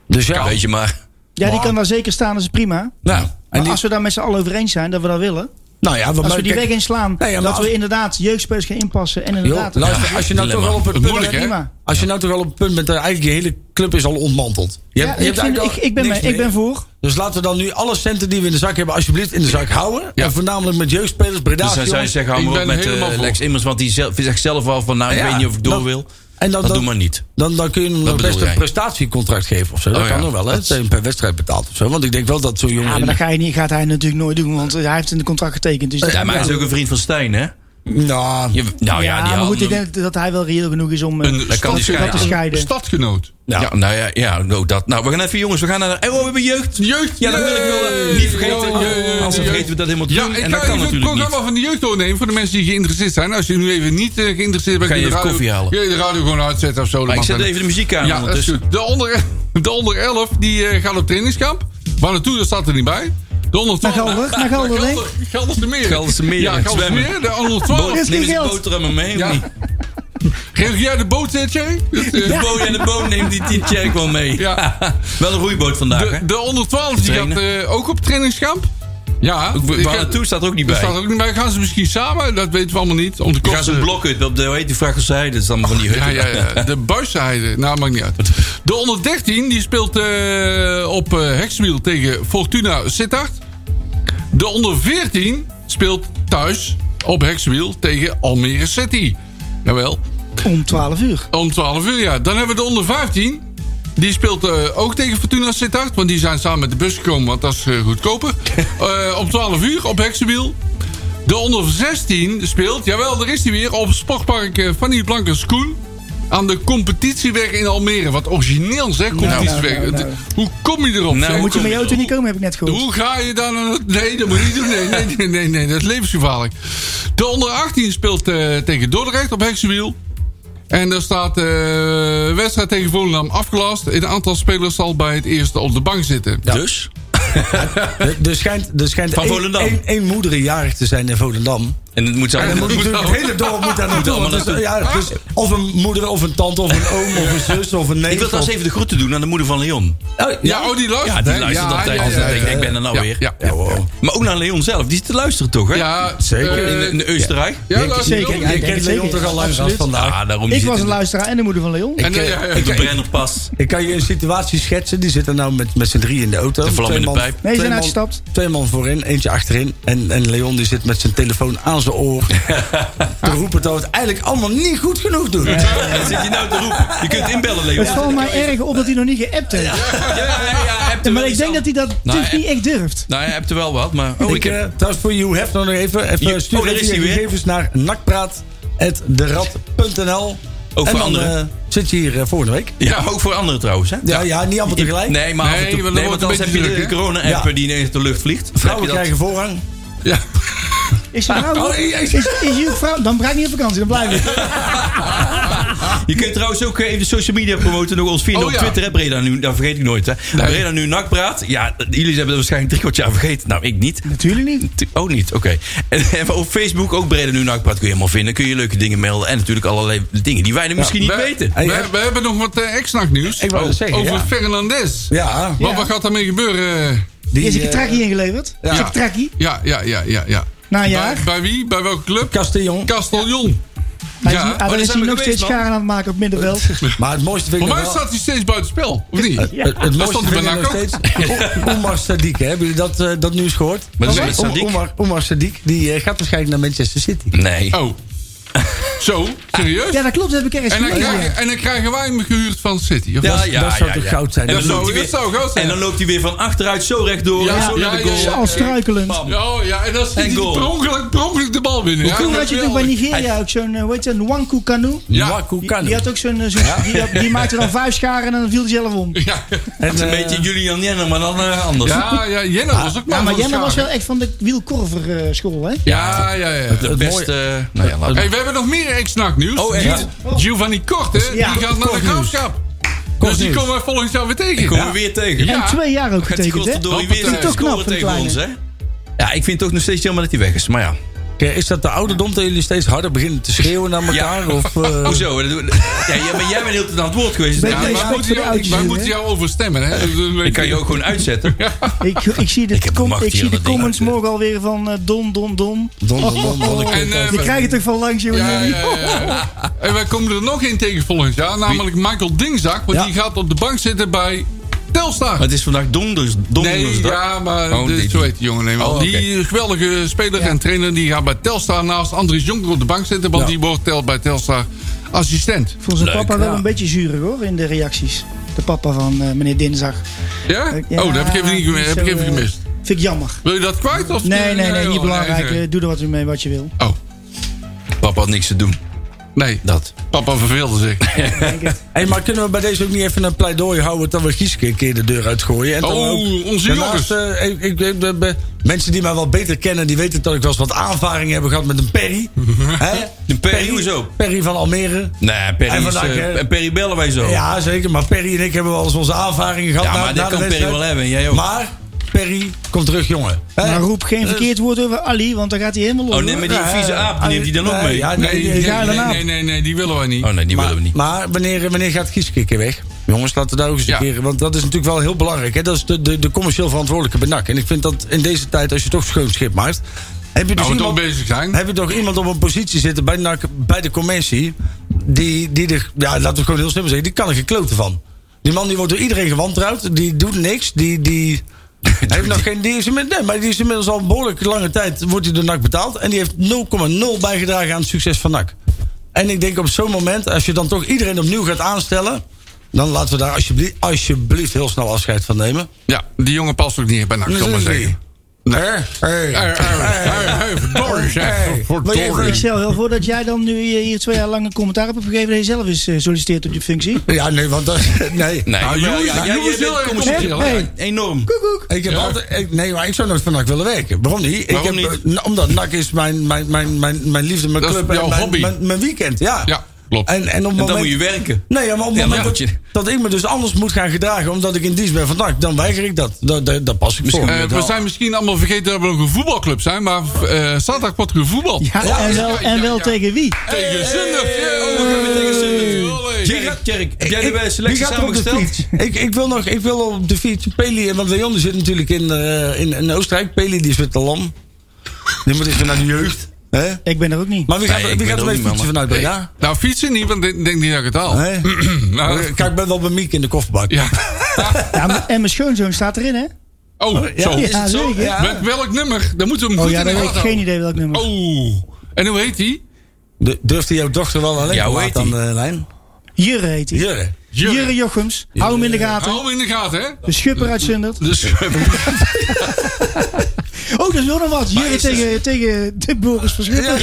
Speaker 6: Dus ja,
Speaker 2: Weet je maar.
Speaker 5: Ja, die kan daar zeker staan, dat is prima.
Speaker 6: Nou, en
Speaker 5: Maar
Speaker 6: die,
Speaker 5: als we daar met z'n allen over eens zijn, dat we dat willen...
Speaker 6: nou ja, wat
Speaker 5: Als
Speaker 6: mij-
Speaker 5: we die
Speaker 6: kijk,
Speaker 5: weg inslaan,
Speaker 6: Nee, ja, maar
Speaker 5: dat
Speaker 6: als-
Speaker 5: we inderdaad jeugdspelers gaan inpassen. En
Speaker 6: joh,
Speaker 5: inderdaad,
Speaker 6: luister, als je nou toch
Speaker 2: dilemma.
Speaker 6: wel op het
Speaker 4: Dat
Speaker 6: punt
Speaker 4: is moeilijk, hè?
Speaker 5: prima.
Speaker 6: Als je nou toch wel op het punt bent, dat eigenlijk je hele club is al ontmanteld. Je
Speaker 5: Ja,
Speaker 6: hebt- je
Speaker 5: ik,
Speaker 6: hebt
Speaker 5: vind, ik,
Speaker 6: eigenlijk al
Speaker 5: ik, ben,
Speaker 6: niks
Speaker 5: mee- ik
Speaker 6: meer.
Speaker 5: ben voor.
Speaker 6: Dus laten we dan nu alle centen die we in de zak hebben, alsjeblieft in de zak houden.
Speaker 4: Ja.
Speaker 6: En voornamelijk met jeugdspelers, Breda.
Speaker 2: Dus dan zou je
Speaker 6: jongens.
Speaker 2: zeggen,
Speaker 4: ik
Speaker 2: hou maar op
Speaker 4: ben
Speaker 2: met eh,
Speaker 4: helemaal voor.
Speaker 2: Lex Immers. Want die zelf, zegt zelf al van, nou, ik
Speaker 6: Ja,
Speaker 2: weet niet of ik door
Speaker 6: dat-
Speaker 2: wil.
Speaker 6: en dan,
Speaker 2: Dat doe maar niet.
Speaker 6: Dan, dan kun je hem nog
Speaker 2: bedoel
Speaker 6: best een
Speaker 2: jij.
Speaker 6: prestatiecontract geven of zo. Dat
Speaker 2: Oh ja,
Speaker 6: kan nog wel, hè?
Speaker 2: dat-
Speaker 6: Dat je hem per wedstrijd betaalt of zo. Want ik denk wel dat zo'n jongen...
Speaker 5: Ja, Ah, maar dat ga je niet, gaat hij natuurlijk nooit doen, want hij heeft een contract getekend. Dus dat-
Speaker 2: Ja, maar hij is ook een vriend van Stijn, hè?
Speaker 6: Nou,
Speaker 2: Je- nou ja,
Speaker 5: Ja,
Speaker 2: die
Speaker 5: maar
Speaker 2: had
Speaker 5: goed, ik
Speaker 2: hem-
Speaker 5: denk dat hij wel reëel genoeg is om eh,
Speaker 4: Een
Speaker 2: dat kan die
Speaker 5: dat te
Speaker 2: scheiden.
Speaker 5: scheiden.
Speaker 4: Stadgenoot.
Speaker 2: Ja, nou ja, ja, nou dat. Nou, we gaan even, jongens, we gaan naar de... Oh, we hebben jeugd.
Speaker 4: Jeugd.
Speaker 2: Ja, dat wil ik wel eh, niet vergeten.
Speaker 4: Ja, ja, ja, ja,
Speaker 2: Anders
Speaker 4: ja.
Speaker 2: vergeten we dat helemaal te
Speaker 4: Ja,
Speaker 2: doen.
Speaker 4: ik ga
Speaker 2: En dat kan
Speaker 4: even het
Speaker 2: natuurlijk niet.
Speaker 4: programma van de jeugd doornemen voor de mensen die geïnteresseerd zijn. Als je nu even niet eh, geïnteresseerd bent,
Speaker 2: Ga je
Speaker 4: kun
Speaker 2: even
Speaker 4: de radio-
Speaker 2: koffie halen?
Speaker 4: Kun je de radio gewoon uitzetten of zo. dat
Speaker 2: Maar ik
Speaker 4: mag
Speaker 2: zet
Speaker 4: dan.
Speaker 2: even de muziek aan
Speaker 4: Ja, dat is
Speaker 2: ondertussen.
Speaker 4: goed. De onder, de onder 11 die eh, gaat op trainingskamp. Waar naartoe, dat staat er niet bij. De onder 12.
Speaker 5: Naar Gelder, naar Gelder, denk ik.
Speaker 4: Gelderse Meer.
Speaker 2: Gelderse Meer,
Speaker 4: Ja,
Speaker 2: het
Speaker 4: Gelderse
Speaker 2: zwemmen.
Speaker 4: Meer. De onder 12.
Speaker 5: Boot.
Speaker 2: Neem eens
Speaker 5: geld.
Speaker 2: een boterhammen mee,
Speaker 4: Ja.
Speaker 2: of niet?
Speaker 4: Geef jij de boot, eh, Tjerk? Dat, eh,
Speaker 2: De boot en de boot neemt die Tiet Tjerk wel mee.
Speaker 4: Ja.
Speaker 2: wel een roeiboot vandaag, hè?
Speaker 4: De, de onder 12 die gaat
Speaker 2: Trainen.
Speaker 4: eh, ook op trainingskamp. Ja.
Speaker 2: Ook Waar
Speaker 4: ik heb-
Speaker 2: naartoe staat ook niet
Speaker 4: Er
Speaker 2: bij.
Speaker 4: staat ook niet bij. Gaan ze misschien samen? Dat weten we allemaal niet. Om de
Speaker 2: Je gaat
Speaker 4: kosten-
Speaker 2: zo'n blok uit op de, hoe heet die vrachtgezijde? Dat is allemaal van die
Speaker 4: Ja,
Speaker 2: hutten.
Speaker 4: ja, ja. De buiszijde. Nou, maakt niet uit. De onder 13 die speelt eh, op eh Hekswiel tegen Fortuna Sittard. De onder 14 speelt thuis op Hekswiel tegen Almere City. Jawel.
Speaker 5: om 12 uur.
Speaker 4: Om 12 uur, ja. Dan hebben we de onder 15. Die speelt eh, ook tegen Fortuna Sittard. Want die zijn samen met de bus gekomen, want dat is eh, goedkoper. Eh, om 12 uur op Heksenwiel. De onder 16 speelt, jawel, daar is hij weer, op Sportpark eh, Fanny Blankens Koen. aan de competitieweg in Almere. Wat origineel zeg, competitieweg.
Speaker 5: nou, nou, nou.
Speaker 4: Het- Hoe kom je erop?
Speaker 2: Nou,
Speaker 4: zeg?
Speaker 2: hoe
Speaker 5: Moet je met je auto niet komen, heb ik net gehoord.
Speaker 4: Hoe ga je daar dan... Nee, dat moet je niet doen. Nee, nee, nee, nee, nee, dat is levensgevaarlijk. De onder 18 speelt eh, tegen Dordrecht op Heksenwiel. En daar staat eh, wedstrijd tegen Volendam afgelast. Een aantal spelers zal bij het eerste op de bank zitten.
Speaker 2: Dus?
Speaker 6: Er- Er schijnt, er schijnt
Speaker 2: Van
Speaker 6: één-
Speaker 2: Volendam.
Speaker 6: één- één moeder jarig te zijn in Volendam.
Speaker 2: En het moet
Speaker 4: En
Speaker 2: zijn.
Speaker 4: dan
Speaker 6: Moet dus
Speaker 4: Moet
Speaker 6: natuurlijk
Speaker 4: nou-
Speaker 6: het hele dorp moet daar naartoe.
Speaker 2: allemaal
Speaker 6: want het is-
Speaker 2: naartoe.
Speaker 6: ja, het is of een moeder, of een tante, of een oom, of een zus, of een neef.
Speaker 2: Ik wil
Speaker 6: of-
Speaker 2: trouwens even de groeten doen aan de moeder van Leon.
Speaker 6: Oh,
Speaker 4: Ja, oh, die luistert.
Speaker 2: Ja, die
Speaker 4: hè?
Speaker 2: luistert
Speaker 4: Ja,
Speaker 2: altijd.
Speaker 4: ja,
Speaker 2: Altijd
Speaker 4: ja,
Speaker 2: denkt,
Speaker 4: ja.
Speaker 2: ik ben er nou
Speaker 4: Ja,
Speaker 2: weer.
Speaker 4: ja, ja.
Speaker 2: wow. Maar ook naar Leon zelf. Die zit te luisteren toch, hè?
Speaker 4: Ja,
Speaker 6: Zeker.
Speaker 4: eh,
Speaker 2: In, in Oostenrijk.
Speaker 4: ja, luister,
Speaker 5: zeker.
Speaker 4: joh.
Speaker 5: Ja,
Speaker 6: Je
Speaker 5: ik denk
Speaker 6: kent
Speaker 5: het
Speaker 6: Leon
Speaker 5: zeker.
Speaker 6: toch al luisteraars
Speaker 5: Absoluut.
Speaker 6: vandaag.
Speaker 2: Ah, daarom die
Speaker 5: Ik
Speaker 2: zit
Speaker 5: was een
Speaker 2: in de-
Speaker 5: luisteraar en de moeder van Leon.
Speaker 4: En, eh, ja, ja,
Speaker 2: Op de
Speaker 4: ja.
Speaker 2: Brennerpas.
Speaker 6: Ik kan je een situatie schetsen. Die zitten nou met, met z'n drie in de auto.
Speaker 2: De vlam
Speaker 6: Twee
Speaker 2: in de
Speaker 6: man-
Speaker 2: pijp.
Speaker 5: Nee, ze
Speaker 6: twee
Speaker 5: zijn
Speaker 6: man-
Speaker 5: uitgestapt.
Speaker 6: Twee man voorin, eentje achterin. En, en Leon die zit met zijn telefoon aan zijn oor. te roepen dat we het eigenlijk allemaal niet goed genoeg doen.
Speaker 2: Wat zit je nou te roepen? Je kunt inbellen, Leon.
Speaker 5: Het valt mij erg op dat hij nog niet geappt heeft.
Speaker 2: Ja, ja, ja, hij hebt er
Speaker 5: Maar
Speaker 2: wel
Speaker 5: ik
Speaker 2: iets
Speaker 5: denk
Speaker 2: aan.
Speaker 5: dat hij dat
Speaker 2: Nou,
Speaker 5: dus
Speaker 2: eh.
Speaker 5: niet echt durft.
Speaker 2: Nou, hij hebt er wel wat, maar... Oh,
Speaker 6: ik,
Speaker 2: ik heb...
Speaker 6: eh, trouwens voor you have nog even. even
Speaker 2: You-
Speaker 6: stuur
Speaker 2: oh, daar
Speaker 6: even
Speaker 2: is
Speaker 6: je
Speaker 2: hij weer.
Speaker 6: gegevens naar nakpraat.derad.nl.
Speaker 2: Ook
Speaker 6: en
Speaker 2: voor
Speaker 6: dan,
Speaker 2: anderen.
Speaker 6: eh, zit je hier eh, volgende week.
Speaker 2: Ja, ook voor anderen trouwens, hè?
Speaker 6: Ja, ja niet allemaal tegelijk.
Speaker 2: Nee, maar af en
Speaker 4: Nee,
Speaker 2: toe.
Speaker 4: want dan
Speaker 2: Nee, want
Speaker 4: wordt
Speaker 2: anders
Speaker 4: het
Speaker 2: heb
Speaker 4: een
Speaker 2: je
Speaker 4: beetje
Speaker 2: de
Speaker 4: druk,
Speaker 2: corona-app
Speaker 6: Ja.
Speaker 2: die ineens de lucht vliegt.
Speaker 6: Vrouwen
Speaker 2: Heb je
Speaker 6: krijgen voorrang.
Speaker 4: Ja.
Speaker 5: Is je vrouw...
Speaker 4: Oh, jezus.
Speaker 5: Is, is je vrouw... Dan braak ik niet op vakantie, dan blijf ik.
Speaker 2: dat? Je kunt trouwens ook eh, even de social media promoten. Nog ons vinden
Speaker 4: Oh,
Speaker 2: op
Speaker 4: ja.
Speaker 2: Twitter, hè, Breda nu. Dat vergeet ik nooit, hè. Breda nu nakpraat. Ja, jullie hebben dat waarschijnlijk drie kwart jaar vergeten. Nou, ik niet.
Speaker 5: Natuurlijk niet.
Speaker 2: Tu- Oh, niet? Oké. En, en op Facebook ook Breda nu nakpraat kun je helemaal vinden. Kun je leuke dingen melden. En natuurlijk allerlei dingen die wij misschien niet
Speaker 4: We-
Speaker 2: weten.
Speaker 4: We,
Speaker 6: Hey,
Speaker 4: we hebben nog wat uh, nieuws
Speaker 6: Ik wou het zeggen,
Speaker 4: over
Speaker 6: ja.
Speaker 4: Fernandez.
Speaker 6: Ja.
Speaker 4: Wat,
Speaker 5: Ja.
Speaker 4: wat gaat daarmee gebeuren? eh?
Speaker 6: Die,
Speaker 5: Is een
Speaker 6: eh,
Speaker 5: trackie ingeleverd? Is een trackie?
Speaker 4: Ja, ja, ja, ja. ja.
Speaker 5: Na een jaar?
Speaker 4: Bij, bij wie? Bij welke club?
Speaker 6: Castillon.
Speaker 4: Castellon.
Speaker 5: Hij is,
Speaker 4: Ja,
Speaker 5: hij
Speaker 4: oh, daar
Speaker 5: is
Speaker 2: zijn
Speaker 5: hij
Speaker 2: we
Speaker 5: nog
Speaker 2: geweest,
Speaker 5: steeds
Speaker 2: man.
Speaker 5: scharen aan het maken op middenveld.
Speaker 6: Maar het mooiste vind ik
Speaker 4: Voor
Speaker 6: nog
Speaker 4: mij
Speaker 6: wel-
Speaker 4: staat hij steeds buitenspel, of niet?
Speaker 5: Ja.
Speaker 6: Het, het
Speaker 4: Daar
Speaker 6: mooiste
Speaker 4: stond
Speaker 6: vind
Speaker 4: hij bijna
Speaker 6: ik nog
Speaker 4: ook.
Speaker 6: steeds O- Omar Sadiq. hè? Hebben jullie dat, eh, dat nieuws gehoord?
Speaker 2: Maar dat is
Speaker 6: Omar-
Speaker 2: met Sadiq.
Speaker 6: Omar, Omar Sadiq die, eh, gaat waarschijnlijk naar Manchester City.
Speaker 2: Nee.
Speaker 4: Oh. Zo, serieus?
Speaker 5: Ja, dat klopt, dat heb ik ergens
Speaker 4: en, dan
Speaker 5: gelezen.
Speaker 4: krijgen,
Speaker 5: ja.
Speaker 4: en dan krijgen wij hem gehuurd van City. Of
Speaker 2: Ja,
Speaker 4: wat?
Speaker 2: ja,
Speaker 6: dat zou
Speaker 2: ja,
Speaker 6: toch
Speaker 2: ja.
Speaker 6: goud zijn?
Speaker 2: En dan,
Speaker 4: Dat
Speaker 2: loopt
Speaker 4: zou-
Speaker 2: hij
Speaker 4: dat zou goud
Speaker 2: weer,
Speaker 4: zijn.
Speaker 2: en dan loopt hij weer van achteruit zo rechtdoor.
Speaker 4: Ja,
Speaker 2: en zo
Speaker 4: ja,
Speaker 2: naar de
Speaker 4: ja,
Speaker 2: goal.
Speaker 4: ja.
Speaker 5: Al struikelend.
Speaker 2: Bam.
Speaker 4: Oh ja, en dan schiet
Speaker 2: En
Speaker 4: hij
Speaker 2: goal.
Speaker 4: per ongeluk, per ongeluk de bal binnen. Ja,
Speaker 5: Toen had je toch bij Nigeria ook zo'n, eh, hoe heet dat, een Wanku Kanu?
Speaker 4: Ja.
Speaker 6: Waku
Speaker 5: Die,
Speaker 6: Kanu.
Speaker 5: die had ook zo'n, eh, zo'n- die, had- die maakte dan vijf scharen en dan viel hij zelf om.
Speaker 4: Ja,
Speaker 6: En,
Speaker 2: Het is een
Speaker 6: eh,
Speaker 2: beetje Julian Jenner, maar dan eh, anders.
Speaker 4: ja, ja Jenna was ook maar
Speaker 5: Ja, Nou, maar
Speaker 4: van
Speaker 5: Jenna was wel
Speaker 4: Schagen.
Speaker 5: echt van de wielkorver eh, school, hè?
Speaker 4: Ja, ja, ja.
Speaker 2: Het beste... eh, nou ja, laat maar.
Speaker 4: hey, we hebben nog meer ex-nac nieuws.
Speaker 2: Oh, echt?
Speaker 4: Gi- Giovanni Kort, hè?
Speaker 5: Ja,
Speaker 4: die gaat naar de
Speaker 6: Kort nieuws.
Speaker 4: graafschap. Dus
Speaker 6: Kort
Speaker 4: die
Speaker 6: nieuws.
Speaker 4: komen we volgend jaar weer tegen.
Speaker 2: Komen we weer tegen.
Speaker 4: Ja.
Speaker 5: En twee jaar ook
Speaker 2: Gaat die
Speaker 5: getekend, hè?
Speaker 2: godverdorie
Speaker 4: Hoppatee.
Speaker 2: weer
Speaker 4: Toch
Speaker 2: scoren
Speaker 5: knap voor de
Speaker 2: tegen
Speaker 5: kleine. Oh.
Speaker 2: ons, hè? Ja, ik vind het ook nog steeds jammer dat hij weg is. Maar ja.
Speaker 6: Oké, Is dat de ouderdom dat jullie steeds harder beginnen te schreeuwen naar elkaar?
Speaker 2: Ja.
Speaker 6: Of, eh,
Speaker 2: Hoezo? Dat doen we- Ja, jij, bent- jij bent heel tijd aan het woord geweest.
Speaker 5: Ben
Speaker 2: Ja,
Speaker 4: wij
Speaker 2: maar
Speaker 5: jij- respect
Speaker 4: moeten
Speaker 5: voor de
Speaker 4: jou,
Speaker 5: oudjes,
Speaker 4: wij
Speaker 5: hè?
Speaker 4: moeten jou overstemmen, hè? Dat is een
Speaker 2: ik kan
Speaker 4: beetje-
Speaker 2: je ook gewoon uitzetten.
Speaker 5: Ik, ik zie de,
Speaker 2: Ik heb
Speaker 5: com-
Speaker 2: macht
Speaker 5: ik
Speaker 2: hier
Speaker 5: zie de
Speaker 2: aan dat ding.
Speaker 5: comments morgen alweer van eh, Don, Don, Don.
Speaker 6: Don,
Speaker 2: Oh,
Speaker 6: Don, Don, Don, Don.
Speaker 4: En, eh,
Speaker 5: Je krijgt het toch van langs, jongen?
Speaker 4: Ja, ja, ja, ja. En wij komen er nog één tegen volgend jaar. Namelijk Michael Dingzak. Want
Speaker 6: Ja.
Speaker 4: die gaat op de bank zitten bij Telstar.
Speaker 2: Maar het is vandaag donders,
Speaker 4: Nee,
Speaker 2: dondersdag.
Speaker 4: ja, maar
Speaker 2: Oh,
Speaker 4: dit,
Speaker 2: dit-
Speaker 4: zo heet die jongen helemaal.
Speaker 2: Oh,
Speaker 4: Die geweldige speler en trainer die gaat bij Telstar naast Andries Jonker op de bank zitten. Want
Speaker 6: Ja.
Speaker 4: die wordt tel- bij Telstar assistent.
Speaker 5: Vond zijn
Speaker 2: Leuk,
Speaker 5: papa wel
Speaker 6: ja.
Speaker 5: een beetje zuurig, hoor, in de reacties. De papa van eh, meneer Dinsdag.
Speaker 4: Ja?
Speaker 5: Ja,
Speaker 4: Oh, dat heb ik even, niet gemi- heb ik
Speaker 5: zo,
Speaker 4: even
Speaker 5: eh,
Speaker 4: gemist.
Speaker 5: Vind ik jammer.
Speaker 4: Wil je dat kwijt? Of
Speaker 5: Nee, nee, nee,
Speaker 4: joh,
Speaker 5: niet belangrijk.
Speaker 4: nee.
Speaker 5: Eh, Doe er wat mee wat je wil.
Speaker 4: Oh,
Speaker 2: Papa had niks te doen.
Speaker 4: nee.
Speaker 2: Dat.
Speaker 4: Papa verveelde zich.
Speaker 6: Hey, maar kunnen we bij deze ook niet even een pleidooi houden dat we Gieske een keer de deur uitgooien? En dan
Speaker 4: Oh,
Speaker 6: ook-
Speaker 4: onze
Speaker 6: daarnaast, eh, ik, ik, ik- eh, be- mensen die mij wel beter kennen, die weten dat ik wel eens wat aanvaringen heb gehad met een Perry. Hè?
Speaker 2: Mhm. Een Perry, hoezo?
Speaker 6: Perry van Almere.
Speaker 2: Nee,
Speaker 6: En
Speaker 2: Perry, is,
Speaker 6: vandaag,
Speaker 2: eh,
Speaker 6: eh,
Speaker 2: Perry bellen wij zo.
Speaker 6: Ja, zeker. Maar Perry en ik hebben wel eens onze aanvaringen gehad.
Speaker 2: Ja,
Speaker 6: na-
Speaker 2: maar dit
Speaker 6: na de
Speaker 2: kan Perry
Speaker 6: wedstrijd.
Speaker 2: wel hebben, jij ook.
Speaker 6: Maar Perry, kom terug, jongen. Hè?
Speaker 5: Maar roep geen verkeerd woord over Ali, want dan gaat hij helemaal los.
Speaker 2: Oh, nee, maar die
Speaker 6: Ja,
Speaker 2: vieze aap, die
Speaker 6: eh,
Speaker 2: neemt hij dan ook
Speaker 6: eh,
Speaker 2: mee?
Speaker 6: Ja, nee,
Speaker 4: Nee,
Speaker 6: nee,
Speaker 4: nee,
Speaker 6: ja,
Speaker 4: nee,
Speaker 6: daarna.
Speaker 4: nee, nee, nee, die willen wij niet. Nou,
Speaker 2: Oh nee, die
Speaker 6: maar,
Speaker 2: willen we niet.
Speaker 6: maar wanneer, wanneer gaat Gieske een keer weg? Jongens, laten we daar ook eens
Speaker 4: Ja.
Speaker 6: een keer... Want dat is natuurlijk wel heel belangrijk. Hè? Dat is de, de, de commercieel verantwoordelijke benak. En ik vind dat in deze tijd, als je toch schoon schip maakt... Heb je, dus
Speaker 4: Nou, we toch
Speaker 6: iemand,
Speaker 4: bezig zijn.
Speaker 6: heb je toch iemand op een positie zitten bij, NAC, bij de commissie... Die, die er, ja, laten we gewoon heel simpel zeggen, die kan er geen klote van. Die man die wordt door iedereen gewantrouwd, die doet niks, die... die hij heeft nog geen, die is, inmiddels- nee, maar die is inmiddels al een behoorlijk lange tijd wordt hij door NAC betaald. En die heeft 0,0 bijgedragen aan het succes van NAC. En ik denk op zo'n moment, als je dan toch iedereen opnieuw gaat aanstellen... dan laten we daar alsjeblieft, alsjeblieft heel snel afscheid van nemen.
Speaker 4: Ja, die jongen past ook niet bij NAC, zal ik maar zeggen.
Speaker 6: Hey.
Speaker 4: Hey, hey, hey, verdorie, zeg.
Speaker 6: Hey.
Speaker 4: Verdorie.
Speaker 5: Ik stel heel voor dat jij dan nu eh, hier twee jaar lang een commentaar op hebt gegeven... dat je zelf eens eh, solliciteert op je functie.
Speaker 6: Ja, nee, want dat... Nee.
Speaker 2: Nee,
Speaker 4: Nou,
Speaker 2: jawel,
Speaker 4: jongens,
Speaker 2: ja,
Speaker 4: jongens,
Speaker 2: ja, Ah, jij bent
Speaker 4: heel erg
Speaker 2: commercieel,
Speaker 5: commercieel,
Speaker 2: ja, Ah, Enorm.
Speaker 6: Ik heb altijd, ik- nee, maar ik zou nooit voor NAC willen werken. Waarom niet? Ik
Speaker 2: Waarom
Speaker 6: heb,
Speaker 2: niet?
Speaker 6: eh, nou, omdat NAC is mijn, mijn, mijn, mijn, mijn liefde, mijn
Speaker 4: Dat is
Speaker 6: club en
Speaker 4: jouw
Speaker 6: mijn,
Speaker 4: hobby.
Speaker 6: Mijn, mijn weekend. Ja,
Speaker 4: Ja, klopt.
Speaker 6: En, en op het
Speaker 2: En dan
Speaker 6: moment-
Speaker 2: moet je werken.
Speaker 6: Nee, ja, maar op het
Speaker 2: Ja,
Speaker 6: moment
Speaker 2: dan
Speaker 6: dat,
Speaker 2: moet je-
Speaker 6: dat ik me dus anders moet gaan gedragen... omdat ik in dienst ben van NAC, dan weiger ik dat. Dat, dat, dat pas ik
Speaker 4: Eh,
Speaker 6: misschien niet.
Speaker 4: we zijn misschien allemaal vergeten dat we nog een voetbalclub zijn, maar eh zaterdag wordt er gevoetbald.
Speaker 5: Ja,
Speaker 6: Ja,
Speaker 5: en wel,
Speaker 4: ja,
Speaker 5: en
Speaker 4: ja,
Speaker 5: wel
Speaker 4: ja.
Speaker 5: tegen wie?
Speaker 4: Tegen Zundert.
Speaker 2: Oh, we gaan weer tegen Zundert. Gerrit, Tjerk, heb jij de eh,
Speaker 6: wie
Speaker 2: selectie
Speaker 6: gaat er op de
Speaker 2: samengesteld?
Speaker 6: fiets? Ik, ik wil nog ik wil op de fiets. Peli, want Leon die zit natuurlijk in, eh, in, in Oostenrijk. Peli die is met de lam. Die moet even naar de jeugd. hè?
Speaker 5: Ik ben er ook niet.
Speaker 6: Maar wie gaat,
Speaker 2: Nee, ik
Speaker 6: wie
Speaker 2: ben
Speaker 6: gaat er
Speaker 2: ook
Speaker 6: mee
Speaker 2: niet, man.
Speaker 6: fietsen vanuit Breda?
Speaker 4: Nou, fietsen niet, want ik denk niet dat ik het al.
Speaker 6: Nee.
Speaker 4: Nou,
Speaker 5: Oh,
Speaker 4: dat-
Speaker 6: Kijk, ik ben wel bij Miek in de kofferbak.
Speaker 4: ja.
Speaker 5: Ja, maar- en mijn schoonzoon staat erin, hè?
Speaker 4: Oh, zo.
Speaker 5: ja, zeker.
Speaker 4: Met welk nummer? Dan moeten we hem
Speaker 5: Oh
Speaker 4: goed
Speaker 5: ja,
Speaker 4: in de
Speaker 5: daar heb ik
Speaker 4: gaten
Speaker 5: geen idee welk nummer.
Speaker 4: houden. Oh. En hoe heet die?
Speaker 6: De- Durfde jouw dochter wel alleen
Speaker 2: Ja,
Speaker 6: te
Speaker 2: hoe
Speaker 6: laten eh, aan
Speaker 2: heet
Speaker 6: de lijn?
Speaker 5: Jurre heet hij.
Speaker 6: Jurre.
Speaker 5: Jurre Jochems. Hou hem in de gaten.
Speaker 4: Hou hem in de gaten, hè?
Speaker 5: De schipper uit Zundert.
Speaker 4: Dus,
Speaker 5: Oh, dat is wel nog wat. Jurre tegen, tegen de Boris van Schipper.
Speaker 4: Ja,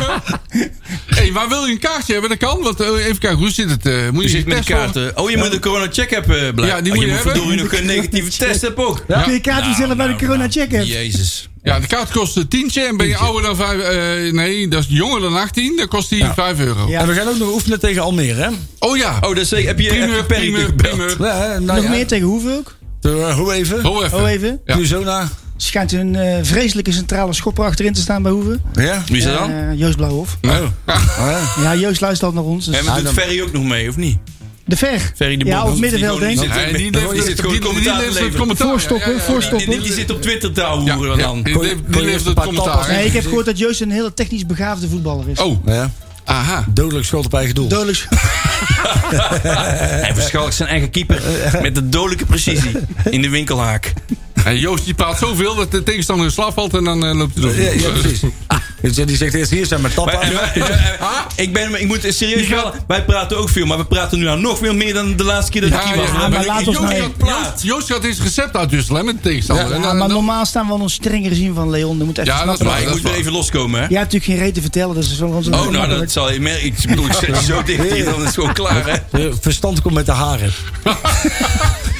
Speaker 4: ja, ja. hey, maar wil je een kaartje hebben? Dat kan. Want, eh, even kijken, hoe zit het? eh, moet je
Speaker 2: Je zit met de
Speaker 4: test wel-
Speaker 2: kaarten. Oh, je moet een corona-check-up blijven.
Speaker 4: Ja, die moet je hebben.
Speaker 2: Door je nog een negatieve test hebt ook.
Speaker 5: Kun je kaartjes zelf bij de corona check
Speaker 2: eh,
Speaker 5: hebt.
Speaker 2: Jezus.
Speaker 4: Ja, de kaart kost een tientje. En ben je ouder dan 5... eh nee, dat is jonger dan 18. Dan kost die 5 euro.
Speaker 5: Ja.
Speaker 6: En we gaan ook nog oefenen tegen Almere, hè?
Speaker 4: Oh ja.
Speaker 2: Oh, dat is, heb je heb je
Speaker 4: primeur,
Speaker 2: Perry
Speaker 4: primeur,
Speaker 2: gebeld?
Speaker 4: primeur.
Speaker 6: Ja, hè, nou
Speaker 5: Nog
Speaker 6: ja.
Speaker 5: meer tegen hoeveel ook?
Speaker 6: Eh, Hoe even?
Speaker 4: Ho even.
Speaker 5: Oh, even.
Speaker 2: Dus-
Speaker 4: Ja.
Speaker 6: Arizona.
Speaker 5: Schijnt een eh, vreselijke centrale schopper achterin te staan bij Hoeven.
Speaker 6: Ja?
Speaker 2: Wie is dat dan?
Speaker 5: Eh, Joost Blauwhof.
Speaker 2: Oh.
Speaker 4: Nou, ja.
Speaker 6: Ja.
Speaker 5: Ja, Joost luistert al naar ons. dus-
Speaker 2: En doet Ferry ook nog mee, of niet?
Speaker 5: De Ver.
Speaker 2: Ferry de
Speaker 5: ja,
Speaker 2: Bond.
Speaker 5: of middenveld
Speaker 2: Die
Speaker 5: denk ik.
Speaker 2: zit-
Speaker 4: Nee, die
Speaker 2: Die
Speaker 4: leeft
Speaker 2: zit
Speaker 4: het
Speaker 2: gewoon
Speaker 4: die- die
Speaker 2: commentaar te
Speaker 4: leeft het
Speaker 2: leveren.
Speaker 4: commentaar.
Speaker 5: Voorstoppen, voorstoppen.
Speaker 2: Die, die zit op Twitter te houden
Speaker 4: Ja,
Speaker 2: dan.
Speaker 4: die leeft- die leeft het commentaar.
Speaker 5: Nee,
Speaker 4: hè?
Speaker 5: ik heb gehoord dat Joost een hele technisch begaafde voetballer is.
Speaker 4: Oh,
Speaker 6: ja.
Speaker 4: aha.
Speaker 6: Dodelijk schot op eigen doel.
Speaker 5: Dodelijk.
Speaker 2: Hij verschalkt zijn eigen keeper met de dodelijke precisie in de winkelhaak.
Speaker 4: En Joost die praat zoveel dat de tegenstander in slaap valt en dan eh, loopt hij door.
Speaker 6: Ja, ja, precies. Dus Die zegt eerst hier zijn met
Speaker 2: Maar-
Speaker 6: tappa.
Speaker 2: en wij- en- en- Ik, ben, ik moet serieus wel, wij praten ook veel, maar we praten nu aan nog veel meer dan de laatste keer dat ik
Speaker 4: Ja,
Speaker 2: hier was.
Speaker 4: ja,
Speaker 2: We
Speaker 4: maar
Speaker 2: hebben-
Speaker 5: laat ons
Speaker 2: Joost
Speaker 5: nou-
Speaker 2: had
Speaker 4: Joost,
Speaker 2: plaat.
Speaker 4: Joost gaat eens recept uitwisselen hè, met de tegenstander. En
Speaker 5: Ja,
Speaker 4: dan-
Speaker 5: maar
Speaker 4: dan-
Speaker 5: normaal staan we al een strengere zien van Leon. Dat moet echt
Speaker 4: nou, Ja, dat is
Speaker 5: snappen.
Speaker 2: Maar ik
Speaker 4: dat
Speaker 2: moet weer even loskomen, hè?
Speaker 5: Jij hebt natuurlijk geen reet te vertellen, dus dat is wel ons
Speaker 2: Oh, nou, dat zal je merken. Ik bedoel, ik zet je zo dicht hier, dan is het gewoon klaar, hè?
Speaker 6: Eh, Verstand komt met de haren.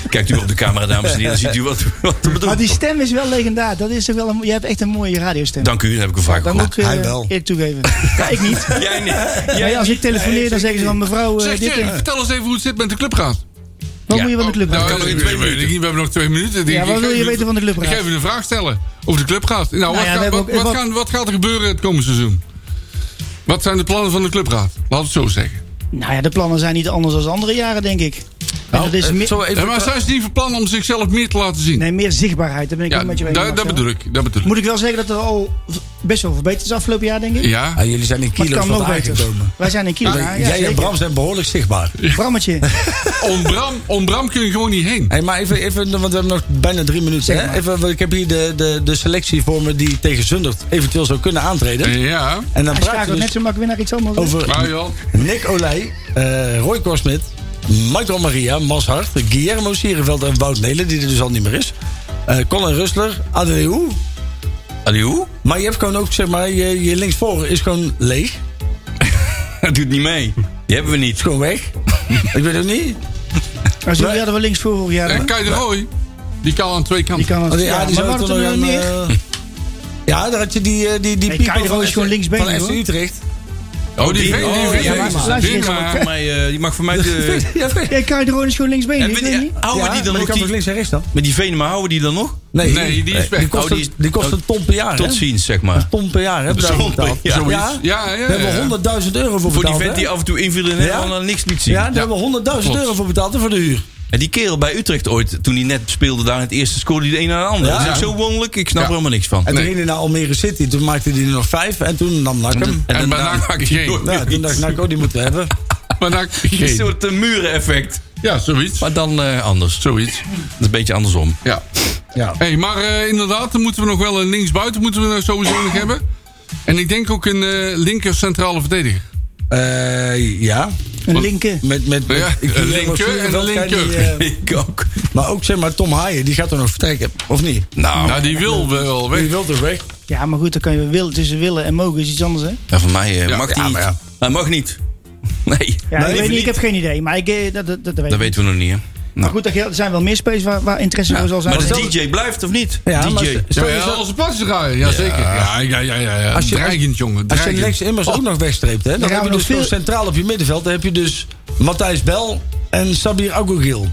Speaker 2: Kijkt u op de camera, dames en heren, dan ziet u wat, wat te
Speaker 5: Maar
Speaker 6: Ah,
Speaker 2: bedoelen.
Speaker 5: die stem is wel legendar. Dat is toch wel een, je hebt echt een mooie radiostem.
Speaker 2: Dank u, dat heb ik al vaak
Speaker 5: dat moet
Speaker 2: gehoord.
Speaker 5: ik eh,
Speaker 6: hij wel.
Speaker 5: eerlijk toegeven. Ja, ik niet.
Speaker 2: Jij niet. Jij
Speaker 5: Nee, als
Speaker 2: niet.
Speaker 5: ik telefoneer, dan zeggen ze van mevrouw, eh,
Speaker 4: Zeg,
Speaker 5: dit,
Speaker 4: Jerry,
Speaker 5: en-
Speaker 4: vertel eens even hoe het zit met de clubraad.
Speaker 5: wat
Speaker 2: ja.
Speaker 5: moet je van de club
Speaker 4: Nou,
Speaker 5: weten?
Speaker 2: kan nog in
Speaker 4: ik
Speaker 2: twee
Speaker 4: weet
Speaker 2: minuten.
Speaker 4: het niet, We hebben nog twee minuten. Ik-
Speaker 5: Ja, wat
Speaker 4: ik ga
Speaker 5: wil je
Speaker 4: even-
Speaker 5: weten van de clubraad?
Speaker 4: Ik ga even een vraag stellen over de clubraad. Nou, wat,
Speaker 5: ja, we
Speaker 4: gaan-
Speaker 5: hebben
Speaker 4: wat,
Speaker 5: ook-
Speaker 4: wat
Speaker 5: wat-
Speaker 4: gaan- wat gaat er gebeuren het komende seizoen? Wat zijn de plannen van de clubraad? Laat het zo zeggen.
Speaker 5: Nou ja, de plannen zijn niet anders dan andere jaren, denk ik. En dat is meer,
Speaker 4: Ja, maar zijn ze niet van plan om zichzelf meer te laten zien?
Speaker 5: nee, meer zichtbaarheid, daar ben ik
Speaker 4: ja,
Speaker 5: ook met je mee.
Speaker 4: daar-
Speaker 5: Marcel.
Speaker 4: dat bedoel ik. Dat bedoel ik.
Speaker 5: Moet ik wel zeggen dat er al v- best wel verbeterd is afgelopen jaar, denk ik.
Speaker 4: Ja,
Speaker 6: Ah, jullie zijn in
Speaker 5: Maar het
Speaker 6: kilo's
Speaker 5: kan
Speaker 6: van
Speaker 5: nog beter.
Speaker 6: aangekomen.
Speaker 5: Wij zijn in Kilo. ja, ja,
Speaker 6: Jij en
Speaker 5: zeker.
Speaker 6: Bram zijn behoorlijk zichtbaar.
Speaker 5: Brammetje.
Speaker 4: om Bram, om Bram kun je gewoon niet heen.
Speaker 6: Hey, maar even, even, want we hebben nog bijna drie minuten.
Speaker 5: Zeg
Speaker 6: Hè?
Speaker 5: maar.
Speaker 6: Even, want ik heb hier de, de, de selectie voor me die tegen Zundert eventueel zou kunnen aantreden.
Speaker 4: Ja,
Speaker 6: En dan praten
Speaker 5: Hij schakelt
Speaker 6: we
Speaker 5: net
Speaker 6: dus
Speaker 5: zo makkelijk weer naar iets anders.
Speaker 6: over
Speaker 4: maar joh.
Speaker 6: Nick Olij, eh, Roy Korsmit, Michael Maria, Mas Hart, Guillermo Sierenveld en Wout Nelen, die er dus al niet meer is. Eh, Colin Rustler, Adeleu.
Speaker 2: Allee, hoe?
Speaker 6: Maar je hebt gewoon ook, zeg maar, je, je linksvoor is gewoon leeg. Is
Speaker 2: Dat doet niet mee. Die hebben we niet.
Speaker 6: gewoon weg. ik weet het niet.
Speaker 5: Maar zo hadden Nou, we links voor vorig jaar.
Speaker 4: En Kai de Roy, die kan aan twee kanten.
Speaker 5: Die kan het.
Speaker 6: Want ja, Oh, die
Speaker 5: maar
Speaker 6: zou
Speaker 5: waarom
Speaker 6: toch
Speaker 5: doen
Speaker 6: nog
Speaker 5: we
Speaker 6: aan,
Speaker 5: hem neer?
Speaker 6: eh, Ja, daar had je die, eh, die, die
Speaker 5: Nee,
Speaker 6: pieper
Speaker 5: Cairo is
Speaker 6: FC
Speaker 5: gewoon linksbeen,
Speaker 6: Van FC
Speaker 5: hoor.
Speaker 6: Utrecht.
Speaker 4: Oh, die
Speaker 2: Oh,
Speaker 4: ving, die
Speaker 2: ja,
Speaker 4: ving.
Speaker 5: maar-
Speaker 4: Die
Speaker 5: luister
Speaker 4: ving
Speaker 5: eens,
Speaker 4: maar.
Speaker 2: Voor mij, eh, die mag voor mij de...
Speaker 6: Ja, maar-
Speaker 5: Ja, Kai de Roon is gewoon linksbeen.
Speaker 2: En
Speaker 5: ik
Speaker 2: we-
Speaker 5: weet niet.
Speaker 2: ja, houden we
Speaker 6: Ja,
Speaker 2: die dan
Speaker 6: maar
Speaker 2: nog?
Speaker 6: kan toch
Speaker 2: Die,
Speaker 6: links en rechts dan?
Speaker 2: met die Venema houden we die dan nog?
Speaker 6: Nee,
Speaker 4: Nee, die is weg.
Speaker 6: kost,
Speaker 2: Oh, die is-
Speaker 6: een, die kost een ton per jaar.
Speaker 2: Tot
Speaker 6: hè?
Speaker 2: ziens, zeg maar.
Speaker 6: Ton per jaar, hè?
Speaker 2: Zo'n
Speaker 6: Zo'n
Speaker 2: ton, ja.
Speaker 6: Ja,
Speaker 4: Zoiets.
Speaker 6: ja.
Speaker 4: Ja, ja, ja.
Speaker 6: Daar hebben we 100.000 euro voor
Speaker 2: Voor die
Speaker 6: betaald.
Speaker 2: vent
Speaker 6: hè?
Speaker 2: die af en toe inviel en helemaal dan niks liet zien.
Speaker 6: Ja, daar hebben we 100.000
Speaker 4: Klopt.
Speaker 6: euro voor betaald hè, voor de huur.
Speaker 2: En die kerel bij Utrecht ooit, toen hij net speelde daar in het eerste, scoorde hij de een aan de ander.
Speaker 6: Ja.
Speaker 2: Dat is ook zo wonderlijk, ik snap
Speaker 4: Ja.
Speaker 2: er helemaal niks van.
Speaker 6: En toen
Speaker 4: Nee.
Speaker 6: ging hij naar Almere City. Toen maakte hij er nog vijf. En toen nam NAC hem.
Speaker 2: En
Speaker 4: En
Speaker 2: daarna
Speaker 4: bijna
Speaker 2: maak
Speaker 4: maak
Speaker 2: ik
Speaker 4: je geen.
Speaker 2: nooit-
Speaker 6: Ja, toen dacht ik, nou, oh, die moeten we hebben.
Speaker 4: Maar daar-
Speaker 2: Een
Speaker 4: geen.
Speaker 2: soort eh, muren-effect.
Speaker 4: Ja, zoiets.
Speaker 2: Maar dan eh, anders.
Speaker 4: Zoiets.
Speaker 2: Dat is een beetje andersom.
Speaker 4: Ja.
Speaker 6: Ja.
Speaker 4: Hey, maar eh, inderdaad, dan moeten we nog wel een linksbuiten moeten we nou sowieso nog hebben. En ik denk ook een eh linker centrale verdediger.
Speaker 6: Eh, ja.
Speaker 5: Een linker.
Speaker 6: Met, met, met
Speaker 4: Ja,
Speaker 6: ik-
Speaker 4: een
Speaker 6: ik-
Speaker 4: linker
Speaker 6: ik-
Speaker 4: en een
Speaker 6: ik- ik-
Speaker 4: linker.
Speaker 6: die, eh,
Speaker 2: Ik ook.
Speaker 6: Maar ook zeg maar, Tom Haaien, die gaat er nog vertrekken, of niet?
Speaker 2: Nou,
Speaker 4: Nou, die wil wel
Speaker 6: Die
Speaker 4: weg.
Speaker 6: wil er weg.
Speaker 5: Ja, maar goed, dan kan je willen, tussen willen en mogen is iets anders, hè?
Speaker 2: ja, van mij eh,
Speaker 4: Ja,
Speaker 2: mag die
Speaker 4: ja,
Speaker 2: niet.
Speaker 4: maar ja.
Speaker 2: Hij mag niet. Nee,
Speaker 5: Ja, ik,
Speaker 2: even
Speaker 5: weet niet, ik heb
Speaker 2: niet.
Speaker 5: geen idee, maar ik, eh, dat, dat, dat weet
Speaker 2: dat
Speaker 5: ik.
Speaker 2: weten we nog niet, hè.
Speaker 5: Maar
Speaker 2: Nou.
Speaker 5: goed, er gel- er zijn wel meer spaces waar, waar interesse
Speaker 2: Ja.
Speaker 5: voor zal zijn.
Speaker 2: Maar
Speaker 5: Dat-
Speaker 2: de DJ blijft of niet?
Speaker 6: Ja,
Speaker 2: DJ.
Speaker 6: maar ze-
Speaker 4: Ja, ja, als een plaats draaien, ja zeker. Ja, ja, ja, ja. ja.
Speaker 6: Als je-
Speaker 4: dreigend, jongen,
Speaker 6: Als je
Speaker 4: dreigend.
Speaker 6: Lex Immers ook nog wegstreept, hè, dan
Speaker 5: gaan
Speaker 6: heb je dus
Speaker 5: we nog
Speaker 6: veel...
Speaker 5: veel-
Speaker 6: centraal op je middenveld... dan heb je dus Matthijs Bel en Sabir Agogiel.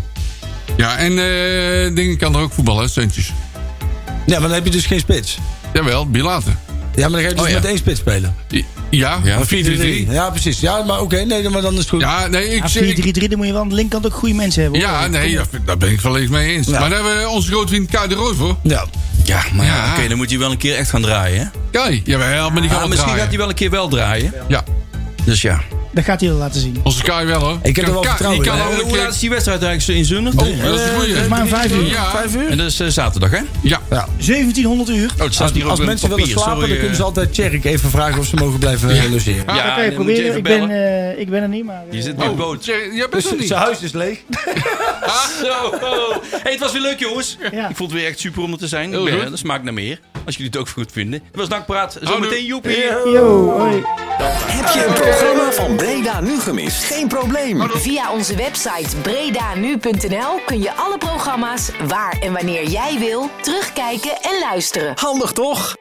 Speaker 4: Ja, en eh dingen kan er ook voetballen, hè, Seuntjes.
Speaker 6: Ja, maar dan heb je dus geen spits.
Speaker 4: Jawel, Bilater.
Speaker 6: Ja, maar dan ga je dus
Speaker 2: Oh, ja.
Speaker 6: met één spits spelen.
Speaker 4: I- Ja,
Speaker 2: Ja,
Speaker 4: 4-3-3.
Speaker 6: Ja, precies. Ja, maar oké, nee, dan- maar dan is het goed.
Speaker 4: Ja, nee, ik
Speaker 5: Ja,
Speaker 4: zeg...
Speaker 5: 4-3-3, dan moet je wel aan de linkerkant ook goede mensen hebben. hoor.
Speaker 4: Ja, nee, dat- daar ben ik wel eens mee eens.
Speaker 6: Ja.
Speaker 4: Maar daar hebben we onze grootvriend Kai de Roy voor.
Speaker 6: Ja.
Speaker 2: Ja, maar ja,
Speaker 4: Ja.
Speaker 2: Ah, oké, dan moet hij wel een keer echt gaan draaien, hè.
Speaker 4: Kai, jawel, maar die
Speaker 2: Ja,
Speaker 4: gaat wel
Speaker 2: misschien gaat hij
Speaker 4: draaien.
Speaker 2: wel een keer wel draaien.
Speaker 4: Ja,
Speaker 2: Dus ja.
Speaker 5: Dat gaat hij wel laten zien.
Speaker 4: onze Kai wel, hoor.
Speaker 6: Ik heb er wel
Speaker 4: Kai-
Speaker 6: vertrouwen
Speaker 4: Die kan
Speaker 6: in,
Speaker 4: ook
Speaker 2: Eh,
Speaker 4: een
Speaker 2: hoe laat
Speaker 4: keer...
Speaker 2: is die wedstrijd eigenlijk in Zundert?
Speaker 4: Oh, dat is een goeie.
Speaker 5: Maar om 5 uur.
Speaker 4: Ja,
Speaker 6: Vijf uur?
Speaker 2: En dat is eh, zaterdag, hè?
Speaker 4: ja.
Speaker 6: Ja.
Speaker 5: 1700 uur.
Speaker 2: Oh, het staat hier ook
Speaker 6: Als
Speaker 2: in
Speaker 6: mensen
Speaker 2: papier.
Speaker 6: willen slapen,
Speaker 2: Sorry,
Speaker 6: dan kunnen ze
Speaker 2: eh,
Speaker 6: altijd Tjerk even vragen of ze mogen blijven eh, logeren.
Speaker 2: Ja, dan
Speaker 5: Oké,
Speaker 2: moet je
Speaker 5: proberen.
Speaker 2: even
Speaker 5: Ik ben,
Speaker 2: bellen.
Speaker 5: eh, ik ben er niet, maar... eh,
Speaker 2: Je zit bij
Speaker 4: Oh,
Speaker 2: boot.
Speaker 4: Jerry, jij bent er niet.
Speaker 6: Zijn huis is leeg.
Speaker 2: Ah, Zo. Hey, het was weer leuk, jongens.
Speaker 5: Ja.
Speaker 2: Ik vond het weer echt super om er te zijn.
Speaker 4: Heel
Speaker 2: Ik ben-
Speaker 4: goed.
Speaker 2: dat smaakt naar meer. Als jullie het ook goed vinden. Het was Dankpraat.
Speaker 4: Houdoe.
Speaker 2: Zometeen Joepie.
Speaker 5: Yo, hoi.
Speaker 3: Heb je een programma van Breda nu gemist?
Speaker 1: Geen probleem. Via onze website bredanu.nl kun je alle programma's waar en wanneer jij wil terugkijken en luisteren.
Speaker 3: Handig toch?